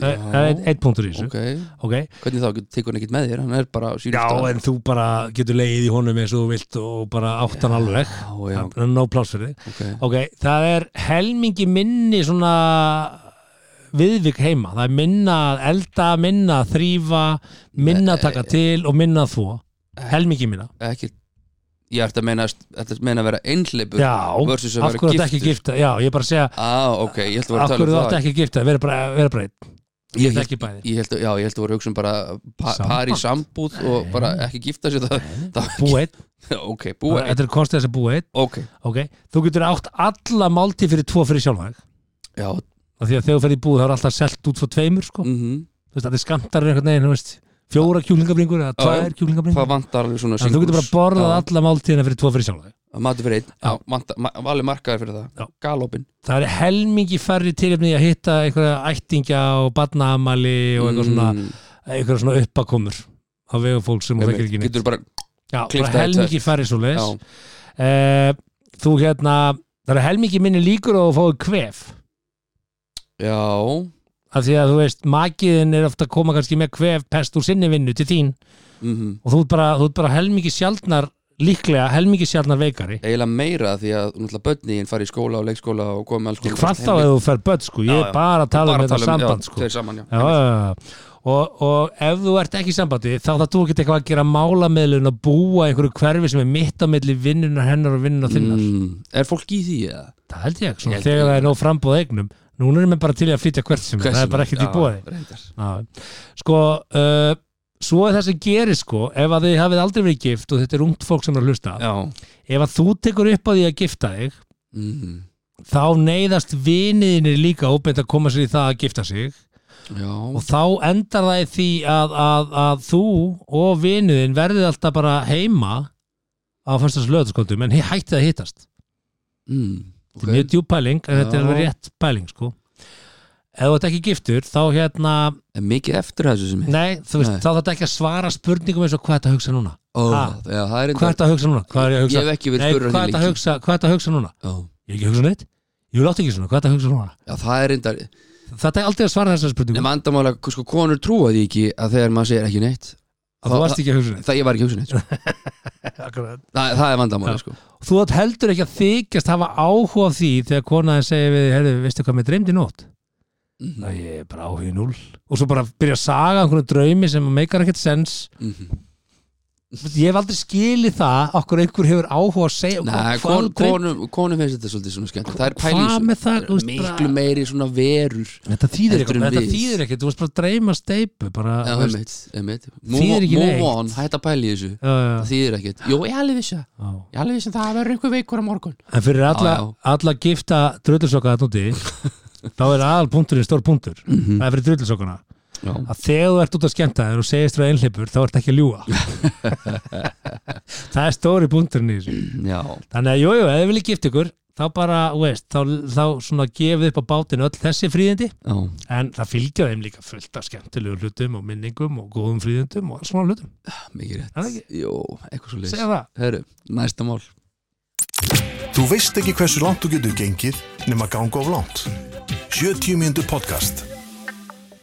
Speaker 3: Eh, það er einn einn punktur í þessu
Speaker 2: Ok,
Speaker 3: okay.
Speaker 2: hvernig þá, tekur hann ekkert með þér, hann er bara á sínum
Speaker 3: já,
Speaker 2: stað.
Speaker 3: en þú bara getur leiðið í honum eins og þú vilt og bara áttan alveg
Speaker 2: Já, já,
Speaker 3: það er nóg pláss fyrir þig
Speaker 2: ok
Speaker 3: ok, það er helmingi minni svona viðvik heima, það er minna að elda, minna að þrýfa minna að
Speaker 2: Eh,
Speaker 3: taka til og minna að þvo helmingi minna,
Speaker 2: Ekki, ég ætti að meina Þetta er meina að vera einhleipur
Speaker 3: já
Speaker 2: Versus að
Speaker 3: af
Speaker 2: vera
Speaker 3: hverju þetta ekki
Speaker 2: giftur
Speaker 3: gifta, já, ég er bara að segja
Speaker 2: Á, ok, ég held að vera
Speaker 3: af
Speaker 2: að tala
Speaker 3: hverju
Speaker 2: um
Speaker 3: þetta
Speaker 2: það
Speaker 3: ekki gifta, vera bara, vera bara einn
Speaker 2: Ég
Speaker 3: þetta
Speaker 2: held-
Speaker 3: ekki bæði,
Speaker 2: Ég held, að- já, ég held að voru að hugsa um bara pa,
Speaker 3: Samband?
Speaker 2: par í sambúð og bara ekki gifta sér það, það
Speaker 3: bú einn
Speaker 2: *laughs* ok, búa
Speaker 3: þetta er konstið þess að búa einn,
Speaker 2: ok,
Speaker 3: ok, þú getur átt alla málti fyrir tvo fyrir sjálfæg
Speaker 2: já,
Speaker 3: af því að þegar þú ferð í búð þá er alltaf selt út svo tveimur sko.
Speaker 2: mhm
Speaker 3: þú veist, það er skamtarinn einhvern veginn, þú veist fjóra kjúlingabringur eða tvær
Speaker 2: já.
Speaker 3: kjúlingabringur
Speaker 2: það vantar alveg svona
Speaker 3: þannig að þú getur bara borðað
Speaker 2: Já,
Speaker 3: alla máltíðina fyrir tvo fyrir sjálfæg
Speaker 2: matur fyrir einn, já,
Speaker 3: Já.
Speaker 2: vantar, ma valið markaður fyrir
Speaker 3: Já.
Speaker 2: það galopin,
Speaker 3: það er helmingi færri tilefni í að hitta einhverja ættingja og barnaamali og eitthvað svona,
Speaker 2: Mm.
Speaker 3: einhverja svona uppakomur á vegum fólk sem þú þekkir ekki neitt
Speaker 2: getur bara
Speaker 3: já,
Speaker 2: klippt
Speaker 3: bara
Speaker 2: það í
Speaker 3: helmingi færri Eh, svo
Speaker 2: já,
Speaker 3: leis þú hérna það er helmingi minni líkur á að fáið kvef
Speaker 2: Já,
Speaker 3: af því að þú veist, makiðin er ofta að koma kannski með kvef pest úr sinni vinnu til þín
Speaker 2: mm
Speaker 3: og þú ert bara, þú ert bara helmingi sjaldnar líklega, helmingi sjaldnar veikari
Speaker 2: eiginlega meira því að náttúrulega börnin fari í skóla og leikskóla og komið með alls konar
Speaker 3: hvað
Speaker 2: drasl
Speaker 3: þá
Speaker 2: heim.
Speaker 3: ef þú fer börn sko ég
Speaker 2: Já,
Speaker 3: er
Speaker 2: já.
Speaker 3: bara að tala um
Speaker 2: Bara
Speaker 3: þetta samband
Speaker 2: já,
Speaker 3: sko
Speaker 2: Þeir saman, já,
Speaker 3: já, já, já. Og, og ef þú ert ekki í sambandi þá það þú ekkert eitthvað að gera málamiðlun og búa einhverju hverfi sem er mitt á milli vinnunar hennar og vinnunar þinnar
Speaker 2: Mm, Er fólk í því eða?
Speaker 3: það held ég,
Speaker 2: Ég
Speaker 3: svona,
Speaker 2: held
Speaker 3: þegar
Speaker 2: ég.
Speaker 3: það er nóg frambúð eignum núna erum við bara til í að flytja hvert sem er, það er bara ekkert í búið
Speaker 2: bóði
Speaker 3: Já. sko uh, svo er það sem gerir sko ef að þið hafið aldrei verið gift og þetta er ungt fólk sem er að hlusta
Speaker 2: Já
Speaker 3: ef að þú tekur upp á því að gifta þig
Speaker 2: mm,
Speaker 3: þá neyðast viniðinni líka óbeint að koma sér í það að gifta sig
Speaker 2: Já
Speaker 3: og þá endar það í því að, að, að þú og viniðin verðið alltaf bara heima á fyrstans löðaskóndum en hi- hættið að hittast
Speaker 2: mm,
Speaker 3: þetta er mjög djúb pæling en þetta er
Speaker 2: Já.
Speaker 3: alveg rétt pæling sko ef þú ert ekki giftur þá hérna
Speaker 2: Er mikið eftir þessu sem er
Speaker 3: nei, þú veist,
Speaker 2: Nei.
Speaker 3: þá þarf þetta ekki að svara spurningum eins og hvað þetta hugsa núna
Speaker 2: Ó,
Speaker 3: ha.
Speaker 2: já, það er
Speaker 3: hvað
Speaker 2: enda
Speaker 3: er þetta að hugsa núna? Hvað er ég að
Speaker 2: Ég
Speaker 3: hugsa?
Speaker 2: hef ekki verið
Speaker 3: Nei,
Speaker 2: spurður hérna
Speaker 3: hvað er þetta að hugsa, hvað er þetta að hugsa núna?
Speaker 2: Já,
Speaker 3: Ég er ekki að hugsa neitt. Ég vil átt ekki svona, hvað er þetta að hugsa núna?
Speaker 2: já, það er enda
Speaker 3: Þetta er aldrei að svara þessar spurningum.
Speaker 2: En vandamála, sko, konur trúa því ekki að þegar maður segir ekki neitt
Speaker 3: að þú varst ekki að hugsa neitt.
Speaker 2: Það ég var ekki hugsun neitt sko.
Speaker 3: *laughs* Akkurat.
Speaker 2: það, það er vandamála,
Speaker 3: Já.
Speaker 2: sko
Speaker 3: Þú átt heldur ekki að þykjast hafa áhuga á því þegar konaðin segir við, herru, veistu hvað mér dreymdi í nótt?
Speaker 2: Mhm.
Speaker 3: Næ, ég er bara áhuga í núll. Og svo bara byrja að saga einhvern draumi sem meikar ekkert sens.
Speaker 2: Mhm.
Speaker 3: Ég hef aldrei skilið það, okkur einhver hefur áhuga að segja.
Speaker 2: Nei,
Speaker 3: hvað
Speaker 2: kon,
Speaker 3: dreym-
Speaker 2: konum, konum finnst þetta svolítið svona skemmt Það er pæli
Speaker 3: Hvað með það, þú veist,
Speaker 2: Miklu
Speaker 3: bara-
Speaker 2: meiri svona verur
Speaker 3: Þetta þýðir
Speaker 2: Heldur
Speaker 3: ekkert,
Speaker 2: en
Speaker 3: þetta
Speaker 2: við.
Speaker 3: þýðir ekkert, þú varst bara að dreyma steipu, bara,
Speaker 2: Já,
Speaker 3: þú veist,
Speaker 2: einmitt, einmitt
Speaker 3: Þýðir
Speaker 2: Move
Speaker 3: ekki
Speaker 2: move
Speaker 3: neitt.
Speaker 2: on, hætt að pæli þessu
Speaker 3: já, já, já.
Speaker 2: Það þýðir ekkert Jó, ég er alveg vissi það.
Speaker 3: Já.
Speaker 2: Ég er alveg vissi að það verður einhver veikur á morgun
Speaker 3: En fyrir alla,
Speaker 2: Já, já.
Speaker 3: alla gifta drullusokka þarna úti
Speaker 2: *laughs*
Speaker 3: þá er aðal punkturinn stór punktur það er fyrir drullusokkuna
Speaker 2: Mhm. Já.
Speaker 3: að þegar þú ert út að skemmta þér og segist frá einhleipur þá ert ekki
Speaker 2: *laughs*
Speaker 3: að ljúga það er stóri punkturinn í þessu
Speaker 2: Já,
Speaker 3: þannig að jújú, ef þið viljið gift ykkur þá bara, þú veist, þá, þá svona gefið upp á bátinu öll þessi fríðindi
Speaker 2: já,
Speaker 3: en það fylgja þeim líka fullt af skemmtilegu hlutum og minningum og góðum fríðindum og alls svona hlutum,
Speaker 2: mikið
Speaker 3: Er það
Speaker 2: rétt
Speaker 3: ekki?
Speaker 2: Jó, eitthvað svo
Speaker 3: segja
Speaker 2: leys
Speaker 3: það
Speaker 2: Herru, næsta mál
Speaker 1: Þú veist ekki hversu langt þú getur gengið nema ganga of langt. 70 mínútur podcast.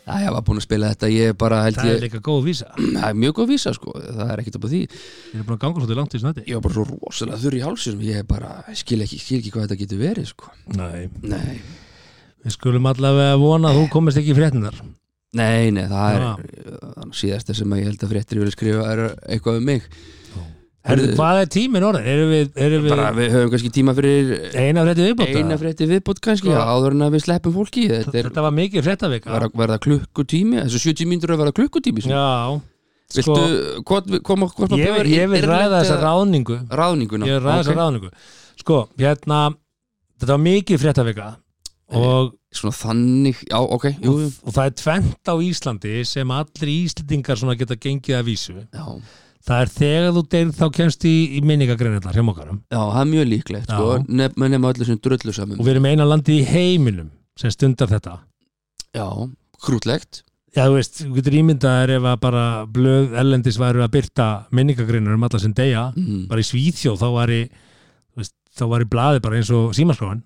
Speaker 2: Æ, ég var búin að spila þetta Ég er bara held
Speaker 3: það er
Speaker 2: ég
Speaker 3: líka góð vísa
Speaker 2: Það er mjög góð vísa, sko Það er ekkert upp á því
Speaker 3: ég er búin að ganga svolítið langt í þessu nætti
Speaker 2: Ég var bara svo rosalega þurr í hálsinum Ég er bara, skil ekki, skil ekki hvað þetta getur verið, sko
Speaker 3: Nei.
Speaker 2: Nei,
Speaker 3: Við skulum allavega vona að þú komist ekki í fréttinar
Speaker 2: nei, nei það
Speaker 3: Já.
Speaker 2: er Síðasta sem ég held að fréttir vilja skrifa er eitthvað um mig
Speaker 3: Herðu, hvað er tíminn orðið? Erum við, erum við
Speaker 2: Bara við höfum kannski tíma fyrir
Speaker 3: eina frétti viðbóta?
Speaker 2: eina frétti viðbót kannski
Speaker 3: Sko.
Speaker 2: áður en að við sleppum fólki Þetta er
Speaker 3: Þetta var mikið fréttavika
Speaker 2: verða, verða klukkutími þessu 70 mínútur er að verða klukkutími sko.
Speaker 3: Já,
Speaker 2: viltu
Speaker 3: sko,
Speaker 2: hvort við- koma hvort
Speaker 3: ég, vil- ég vil ræða þessa ráðningu
Speaker 2: ráðninguna
Speaker 3: Ég vil ræða þessa
Speaker 2: Ok.
Speaker 3: ráðningu Sko, hérna, þetta var mikið fréttavika og,
Speaker 2: svona þannig já ok jú, jú.
Speaker 3: og það er tvent á Íslandi sem allir íslendingar svona geta gengið að vísu
Speaker 2: Já,
Speaker 3: Það er þegar þú deyr þá kemst í, í minningagreinillar hjá mokkarum
Speaker 2: já það er mjög líklegt sko,
Speaker 3: Já.
Speaker 2: nef, með nema öllu sem drullu
Speaker 3: og
Speaker 2: saman
Speaker 3: við erum eina landi í heiminum sem stundar þetta
Speaker 2: já krútlegt
Speaker 3: Já, þú veist, þú getur ímyndaðar ef að bara blöð erlendis væru að byrta minningagreinar um alla sem deyja
Speaker 2: mm.
Speaker 3: bara í Svíþjóð þá var í veist, þá var í blaði bara eins og símaskráin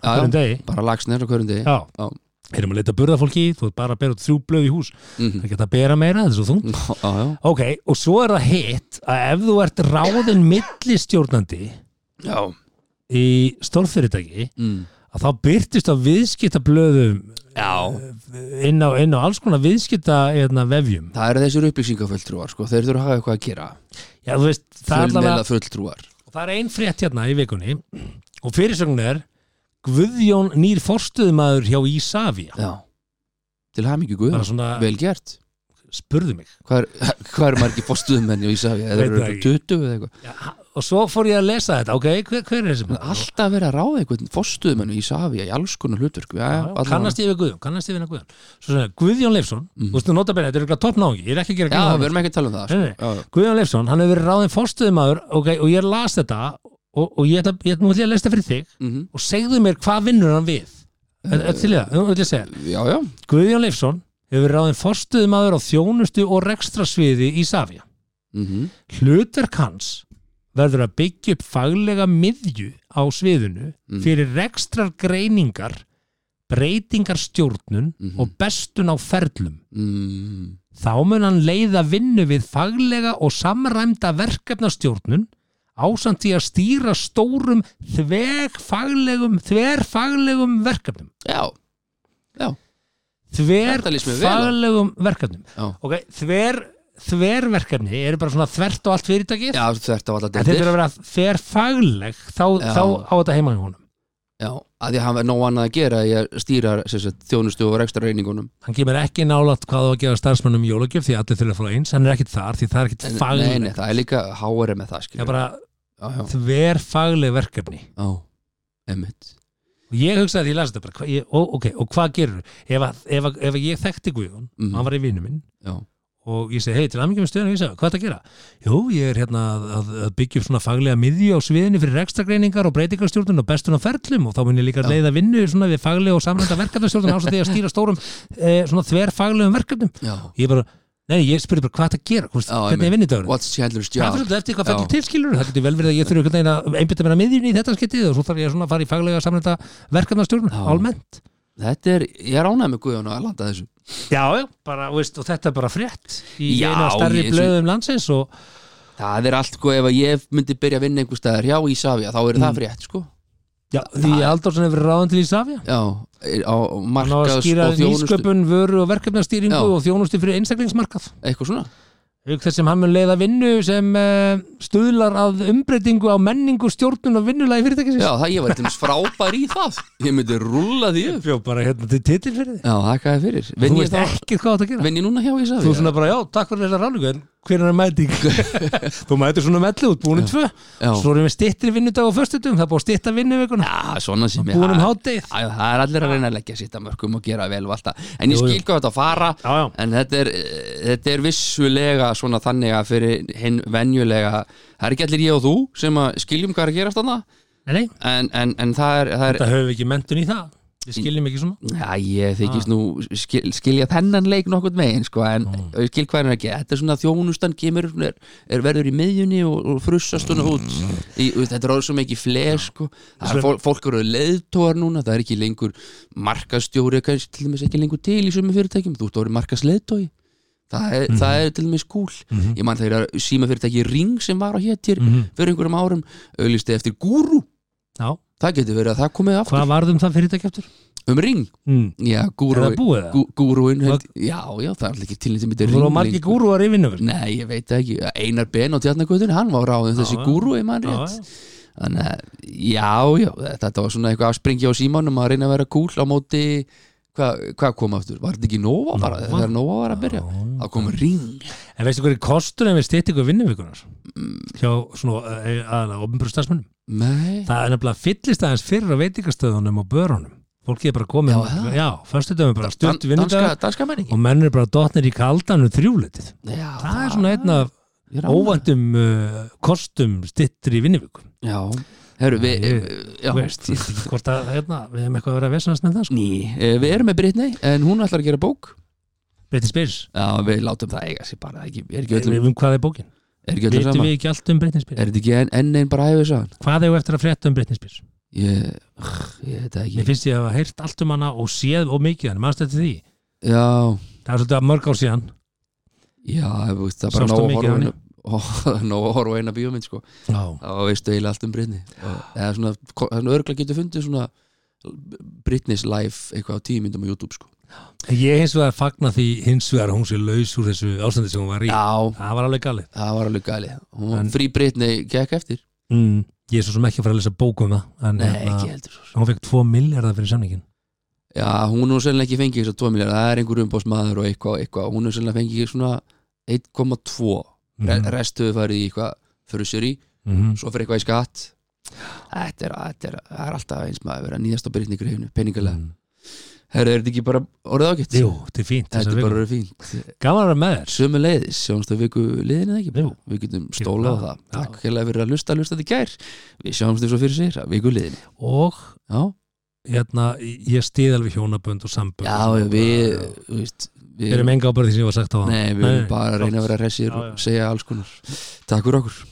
Speaker 2: Já, já.
Speaker 3: hverjum degi,
Speaker 2: bara lagsnir á hverjum degi
Speaker 3: já,
Speaker 2: Já.
Speaker 3: erum að leita burðafólki þú ert bara að bera út þrjú blöð í hús
Speaker 2: Mhm. Mm.
Speaker 3: það geta að bera meira, þetta er svo þungt
Speaker 2: já *laughs* já
Speaker 3: ok, og svo er það hitt að ef þú ert ráðin millistjórnandi
Speaker 2: já
Speaker 3: í stórfyrirtæki
Speaker 2: mm.
Speaker 3: að þá byrtist á viðskiptablöðum eh,
Speaker 2: já
Speaker 3: inn á, inn á alls konar viðskipta hérna, vefjum
Speaker 2: það eru þessir upplýsingafulltrúar sko þeir þurfa að hafa eitthvað að gera
Speaker 3: já, þú veist, það er allavega
Speaker 2: fjölmeila fulltrúar
Speaker 3: Og það er ein frétt hérna í vikunni og fyrirsögnu er Guðjón nýr forstuðumadur hjá Ísafja.
Speaker 2: já til hamingi guð
Speaker 3: Bara svona,
Speaker 2: vel gert
Speaker 3: spurðu mig.
Speaker 2: Hvað er, *laughs* hvað er margir fórstuðumenn í Ísafi? Það
Speaker 3: Veit
Speaker 2: eru
Speaker 3: það ekki.
Speaker 2: 20 eða eitthvað.
Speaker 3: Já, og svo fór ég að lesa þetta, ok, hver, hver er þessi maður?
Speaker 2: Alltaf verið að ráða einhvern fórstuðumenn í Ísafi í alls konar hlutverk. Já,
Speaker 3: Já, já, kannast ég við Guðjón, kannast ég við Guðjón. Svo svona, Guðjón Leifsson,
Speaker 2: Mhm.
Speaker 3: þú veist þú nota bene, þetta er eitthvað toppnáðingi, ég er ekki að gera
Speaker 2: Já,
Speaker 3: grín að
Speaker 2: við
Speaker 3: honum.
Speaker 2: erum ekki að tala um það.
Speaker 3: Nei, nei.
Speaker 2: sko. Já,
Speaker 3: Guðjón Leifsson, hann hefur verið ráðin forstuðumadur, ok, og ég las þetta og, og ég, ætla- ég, nú ætlum ég að lesa þetta fyrir þig
Speaker 2: mhm.
Speaker 3: og segðu mér hvað vinnur hann við. Þetta er til í það, nú ætlum ég að segja.
Speaker 2: já, já.
Speaker 3: Guðjón Leifsson hefur verið ráðin forstuðumadur á þjónustu og rekstrasviði í Safja.
Speaker 2: mhm.
Speaker 3: Hlutverk hans verður að
Speaker 2: Mhm.
Speaker 3: byggja upp faglega miðju á sviðinu fyrir rekstrargreiningar breytingar stjórnun
Speaker 2: Mhm.
Speaker 3: og bestun á ferlum
Speaker 2: mm,
Speaker 3: þá mun hann leiða vinnu við faglega og samræmda verkefnastjórnun ásamt því að stýra stórum þvegfaglegum þverfaglegum verkefnum
Speaker 2: Já, Þetta líst mér vel á.
Speaker 3: þverfaglegum verkefnum
Speaker 2: Já.
Speaker 3: ok, þver þververkefni eru bara svona þvert og allt fyrirtækið
Speaker 2: já þetta var alltaf
Speaker 3: en þeir eru að vera þverfagleg þá,
Speaker 2: Já.
Speaker 3: þá á þetta heima í honum
Speaker 2: Já, að því að hann verði nóg annað að gera í að stýra sem sagt, þjónustu og rekstra reyningunum
Speaker 3: hann kemur ekki nálat hvað á að gefa starfsmönnum jólagjöf því allir þurfa að fá eins, hann er ekkit þar því það er ekkit
Speaker 2: Nei, nei,
Speaker 3: fagleg,
Speaker 2: það er líka háari með það
Speaker 3: það
Speaker 2: skilur
Speaker 3: er bara
Speaker 2: Já, já,
Speaker 3: þverfagleg verkefni
Speaker 2: já, emmitt
Speaker 3: og ég hugsaði að ég las þetta bara hva, ég, og, ok, og hvað gerur ef, að- ef, að- ef að ég þekkti Guðjón
Speaker 2: Mhm.
Speaker 3: hann var í vinnu minn
Speaker 2: Já,
Speaker 3: og ég segi, hei, til aðmyggjum stöðunum, ég segi, hvað er að gera? Jú, ég er hérna að, að, að byggja upp svona faglega miðju á sviðinu fyrir rekstagreiningar og breytingarstjórnun og bestun á ferlum og þá mun ég líka leiða vinnu svona við faglega og samrænda verkefnastjórnun ás að því að stýra stórum eh, svona þverfaglegum verkefnum.
Speaker 2: já
Speaker 3: Ég bara, nei, ég spurði bara hvað er að gera, Hvist,
Speaker 2: Já,
Speaker 3: hvernig er
Speaker 2: einmitt.
Speaker 3: vinnudagurinn?
Speaker 2: What's Chandler's
Speaker 3: Það
Speaker 2: job?
Speaker 3: fyrir svolítið eftir hvað
Speaker 2: Já.
Speaker 3: fellur tilskilur, það getur vel verið að ég þurfi einhvern veginn að einbytta mér að miðjunni í þetta skiptið og svo þarf ég svona að fara í faglega samrænda verkefnastjórnun,
Speaker 2: Já.
Speaker 3: almennt.
Speaker 2: Þetta er, ég er ánægð með Guðjón og að landa þessu
Speaker 3: Já, já, bara, þú veist, og þetta er bara frétt í
Speaker 2: Já,
Speaker 3: einu af
Speaker 2: ég-
Speaker 3: stærri
Speaker 2: eins og-
Speaker 3: blöðum landsins og,
Speaker 2: Það er allt, sko, ef að ég myndi byrja að vinna einhver staðar hjá Ísafja, þá er
Speaker 3: Mm.
Speaker 2: það frétt, sko
Speaker 3: Já, því Halldórsson hefur verið ráðan til Ísafja
Speaker 2: Já, e, á
Speaker 3: hann á að
Speaker 2: markaðs
Speaker 3: skýra
Speaker 2: og þjónustu
Speaker 3: nýsköpun, vöru og verkefnastýringu
Speaker 2: Já.
Speaker 3: og þjónustu fyrir einstaklingsmarkað
Speaker 2: Eitthvað svona
Speaker 3: auk þess sem hann mun leiða vinnu sem uh, stuðlar að umbreytingu á menningu, stjórnun og vinnulagi fyrirtækisins
Speaker 2: Já, það ég var til dæmis frábær í það Ég myndi rúlla því upp
Speaker 3: fjó bara hérna til titil fyrir þig
Speaker 2: Já, þakka þér fyrir
Speaker 3: þú
Speaker 2: Vinn ég,
Speaker 3: veist
Speaker 2: þá-
Speaker 3: ekkert hvað átt að gera
Speaker 2: vinn ég núna hjá Ísafja?
Speaker 3: þú svona bara, já, takk fyrir þessa ráðningu en hvernig er mæting? *laughs* þú mætir svona mellu út, búinum tvö
Speaker 2: Já.
Speaker 3: svo erum við stittri vinnudag og föstutum það er búið að stitta vinnuvikuna
Speaker 2: Já, svona sem ég
Speaker 3: búin um hádegið.
Speaker 2: Æ, Það er allir að reyna að leggja sitt að mörgum og gera vel og allt það En ég
Speaker 3: Jú, jú.
Speaker 2: skil hvað þetta að fara
Speaker 3: Já, já.
Speaker 2: En þetta er, eh, þetta er vissulega svona þannig að fyrir hinn venjulega Það er ekki allir ég og þú sem að skiljum hvað er að gerast þannig
Speaker 3: nei, nei,
Speaker 2: En, en, en það er, það er
Speaker 3: þetta höfum við ekki mentun í það við skiljum ekki svona
Speaker 2: Já, ég þykist nú skil, skilja þennan leik nokkurt megin sko, en ég skil hvað er hann ekki, þetta er svona þjónustan kemur, hún er, er verður í miðjunni og, og frussast svona út í, og þetta er orðið svo mikið fles sko. Það er fólk, fólk eru leiðtóar núna það er ekki lengur markastjóri kannski til dæmis ekki lengur til í sömu fyrirtækjum þú ert orðið markasleiðtói það er, það er til dæmis cool ég man þegar símafyrirtæki Ring sem var á hétir fyrir einhverjum árum auðlisti eftir gúrú
Speaker 3: Já,
Speaker 2: það getur verið að það komið aftur
Speaker 3: hvað varðum það fyrirtækjaftur?
Speaker 2: um Ring
Speaker 3: Mm.
Speaker 2: Já,
Speaker 3: Er
Speaker 2: gúrú,
Speaker 3: það búið, eða?
Speaker 2: gú, gúrúin held,
Speaker 3: Var-
Speaker 2: Já, já, það er alltaf ekki tilnýtt sem þetta
Speaker 3: Þú
Speaker 2: er
Speaker 3: voru á margi gúrúar í vinnuvel
Speaker 2: sko. Nei, ég veit það ekki, Einar Ben á tjarnakvötun hann var ráðin þessi
Speaker 3: já.
Speaker 2: gúrú í mann rétt Þannig að, já, já þetta var svona eitthvað afspringi á símanum að reyna að vera cool á móti hvað hva kom aftur, var þetta ekki Nova bara
Speaker 3: Nova?
Speaker 2: þegar Nova var að byrja, þá kom Ring
Speaker 3: En veistu hverju kostur en við stýtti ykkur vinnuvikunar
Speaker 2: Mm.
Speaker 3: hjá svona aðalega ofnbjörn starfsmönnum
Speaker 2: Nei,
Speaker 3: Það er nefnilega fyllist aðeins fyrir á veitingastöðunum og börunum Fólki er bara komið
Speaker 2: Já, það?
Speaker 3: já föstudöfum er bara stutt
Speaker 2: danska,
Speaker 3: vinnudag
Speaker 2: danska menning
Speaker 3: og menn er bara dotnir í kaldanum þrjúletið
Speaker 2: Já,
Speaker 3: Það er svona einn af
Speaker 2: Ah. ég er ánægður.
Speaker 3: óvæntum uh, kostum stýttir í vinnuvikum
Speaker 2: Já, herru, við
Speaker 3: Ég-
Speaker 2: já.
Speaker 3: Þú veist, ég veit ekki hvort að hérna, við hefum eitthvað að vera að vesnast með það sko.
Speaker 2: Ný, eh, við erum með Britney en hún ætlar að gera bók
Speaker 3: Betty Spears,
Speaker 2: Já, við látum það eiga sér bara, það er ekki, er ekki öllum
Speaker 3: um hvað er bókin?
Speaker 2: Er ekki öllum
Speaker 3: Vitum
Speaker 2: sama?
Speaker 3: við ekki allt um Britney Spears?
Speaker 2: Er þetta ekki enn en einn bara æfis að hann?
Speaker 3: Hvað hefur eftir að frétta um Britney Spears?
Speaker 2: Ég, ég veit það
Speaker 3: Mér
Speaker 2: ekki
Speaker 3: finnst ég að hafa heyrt allt um hana og séð og mikið hann, mannstu eftir því?
Speaker 2: Já,
Speaker 3: Það er svolítið að mörg ár síðan
Speaker 2: já, ég veist, það er bara
Speaker 3: Sástu
Speaker 2: nóg að
Speaker 3: mikið
Speaker 2: horfa á
Speaker 3: af
Speaker 2: eina- *laughs* ó, Nóg að horfa á eina bíómynd, sko
Speaker 3: Já,
Speaker 2: Þá veistu eiginlega allt um Britney Og- Eða svona, þannig örgla getur fundið svona Britney's life eitthvað á tímyndum á YouTube, sko
Speaker 3: ég hins vegar fagna því hins vegar að hún sé laus úr þessu ástandi sem hún var í
Speaker 2: Já,
Speaker 3: Það var alveg galið
Speaker 2: það var alveg gæli Hún var
Speaker 3: En-
Speaker 2: frí Britney, gekk eftir
Speaker 3: mm. Ég er svo sem ekki að fara að lesa bók um það en,
Speaker 2: Nei,
Speaker 3: hérna,
Speaker 2: ekki heldur svo sem.
Speaker 3: Hún fekk 2 miljardar fyrir samningin
Speaker 2: Já, hún er nú sennilega ekki fengið þess að 2 miljard Það er einhver umbóðsmaður og eitthvað, eitthvað Hún er sennilega fengið svona 1,2 mm.
Speaker 3: Mhm.
Speaker 2: Rest höfðu farið í eitthvað fyrir sér í
Speaker 3: Mhm.
Speaker 2: svo fyrir eitthvað í skatt þetta er, þetta er, það er alltaf eins maður að vera nýjast á byrjtni greifinu, peningalega
Speaker 3: Mm.
Speaker 2: herru, er þetta ekki bara orðið ágætt?
Speaker 3: Jú, þetta er fínt
Speaker 2: þetta
Speaker 3: þessar
Speaker 2: er bara
Speaker 3: vikur.
Speaker 2: orðið fínt
Speaker 3: Gaman að vera með þér
Speaker 2: sömu leiðis, sjáumst að viku liðin eða ekki bara?
Speaker 3: Jú.
Speaker 2: við getum stólað á
Speaker 3: það.
Speaker 2: það
Speaker 3: Já.
Speaker 2: takk hérlega fyrir að lusta, lusta til gær við sjáumst þér svo fyrir sér að viku liðin
Speaker 3: Og
Speaker 2: já,
Speaker 3: hérna, ég stið alveg hjónabönd og sambönd
Speaker 2: já, já við, þú veist,
Speaker 3: Við
Speaker 2: við
Speaker 3: erum enga ábæri því sem ég var sagt á það
Speaker 2: Nei, við erum bara að reyna að vera resir
Speaker 3: Já, já.
Speaker 2: og segja alls konar Takk fyrir okkur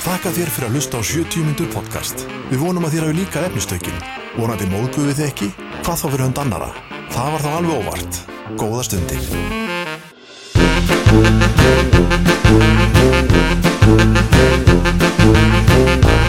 Speaker 1: Þakka þér fyrir að hlusta á 70 mínútur podcast. Við vonum að þér hafi líka efnistökin. Vonandi móðguðu þið ekki? Hvað þá fyrir hund annara? Það var þá alveg óvart. Góða stundir.
Speaker 8: Thank you.